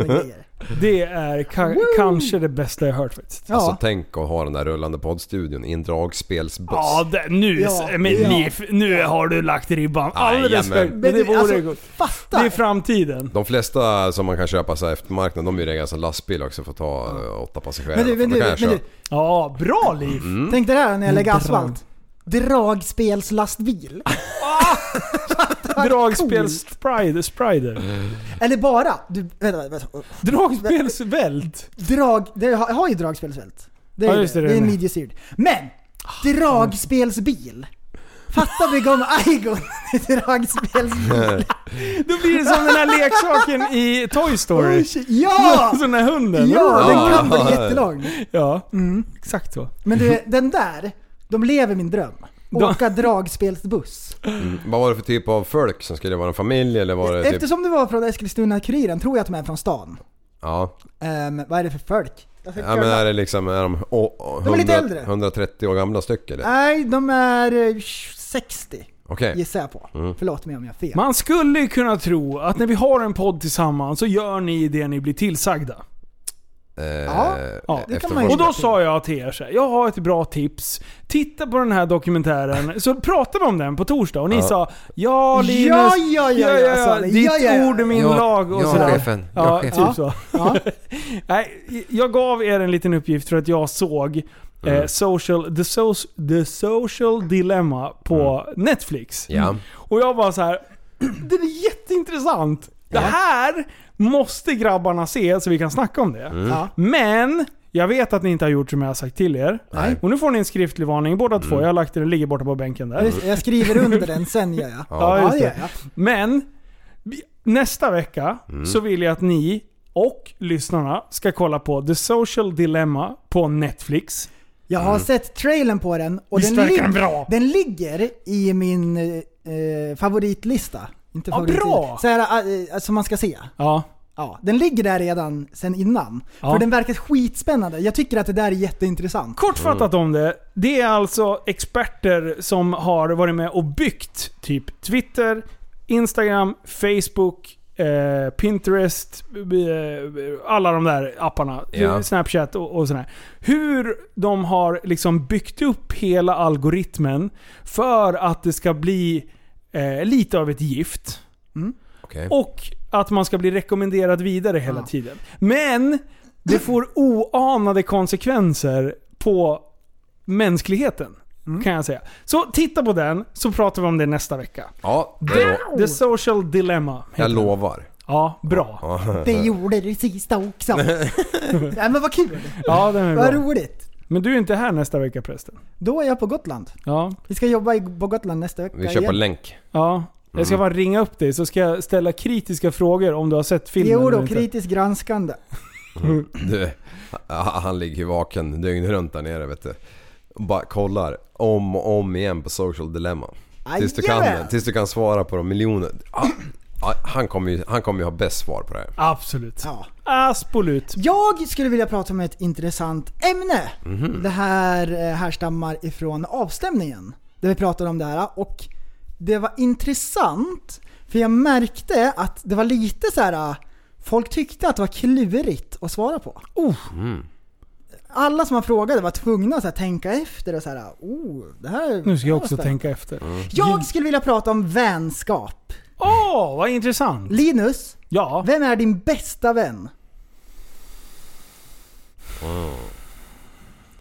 F: och grejer.
D: det är ka- kanske det bästa jag hört faktiskt.
F: Ja.
E: Alltså tänk att ha den där rullande poddstudion i en dragspelsbuss.
D: Ja, det, nu,
F: Ja.
D: men
F: Ja.
D: Liv, nu har du lagt ribban. All
E: Jajamän.
D: respekt. Men
F: Men
D: det
F: du,
D: vore
F: alltså,
D: gott.
F: fatta!
D: Det är framtiden.
E: De flesta som man kan köpa så här eftermarknaden, de är ju redan som lastbil också för att ta eh, åtta passagerare.
F: men du, men
E: Då
F: du,
E: kan
F: men
E: jag
F: du.
E: köpa-
D: Ja, bra Liv!
E: Mm.
F: Tänk dig det här när jag lägger
D: Drag.
F: asfalt. Dragspelslastbil.
D: Dragspels Sprider.
E: Mm.
D: sprider.
F: Eller bara, du, vänta, vänta.
D: Dragspelsvält.
F: Drag, det, jag har- jag har ju dragspelsvält. Det är,
D: Ja,
F: ju
D: just det,
F: det,
D: det
F: det är
D: är
F: en
D: med.
F: midjestyrd. Men! Dragspelsbil. Fatta bygga om Aigon i dragspelsbil.
E: Eh,
D: Då blir det som den här leksaken i Toy Story.
F: Ja!
D: Som den här hunden.
F: Ja, Mm, den
E: Ja.
F: kan bli jättelång.
D: Ja, exakt så.
F: Men du, den där, de lever min dröm.
D: De-
F: Åka dragspelsbuss.
E: Vad var det för typ av folk som skulle vara en familj eller var det typ...
F: Eftersom du var från Eskilstuna-Kuriren tror jag att de är från stan.
E: Ja.
F: Ehm, vad är det för folk? Jag ska
E: ja
F: kolla.
E: men är det liksom, är de, å- å-
F: De är lite
E: 100
F: äldre.
E: 130 år gamla styck eller?
F: Nej, de är eh, 60
E: Okej.
F: gissar jag på. Förlåt mig om jag har fel.
D: Man skulle ju kunna tro att när vi har en podd tillsammans så gör ni det ni blir tillsagda.
E: Eh,
F: Ja,
D: ja,
F: det kan
E: efterforsk-
F: man ju-
D: Och då sa jag till er så här, jag har ett bra tips. Titta på den här dokumentären, så pratade vi om den på torsdag och ni
E: Ja.
D: sa Ja Linus,
F: Ja, ja, ja, jag sa det.
D: ditt
F: Ja, ja, ja.
D: ord är min
E: Ja,
D: lag och
E: ja,
D: sådär.
E: chefen. Ja,
D: Ja,
E: chefen.
D: typ så.
F: Ja.
D: Nej, jag gav er en liten uppgift för att jag såg eh, social, the, Soc- the Social Dilemma på Netflix.
E: Ja.
D: Och jag var så här. det är jätteintressant. Det här måste grabbarna se så vi kan snacka om det.
F: Ja.
D: Men jag vet att ni inte har gjort som jag har sagt till er.
E: Nej.
D: Och nu får ni en skriftlig varning båda två. Jag har lagt den, den ligger borta på bänken där.
F: Just det, Jag skriver under den, sen gör jag.
D: Ja, just
F: det
D: det. Men vi- nästa vecka så vill jag att ni och lyssnarna ska kolla på The Social Dilemma på Netflix.
F: Jag har sett trailern på den och
D: Visst
F: den,
D: verkar
F: lig-
D: den bra?
F: den ligger i min eh, eh, favoritlista. Inte
D: Ja,
F: favoritlista.
D: bra!
F: Så här, eh, eh, som man ska se.
D: Ja.
F: Ja, den ligger där redan sen innan.
D: Ja.
F: För den verkar skitspännande. Jag tycker att det där är jätteintressant.
D: Kortfattat om det. Det är alltså experter som har varit med och byggt typ Twitter, Instagram, Facebook, eh, Pinterest, eh, alla de där apparna.
E: Ja.
D: Snapchat och, och sådär. Hur de har liksom byggt upp hela algoritmen för att det ska bli eh, lite av ett gift.
E: Okej.
D: Och att man ska bli rekommenderad vidare hela tiden. Men det får oanade konsekvenser på mänskligheten.
F: Mm.
D: Kan jag säga. Så titta på den, så pratar vi om det nästa vecka.
E: Ja, det är
F: Oh.
E: lo-
D: The Social Dilemma. heter
E: jag
D: den.
E: lovar.
D: Ja, bra.
E: Ja.
F: Det gjorde det sista också. Nej men vad kul!
D: Ja, den är
F: Vad
D: bra.
F: roligt.
D: Men du är inte här nästa vecka prästen.
F: Då är jag på Gotland.
D: Ja,
F: Vi ska jobba i- på Gotland nästa vecka
E: Vi kör på
F: igen.
E: länk.
D: ja. Jag
E: Mm.
D: ska bara ringa upp dig så ska jag ställa kritiska frågor om du har sett filmen
F: Jo
D: eller
F: då,
D: inte.
F: kritiskt granskande.
E: Du, ah, han ligger ju vaken dygnet runt där nere vet du. Och Bara kollar om och om igen på social dilemma. Tills du kan,
F: Jajamän.
E: tills du kan svara på de miljoner. Ah, ah, han, kommer ju, han kommer ju ha bäst svar på det här.
D: Absolut.
F: Ja.
D: Absolut.
F: Jag skulle vilja prata om ett intressant ämne.
E: Mhm.
F: Det här eh, härstammar ifrån avstämningen. Där vi pratade om det här och det var intressant för jag märkte att det var lite så här. eh, Folk tyckte att det var klurigt att svara på.
E: Oh.
D: Mm.
F: Alla som man frågade var tvungna att så här, tänka efter och så här. Oh, det här
D: Nu ska jag
F: det här
D: också
F: var spännande."
D: tänka efter.
E: Mm.
D: Åh,
F: Jag skulle vilja prata om vänskap.
D: vad intressant.
E: Mm.
F: Linus,
D: Ja.
F: vem är din bästa vän?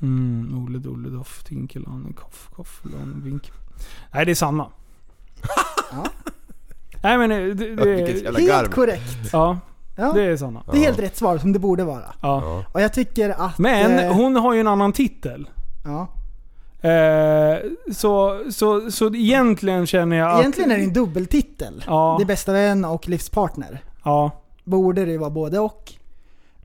D: Mm, Ole Dole Doff, Tinkelan, Koff, Kofflan, Vink. Nej, det är Sanna. Nej men eh, det, det,
E: Vilket
D: det,
E: jävla
F: Helt
E: garv.
F: korrekt.
D: ja,
F: Ja.
D: det är Sanna.
F: Det är helt rätt svar som det borde vara.
D: Ja.
F: Och jag tycker att...
D: Men
F: eh,
D: hon har ju en annan titel.
F: Ja.
D: Eh, så, så, så egentligen känner jag att...
F: Egentligen är det en dubbeltitel.
D: Ja.
F: Det är bästa vän och livspartner.
D: Ja.
F: Borde det vara både och.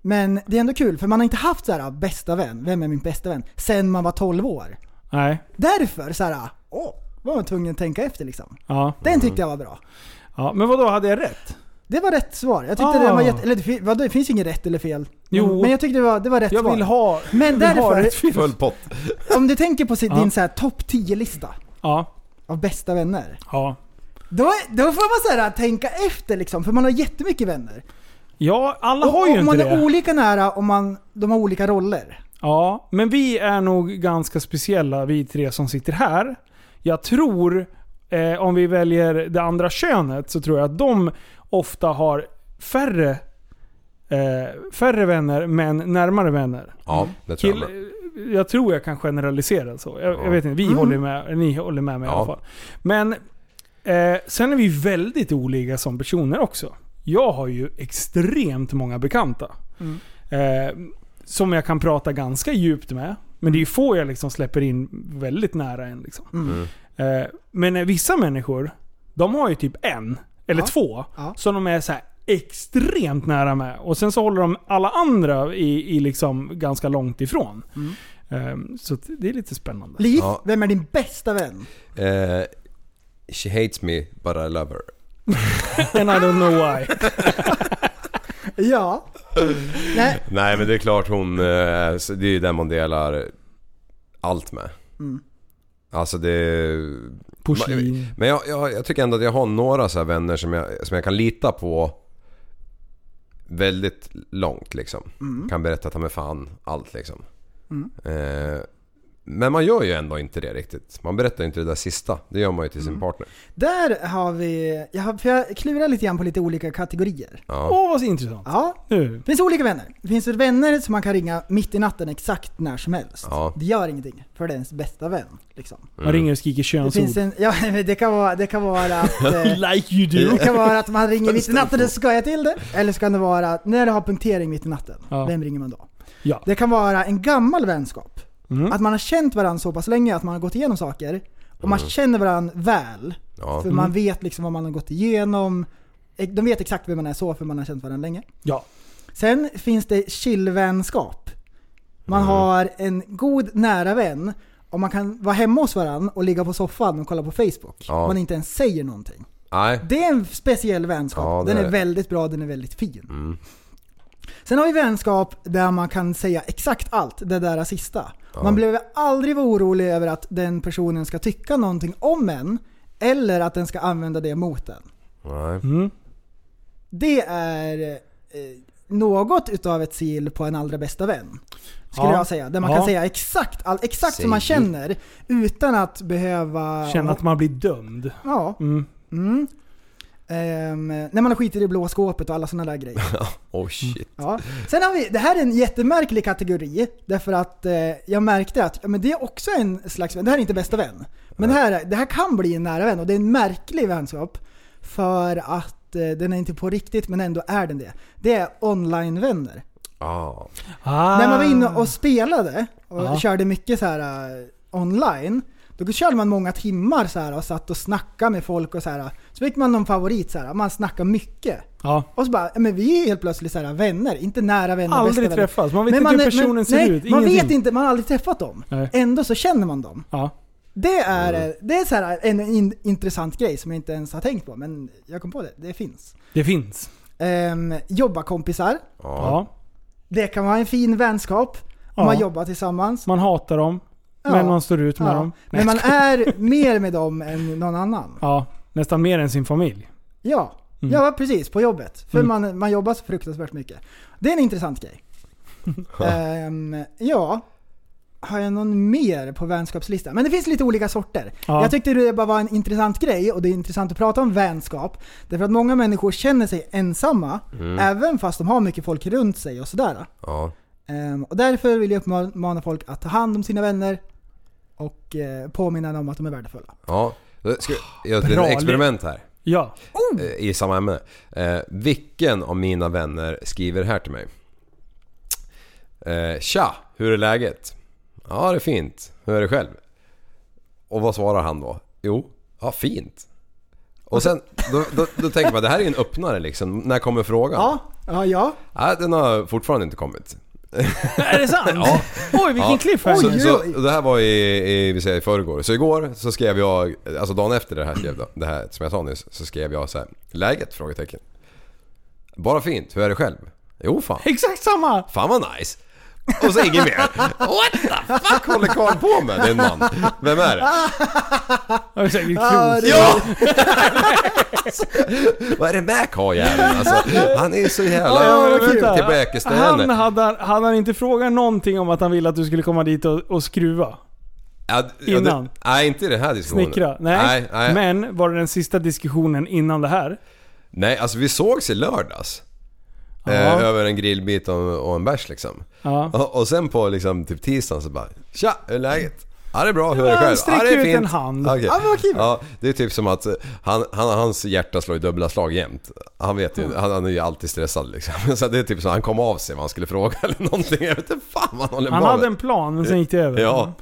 F: Men det är ändå kul, för man har inte haft så här "Ah, bästa vän, vem är min bästa vän? Sen man var 12 år.
D: Nej.
F: Därför så här, åh, var man tvungen att tänka efter liksom.
D: Ja.
F: Den tyckte jag var bra.
D: ja. Men vad då hade jag rätt?
F: Det var rätt svar. Jag tyckte
D: Ah.
F: det var jätte... Eller det fin- vadå, det finns inget rätt eller fel.
D: Jo.
F: Men jag tyckte det var, det var rätt
D: Jag
F: svar.
D: vill ha...
F: Men
D: vill ha
F: därför-
D: rätt film.
E: Full pott.
F: Om du tänker på sin,
D: Ja.
F: din så här topp 10-lista
D: Ja.
F: av bästa vänner.
D: Ja.
F: Då, då får man så här, tänka efter liksom, för man har jättemycket vänner.
D: Ja, alla har
F: och,
D: ju
F: och
D: inte
F: man
D: det.
F: är olika nära och man, de har olika roller.
D: Ja, men vi är nog ganska speciella vi tre som sitter här. Jag tror, eh, om vi väljer det andra könet, så tror jag att de ofta har färre, eh, färre vänner, men närmare vänner.
E: Ja, det tror jag med.
D: Kill, eh, jag tror jag kan generalisera så. Jag, jag vet inte, vi håller med, ni håller med mig i
E: Ja.
D: alla fall. Men eh, sen är vi väldigt olika som personer också. Jag har ju extremt många bekanta. Eh, som jag kan prata ganska djupt med. Men det är
F: Mm.
D: ju få jag liksom släpper in väldigt nära en. Liksom. Eh, men eh, vissa människor, de har ju typ en eller
F: Ja.
D: två
F: Ja.
D: som de är så här extremt nära med. Och sen så håller de alla andra i, i liksom ganska långt ifrån.
F: Mm.
D: Eh, så att det är lite spännande.
F: Liv,
E: Ja.
F: vem är din bästa vän?
E: Eh, she hates me but I love her.
D: And I don't know why.
F: Ja. Nej,
E: Nej men det är klart hon, eh, så det är ju den man delar allt med. Alltså det...
D: Porslin.
E: Men jag, jag, jag tycker ändå att jag har några så här vänner som jag, som jag kan lita på väldigt långt liksom.
D: Mm.
F: Mm.
E: Kan berätta ta mig fan allt liksom. Eh, men man gör ju ändå inte det riktigt. Man berättar ju inte det där sista. Det gör man ju till sin
D: Mm.
E: partner.
F: där har vi... Jag, har, för jag klurar lite grann på lite olika kategorier.
D: Åh,
E: Ja.
D: vad intressant.
F: Ja,
D: Nu.
F: det finns olika vänner. Det finns vänner som man kan ringa mitt i natten exakt när som helst.
E: Ja.
F: Det gör ingenting, för det är ens bästa vän. Liksom.
D: Man ringer och skriker
F: Det,
D: könsord.
F: finns en, ja, men det, kan vara, det kan vara att... eh,
D: Like you do.
F: Det kan vara att man ringer mitt i natten och skojar till det. Eller så kan det vara att när du har punktering mitt i natten,
D: Ja.
F: vem ringer man då?
D: Ja.
F: Det kan vara en gammal vänskap.
D: Mm.
F: Att man har känt varandra så pass länge att man har gått igenom saker. Och man känner varandra väl.
E: Mm. Ja.
F: För
D: Mm.
F: man vet liksom vad man har gått igenom. De vet exakt vem man är så för man har känt varandra länge.
D: ja.
F: Sen finns det chillvänskap. Man
E: Mm.
F: har en god nära vän och man kan vara hemma hos varandra och ligga på soffan och kolla på Facebook.
E: Ja.
F: Man inte ens säger någonting.
E: Nej.
F: Det är en speciell vänskap.
E: Ja, det Mm.
F: den är,
E: är det.
F: väldigt bra, den är väldigt fin. Sen har vi vänskap där man kan säga exakt allt, det där sista. Man behöver aldrig vara orolig över att den personen ska tycka någonting om en, eller att den ska använda det mot en.
E: Nej.
D: Mm.
F: Det är eh, något utav ett sil på en allra bästa vän. Skulle
D: Ja.
F: jag säga. Där man
D: Ja.
F: kan säga exakt allt, exakt som man
E: Säg det.
F: känner, utan att behöva...
D: Känna att man blir dömd.
F: Ja.
D: Mm.
F: Mm. Ehm, när man har skitit i det blå skåpet och alla sådana där grejer.
E: Oh shit.
F: Ja. Sen har vi, det här är en jättemärklig kategori, därför att eh, jag märkte att ja, men det är också en slags vän. Det här är inte bästa vän. Men det här, är- det här kan bli en nära vän och det är en märklig vänskap. För att eh, den är inte på riktigt men ändå är den det. Det är online-vänner.
E: Ah.
D: Ah.
F: När man var inne och spelade och
D: Ja.
F: körde mycket så här eh, online, då körde man många timmar så här och satt och snackade med folk och så här. Så fick man någon favorit så här, man snackade mycket.
D: Ja.
F: Och så bara, men vi är helt plötsligt så här vänner, inte nära vänner, bästa
D: Aldrig
F: vänner.
D: träffats. Man vet
F: Men
D: inte hur
F: är-
D: personen ser
F: nej,
D: ut.
F: Man
D: Ingenting.
F: vet inte, man har aldrig träffat dem.
D: Nej.
F: Ändå så känner man dem.
D: Ja.
F: Det är, det är så här en in, intressant grej som jag inte ens har tänkt på, men jag kom på det. Det finns.
D: Det finns.
F: Um, jobbakompisar.
E: Ja.
D: Ja.
F: Det kan vara en fin vänskap.
D: Ja.
F: Om man jobbar tillsammans.
D: Man hatar dem,
F: Ja.
D: men man står ut med
F: Ja.
D: dem. Nej,
F: Men man är mer med dem än någon annan.
D: Ja, nästan mer än sin familj.
F: Ja, ja precis. På jobbet. För man, man jobbar så fruktansvärt mycket. Det är en intressant grej. Ehm, ja. Har jag någon mer på vänskapslistan? Men det finns lite olika sorter.
D: Ja.
F: Jag tyckte det bara var en intressant grej och det är intressant att prata om vänskap. Därför att många människor känner sig ensamma, även fast de har mycket folk runt sig och sådär.
E: Ja.
F: Ehm, och därför vill jag uppmana folk att ta hand om sina vänner och eh, påminna dem om att de är värdefulla.
E: Ja. Ska jag göra ett
D: Bra,
E: litet experiment här.
D: Ja.
E: eh, i samma ämne. Eh, vilken av mina vänner skriver här till mig? Eh, tja, hur är läget? Ja, det är fint. Hur är det själv? Och vad svarar han då? Jo, ja fint. Och sen, då, då, då tänker man det här är ju en öppnare liksom. När kommer frågan?
F: Ja, ja, ja.
E: Nej, den har fortfarande inte kommit.
D: Är det sant?
E: Ja.
D: Oj, vilken
E: Ja.
D: cliffhanger.
E: Så, så, och det här var i, i, vi säger i förrgår. Så igår så skrev jag, alltså dagen efter det här, skrev, det här som jag sa nyss, så skrev jag så här, läget? Frågetecken. Bara fint, hur är det själv? Jo fan.
D: Exakt samma!
E: Fan vad nice. Och så inget mer. What the fuck håller Karl på med? Det är en man. Vem är det?
D: Jag är säkert klok.
E: Ja! Vad är det med karljäveln alltså? Han är ju så jävla
D: Ja, men vänta.
E: tillbakastående.
D: Han hade, hade han inte frågat någonting om att han ville att du skulle komma dit och, och skruva?
E: Ja, d- ja,
D: Innan.
E: det- Nej, inte i den här diskussionen.
D: Snickra? Nej.
E: nej, nej.
D: Men var det den sista diskussionen innan det här?
E: Nej, alltså vi sågs i lördags.
D: Ja.
E: Eh, över en grillbit och, och en bärs liksom.
D: Ja.
E: Och, och sen på liksom, typ tisdagen så bara Tja, hur är läget? Ja det är bra, hur är det
D: Ja,
E: själv? Ja
D: sträcker
E: det är
D: ut
E: fint.
D: en hand.
E: Okej.
F: Ja, men vad kul.
E: Ja, det är typ som att eh, han, han, hans hjärta slår ju dubbla slag jämt. Han vet ju, han, han är ju alltid stressad liksom. Så det är typ som att han kom av sig vad han skulle fråga eller någonting. Jag vet inte fan vad han håller
D: Han
E: på
D: hade
E: med.
D: en plan, men sen gick det över.
E: Ja.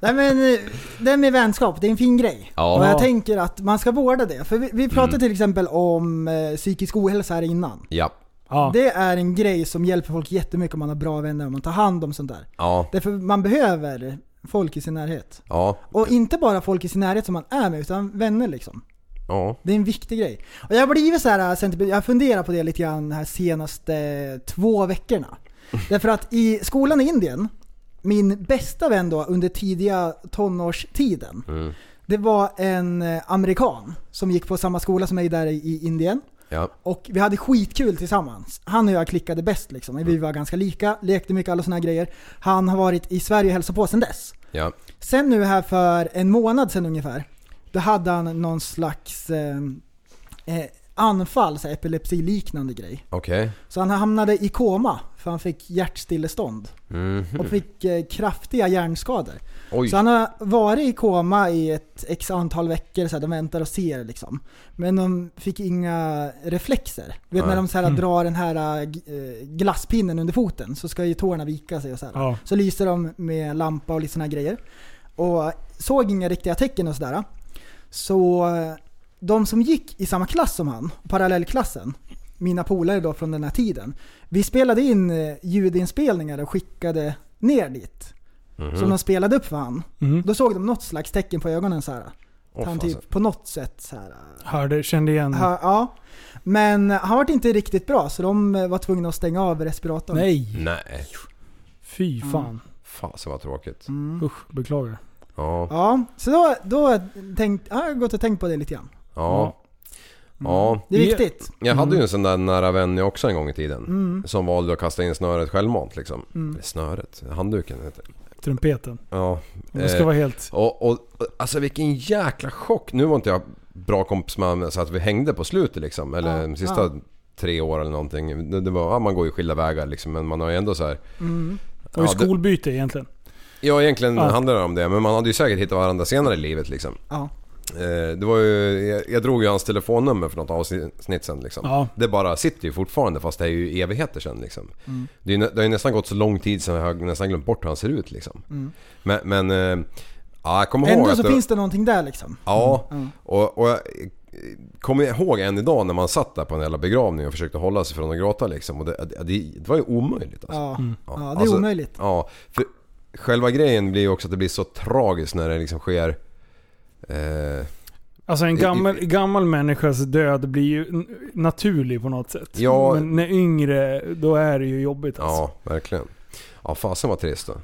F: Nej men eh, det med vänskap, det är en fin grej.
E: Ja.
F: Och
D: Ja. Mm.
F: jag tänker att man ska vårda det. För vi, vi pratade till exempel om eh, psykisk ohälsa här innan.
E: Ja.
D: Ja.
F: Det är en grej som hjälper folk jättemycket om man har bra vänner, om man tar hand om sånt där.
E: Ja.
F: Därför man behöver folk i sin närhet.
E: Ja.
F: Och inte bara folk i sin närhet som man är med, utan vänner liksom.
E: Ja.
F: Det är en viktig grej. Och jag har blivit så här, sentiment- jag funderar på det lite grann de här senaste två veckorna.
D: Mm.
F: Därför att i skolan i Indien, min bästa vän då under tidiga tonårstiden,
E: Mm.
F: det var en eh, amerikan som gick på samma skola som mig där i- i Indien.
E: Ja.
F: Och vi hade skitkul tillsammans. Han och jag klickade bäst liksom. Vi var ganska lika, lekte mycket, alla såna här grejer. Han har varit i Sverige och hälsat på sedan dess.
E: Ja.
F: Sen nu här för en månad sedan ungefär, då hade han någon slags eh, eh, anfall, så här epilepsiliknande grej.
E: Okej.
F: Så han hamnade i koma för han fick hjärtstillestånd
E: Mm-hmm.
F: och fick eh, kraftiga hjärnskador.
E: Oj.
F: Så han har varit i koma i ett x antal veckor, så här, de väntar och ser liksom. Men de fick inga reflexer. Du vet
E: Nej.
F: när de så här, drar den här eh, g- eh, glasspinnen under foten så ska ju tårna vika sig och så här.
D: Ja.
F: Så lyser de med lampa och lite såna här grejer. Och såg inga riktiga tecken och sådär. Så eh, de som gick i samma klass som han, parallellklassen, mina polare då från den här tiden. Vi spelade in eh, ljudinspelningar och skickade ner dit.
E: Mm-hmm. Mm.
F: Som de spelade upp för han.
D: Mhm.
F: Då såg de något slags tecken på ögonen så här.
E: Åh, Mm.
F: Att han
E: fasen.
F: typ på något sätt så här.
D: Hörde, kände igen.
F: Ha, ja. Men han var inte riktigt bra så de eh, var tvungna att stänga av respiratorn.
D: Nej,
E: Nej.
D: fy
F: Mm.
D: fan.
E: Fasen vad tråkigt.
D: Mm. Usch, beklagar.
E: Ja.
F: Ja, så då, då har jag tänkt, ja, jag har gått och tänkt på det lite grann.
E: Ja. Ja.
F: Det är
D: Det-
F: viktigt.
E: Jag hade ju en sån där nära vän jag också en gång i tiden.
D: Mm.
E: Som valde att kasta in snöret självmant liksom. Eller snöret? Handduken heter det.
D: Trumpeten.
E: Ja.
D: Mm. Om det ska
E: Eh,
D: vara helt...
E: och, och, och alltså vilken jäkla chock. Nu var inte jag bra kompis med honom så att vi hängde på slutet liksom. Eller de sista tre år eller någonting. Det, det var, ja, man går ju skilda vägar liksom men man har ju ändå så här.
D: Det var ju
E: ja, det-
D: skolbyte egentligen.
E: Ja egentligen
D: Ja.
E: handlar det om det men man hade ju säkert hittat varandra senare i livet liksom.
F: Ja.
E: Eh, Det var ju, jag, jag drog ju hans telefonnummer för något avsnitt sen liksom.
D: Ja.
E: Det bara sitter ju fortfarande fast det är ju evigheter sen liksom.
F: Mm.
E: Det, är, ju nä- det har ju nästan gått så lång tid sen jag har nästan glömt bort hur han ser ut liksom. Men, men eh, ja, jag kommer ihåg
F: Mm. Ändå
E: att
F: så
E: det-
F: finns det någonting där liksom.
E: Ja, och, och jag eh, kommer ihåg än idag när man satt där på en jävla begravning och försökte hålla sig från att gråta liksom. Och det, det, det var ju omöjligt alltså.
F: Ja,
D: Mm.
F: ja det är
E: Alltså,
F: omöjligt.
E: Ja, för själva grejen blir ju också att det blir så tragiskt när det liksom sker... Eh,
D: Alltså en
E: I-
D: gammal, gammal människas död blir ju n- naturlig på något sätt.
E: Ja.
D: Men när yngre, då är det ju jobbigt alltså.
E: Ja, verkligen. Ja, fasen var trist då.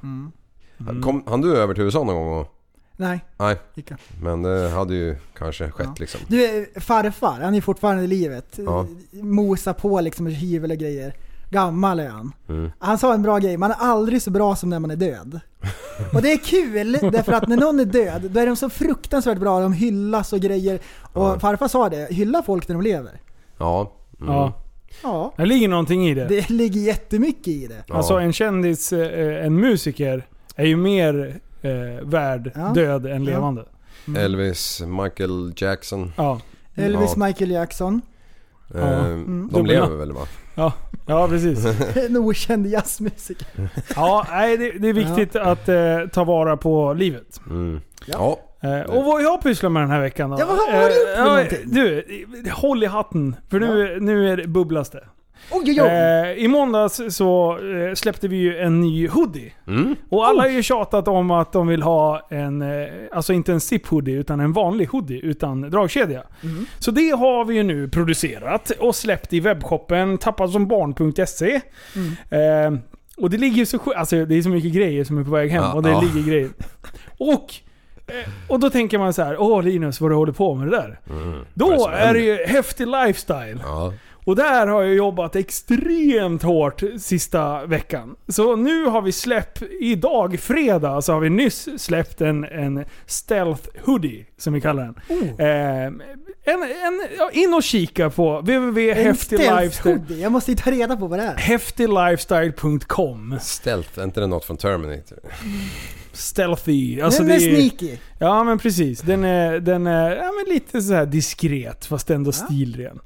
D: Mm.
E: Kom, hann du över till USA någon gång? Och,
F: Nej,
E: nej,
F: gick jag.
E: men det hade ju kanske skett liksom.
F: Du, eh, farfar, han är fortfarande i livet.
E: Ja.
F: Mosa på liksom med hyvel och grejer. Gammal är han.
D: Mm.
F: Han sa en bra grej, man är aldrig så bra som när man är död. Och det är kul, därför att när någon är död, då är de så fruktansvärt bra. De hyllas och grejer. Och
E: Ja.
F: farfar sa det, hylla folk när de lever.
E: Ja. Mm.
D: Ja.
F: Ja,
D: Det ligger någonting i det.
F: det ligger jättemycket i det.
E: Ja.
D: Alltså en kändis, eh, en musiker, är ju mer eh, värd
F: Ja.
D: död än
F: Ja.
D: levande.
E: Elvis, Michael Jackson.
D: Ja.
F: Elvis
E: Ja.
F: Michael Jackson,
E: Eh, De
D: Dubbla.
E: lever väl va?
D: Ja, ja precis.
F: en okänd jazzmusiker.
D: Ja, nej, det, det är viktigt att eh, ta vara på livet.
E: Mm. Ja.
D: Eh, och vad jag pysslar med den här veckan då? Eh,
F: Ja, vad har du gjort för
D: ja,
F: någonting?
D: Du, håll i hatten. För nu, nu är det bubblas det.
F: Oj, oj, oj.
D: Eh, I måndags så eh, släppte vi ju en ny hoodie. Och alla har ju tjatat om att de vill ha en, eh, alltså inte en zip hoodie utan en vanlig hoodie utan dragkedja.
E: Mm.
D: Så det har vi ju nu producerat och släppt i webbshoppen tappadsombarn.se. Eh, och det ligger ju så sjukt, alltså det är så mycket grejer som är på väg hem
E: Mm. Ja,
D: och det
E: ja.
D: ligger grejer. Och eh, och då tänker man så här, åh Linus vad du håller på med det där.
E: Mm. Vad är det
D: Då
E: som
D: är
E: händer?
D: det ju häftig lifestyle.
E: Ja.
D: Och där har jag jobbat extremt hårt sista veckan. Så nu har vi släppt, idag fredag, så har vi nyss släppt en, en stealth hoodie, som vi kallar den.
F: Oh.
D: Eh, en, en, ja, in och kika på
F: En
D: www.häftiglifestyle
F: stealth-hoodie. Jag måste ju ta reda på vad det är.
D: häftiglifestyle.com
E: Stealth, är inte det något från Terminator?
D: Stealthy.
F: Alltså,
D: Alltså
F: den är
D: det är-
F: sneaky.
D: Ja men precis. Den är, den är ja, men lite så här diskret fast ändå stilren.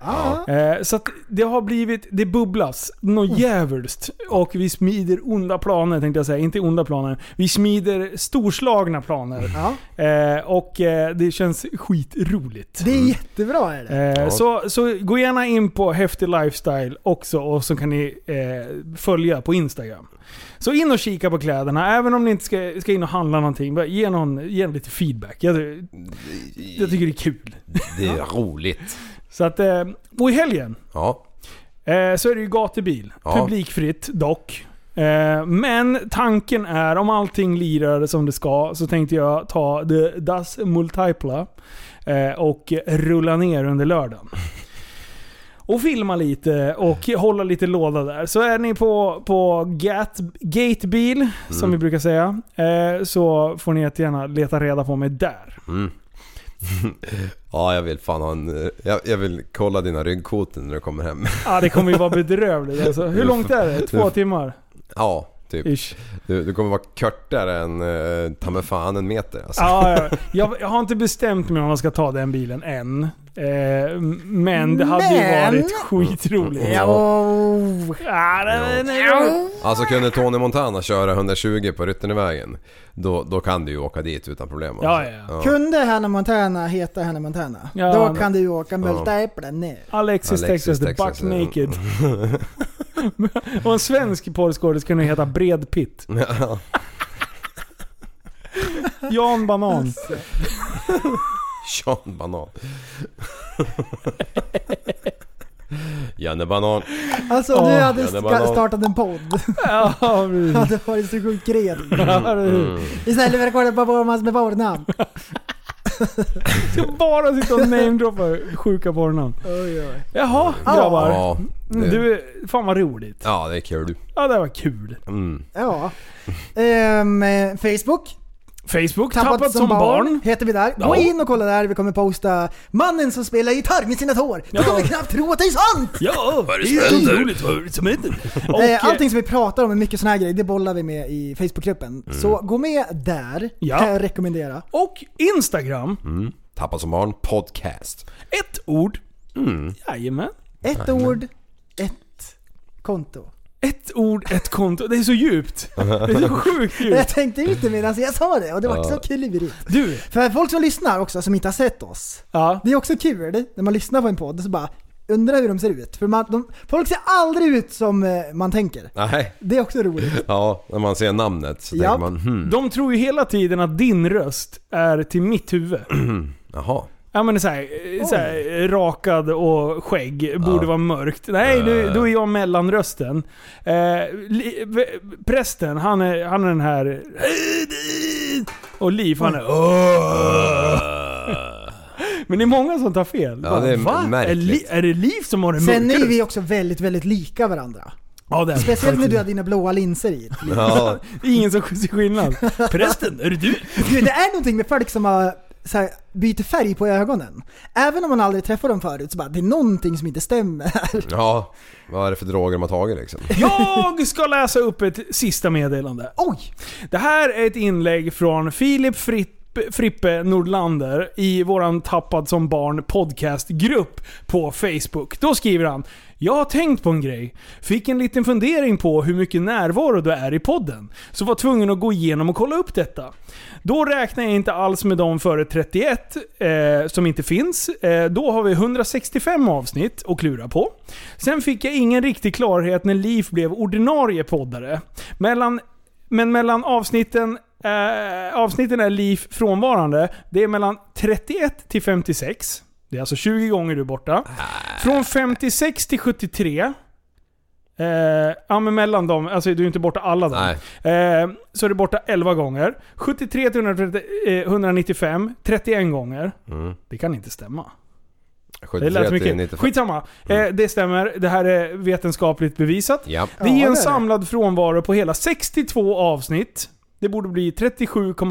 F: Ja.
D: Eh, så att det har blivit, det bubblas något djävulskt. Och vi smider onda planer tänkte jag säga. Inte onda planer. Vi smider storslagna planer.
F: Ja.
D: Eh, och eh, det känns skitroligt.
F: Det är jättebra är det.
D: Eh,
E: Ja.
D: så, så gå gärna in på Häftig Lifestyle också och så kan ni eh, följa på Instagram. Så in och kika på kläderna, även om ni inte ska, ska in och handla någonting. Bara Ge, någon, ge lite feedback. Jag, jag tycker det är kul.
E: Det är roligt.
D: Så att, eh, och i helgen
E: Ja.
D: eh, så är det ju gatubil.
E: Ja.
D: Publikfritt dock. Eh, men tanken är, om allting lirar som det ska, så tänkte jag ta The Das Multipla eh, och rulla ner under lördagen. Och filma lite och hålla lite låda där. Så är ni på, på gat, Gatebil, som vi brukar säga, eh, så får ni jättegärna leta reda på mig där.
E: Mm. Ja, jag vill fan ha en... eh, Jag, jag vill kolla dina ryggkotor när du kommer hem.
D: Ah, det kommer ju vara bedrövligt alltså. Hur långt är det? Två timmar?
E: Ja, typ.
D: Ish.
E: Du, du kommer vara kortare än eh, ta mig fan en meter alltså.
D: Ja, ja. Jag, jag har inte bestämt mig om jag ska ta den bilen än. Eh, men det hade ju
F: Men-
D: varit skitroligt.
E: Ja.
F: Oh.
D: Ah, den- den- den-
E: Alltså kunde Tony Montana köra 120 på Rytternevägen, då, då kan du ju åka dit utan problem. Alltså.
D: Ja, ja, ja.
F: Kunde Hannah Montana heta Hannah Montana,
D: Ja,
F: då
D: men-
F: kan du ju åka multaäpplen ner.
D: Alexis,
E: Alexis
D: Texas, the
E: Texas,
D: buck
E: ja.
D: naked. Och en svensk porrskådis kunde heta Bred Pitt. Jan Banan.
E: Sean Banan. Janne Banan.
F: Alltså om du
D: Ja,
F: hade
E: ja, det var
F: ska-
E: någon-
F: startat en podd,
D: Ja, precis.
E: Mm.
F: hade det varit så sjukt kreativt.
D: Ja, det är-
F: Istället för att kolla på performance med porrnamn.
D: Ska bara sitta och namedroppa sjuka porrnamn.
F: Oj, oj.
D: Jaha grabbar.
E: Ja, det,
D: Mm, Du, fan vad roligt.
E: ja, det är kul.
D: Ja, det här var kul.
E: Mm.
F: Ja. Ehm, eh, Facebook,
D: Facebook, tappat, som, barn.
F: heter vi där.
D: Ja.
F: Gå in och kolla där, vi kommer posta mannen som spelar gitarr med sina tår. Du kommer knappt tro att det är sant!
D: Ja, det är otroligt vad är det som händer. Och,
F: Eh, Allting som vi pratar om är mycket såna här grejer, det bollar vi med i Facebookgruppen. Så gå med där,
D: Mm. Ja.
F: kan jag rekommendera.
D: och Instagram,
E: Tappa som barn podcast.
D: ett ord. Mm. Jajamän.
F: Ett ord, ett konto.
D: Ett ord, ett konto. Det är så djupt. Det är så sjukt djupt.
F: Jag tänkte ut det medan jag sa det och det var så klurigt.
D: Du.
F: För folk som lyssnar också, som inte har sett oss.
D: Ja.
F: Det är också kul när man lyssnar på en podd så bara undrar hur de ser ut. För man, de, folk ser aldrig ut som eh, man tänker.
E: Nej.
F: Det är också roligt.
E: Ja, när man ser namnet så
F: Japp.
E: tänker man hmm,
D: De tror ju hela tiden att din röst är till mitt huvud.
E: jaha.
D: Ja men så här, eh, så här, eh, rakad och skägg borde vara mörkt. Nej,
E: Eh.
D: du, då är jag mellanrösten. Eh, li, v- prästen, han är, han är den här... Och Liv, han är...
E: Mm.
D: Men det är många som tar fel.
E: Ja, det är
D: Va? Är, li,
E: märkligt.
D: är det Liv som har den
F: Sen
D: mörka
F: är vi
D: rösten?
F: också väldigt, väldigt lika varandra.
D: Ja, det är vi.
F: Speciellt när du har dina blåa linser i.
E: Ja,
D: Det är ingen som ser skillnad. Prästen, är det du?
F: Du, det är någonting med folk som har, så här, byter färg på ögonen. Även om man aldrig träffar dem förut så bara, det är någonting som inte stämmer.
E: ja, vad är det för droger de har tagit liksom?
D: Jag ska läsa upp ett sista meddelande.
F: Oj!
D: Det här är ett inlägg från Filip Fripp- Frippe Nordlander i våran Tappad som barn podcastgrupp på Facebook. Då skriver han Jag har tänkt på en grej. Fick en liten fundering på hur mycket närvaro du är i podden. Så var tvungen att gå igenom och kolla upp detta. Då räknar jag inte alls med de före 31 eh, som inte finns. Eh, då har vi 165 avsnitt att klura på. Sen fick jag ingen riktig klarhet när Liv blev ordinarie poddare. Mellan, men mellan avsnitten Eh, avsnitten är Liv frånvarande. Det är mellan 31 till 56. Det är alltså 20 gånger du är borta. Från 56 till 73. Eh, ja men mellan dem, alltså du är inte borta alla dem. Eh, så är du borta 11 gånger. 73 till 130, eh, 195, 31 gånger. Det kan inte stämma. Det
E: 73
D: lät
E: till
D: mycket.
E: 95.
D: Skitsamma. Eh, det stämmer. Det här är vetenskapligt bevisat.
E: Ja.
D: Det ger
F: Ja, det är
D: en
F: det.
D: samlad frånvaro på hela 62 avsnitt. Det borde bli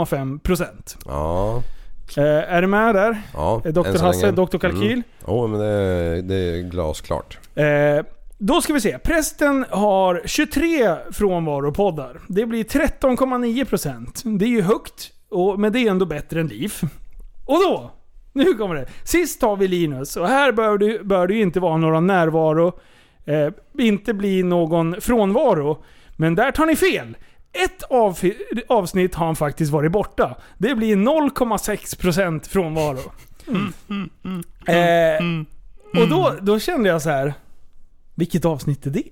D: 37,5%.
E: Ja.
D: Eh, är du med där?
E: ja.
D: Eh, Dr.
E: än så
D: Hasse,
E: länge.
D: Dr. Kalkyl.
E: Mm. Jo, men det, är- det är glasklart.
D: Eh, då ska vi se. Prästen har 23 frånvaropoddar. Det blir 13,9%. Det är ju högt, och, men det är ändå bättre än LIF. Och då, nu kommer det. Sist tar vi Linus och här bör det, bör det ju inte vara några närvaro, eh, inte bli någon frånvaro. Men där tar ni fel. Ett av, avsnitt har han faktiskt varit borta. Det blir 0,6% frånvaro. Eh, och då, då kände jag så här. Vilket avsnitt är det?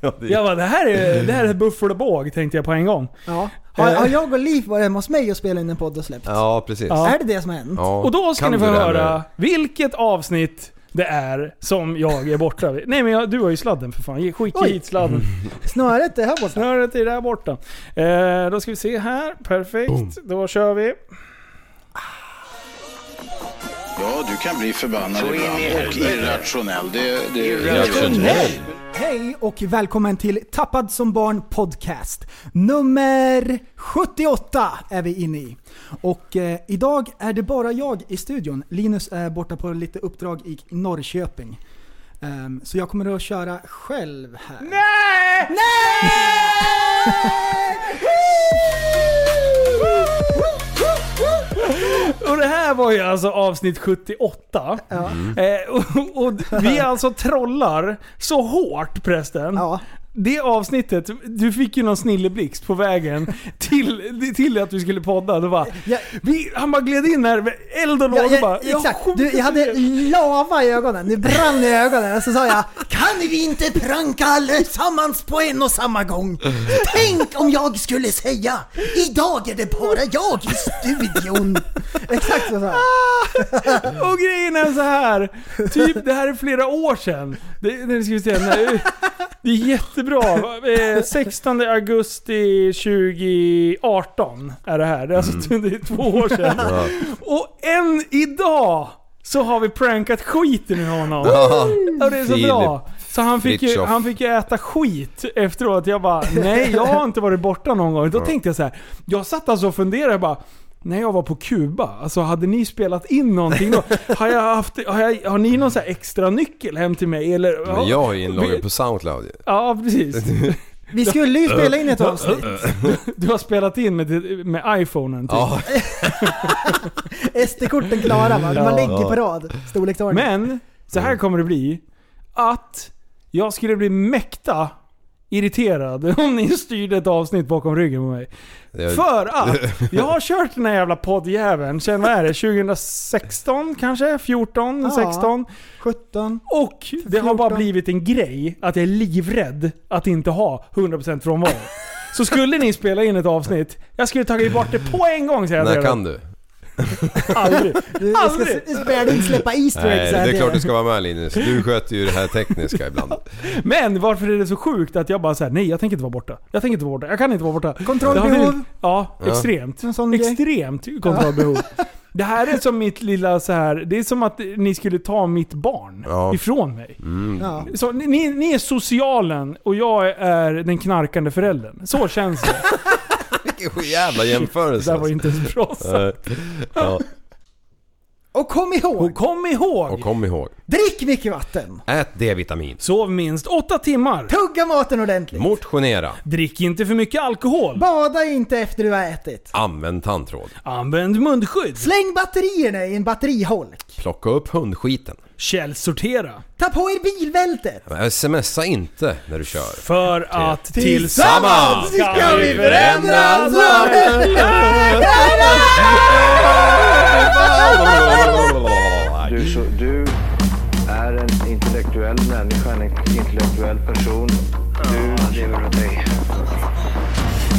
D: Jag bara, det här är, det här är buffel och båg tänkte jag på en gång.
F: Ja. Har, har jag och Liv varit hemma hos mig och spelat in en podd och släppt?
E: Ja, precis.
D: Ja.
F: Är det det som har hänt?
E: Ja.
D: Och då ska
E: Kan
D: ni få
E: du det här
D: höra
E: med-
D: vilket avsnitt det är som jag är borta vid. Nej men jag, du har ju sladden för fan. Skicka
F: Oj.
D: hit sladden.
E: Mm.
F: Snöret är här borta.
D: Snöret är där borta. Eh, då ska vi se här. Perfekt. Då kör vi.
C: Ja, du kan bli förbannad
A: Så in i
C: ibland och
A: helvete.
C: irrationell. Det, det,
A: Irrationell.
C: Nej.
F: Hej och välkommen till Tappad som barn podcast. Nummer 78 är vi inne i. Och eh, idag är det bara jag i studion. Linus är borta på lite uppdrag i Norrköping. Ehm, så jag kommer att köra själv här.
D: Nej! Nej! Och det här var ju alltså avsnitt 78. Eh, och, och vi alltså trollar så hårt prästen.
F: Ja.
D: Det avsnittet, du fick ju någon snilleblixt på vägen till, till att vi skulle podda. Det var,
F: Ja.
D: vi, han bara gled in här med eld och lågor
F: Jag,
D: och
F: jag,
D: bara
F: exakt.
D: skjuter
F: Du, jag hade
D: till er."
F: lava i ögonen. Det brann i ögonen. Och så sa jag Kan vi inte pranka allesammans på en och samma gång? Tänk om jag skulle säga Idag är det bara jag i studion. Exakt så sa jag.
D: Och grejen är så här. Typ, det här är flera år sedan. Det, det, ska vi se, nej, det är jättebra. Eh, 16 augusti 2018 är det här. Det är alltså det är två år sedan. Och än idag så har vi prankat skiten ur honom.
E: Ja.
D: Och det är så
E: Filip
D: bra. Så han fick, ju,
E: Fritiof.
D: han fick ju äta skit efteråt. Jag bara, nej jag har inte varit borta någon gång. Då tänkte jag så här. jag satt alltså och funderade jag bara, när jag var på Kuba, alltså hade ni spelat in någonting då? Har, jag haft, har, jag, har ni någon så här extra nyckel hem till mig? Eller,
E: Men jag är ju inloggad
D: Vi-
E: på Soundcloud ju.
D: Ja, precis.
F: Vi skulle ju spela in ett avsnitt.
D: Du har spelat in med, med iPhonen typ.
E: Ja,
F: SD-korten klara va? Man lägger på rad. Storleksordning.
D: Men, så
E: Mm.
D: här kommer det bli. Att jag skulle bli mäkta irriterad om ni styrde ett avsnitt bakom ryggen på mig.
E: det är-
D: För att jag har kört den här jävla poddjäveln sen vad är det? 2016 kanske? 14?
F: Ja.
D: 16?
F: 17.
D: Och det har bara
F: 14.
D: blivit en grej att jag är livrädd att inte ha 100% frånvaro. Så skulle ni spela in ett avsnitt, jag skulle tagit bort det på en gång säger jag
E: När
D: till er.
E: kan du?
D: Aldrig.
F: Du, jag ska
D: Aldrig.
F: s- spela in släppa Easter
E: Nej,
F: eggs
E: det
F: här.
E: är klart du ska vara med Linus. Du sköter ju det här tekniska ibland.
D: Men varför är det så sjukt att jag bara säger nej jag tänker inte vara borta. Jag tänker inte vara borta. Jag kan inte vara borta.
F: Kontrollbehov.
D: Det har blivit- Ja,
E: Ja.
D: extremt.
F: En sån grej.
D: extremt kontrollbehov. Det här är som mitt lilla så här. det är som att ni skulle ta mitt barn
E: Ja. Mm.
D: ifrån mig.
F: Ja.
D: Så, ni- ni, ni är socialen och jag är den knarkande föräldern. Så känns det.
E: Vilken jävla jämförelse.
D: Det där var ju inte ens bra sagt.
E: alltså. Eh, ja.
F: Och kom
D: Och
F: ihåg.
D: kom
E: Och
D: ihåg!
E: kom ihåg,
F: Drick mycket vatten.
E: ät D-vitamin.
D: Sov minst 8 timmar.
F: Tugga maten ordentligt.
E: Motionera.
D: Drick inte för mycket alkohol.
F: Bada inte efter du har ätit.
E: Använd tandtråd.
D: Använd munskydd.
F: Släng batterierna i en batteriholk.
E: Plocka upp hundskiten.
D: källsortera.
F: Ta på er bilbältet!
E: Men Smsa inte när du kör.
D: För att
E: Tillsammans
D: tillsammans
E: ska vi förändra
A: Du, så, du är en intellektuell människa, en intellektuell person. Du lever av dig.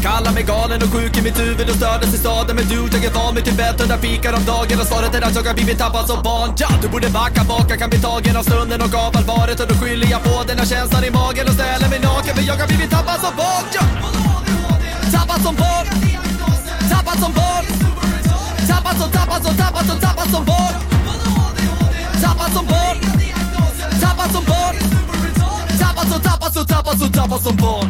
B: Kallar mig galen och sjuk i mitt huvud och stördes i staden Men du, jag är van vid Tibet och där fikar om dagen Och svaret är att jag har blivit tappad som barn ja, Du borde backa bak, jag kan bli tagen av stunden och av allvaret Och då skyller jag på den här känslan i magen och ställer mig naken För jag har blivit tappad som barn ja. Tappad som barn Tappad som barn Tappad som, tappad som, tappad som, tappad som barn Tappad som barn Tappad som barn Tappad som, tappad som, tappad som, tappad som barn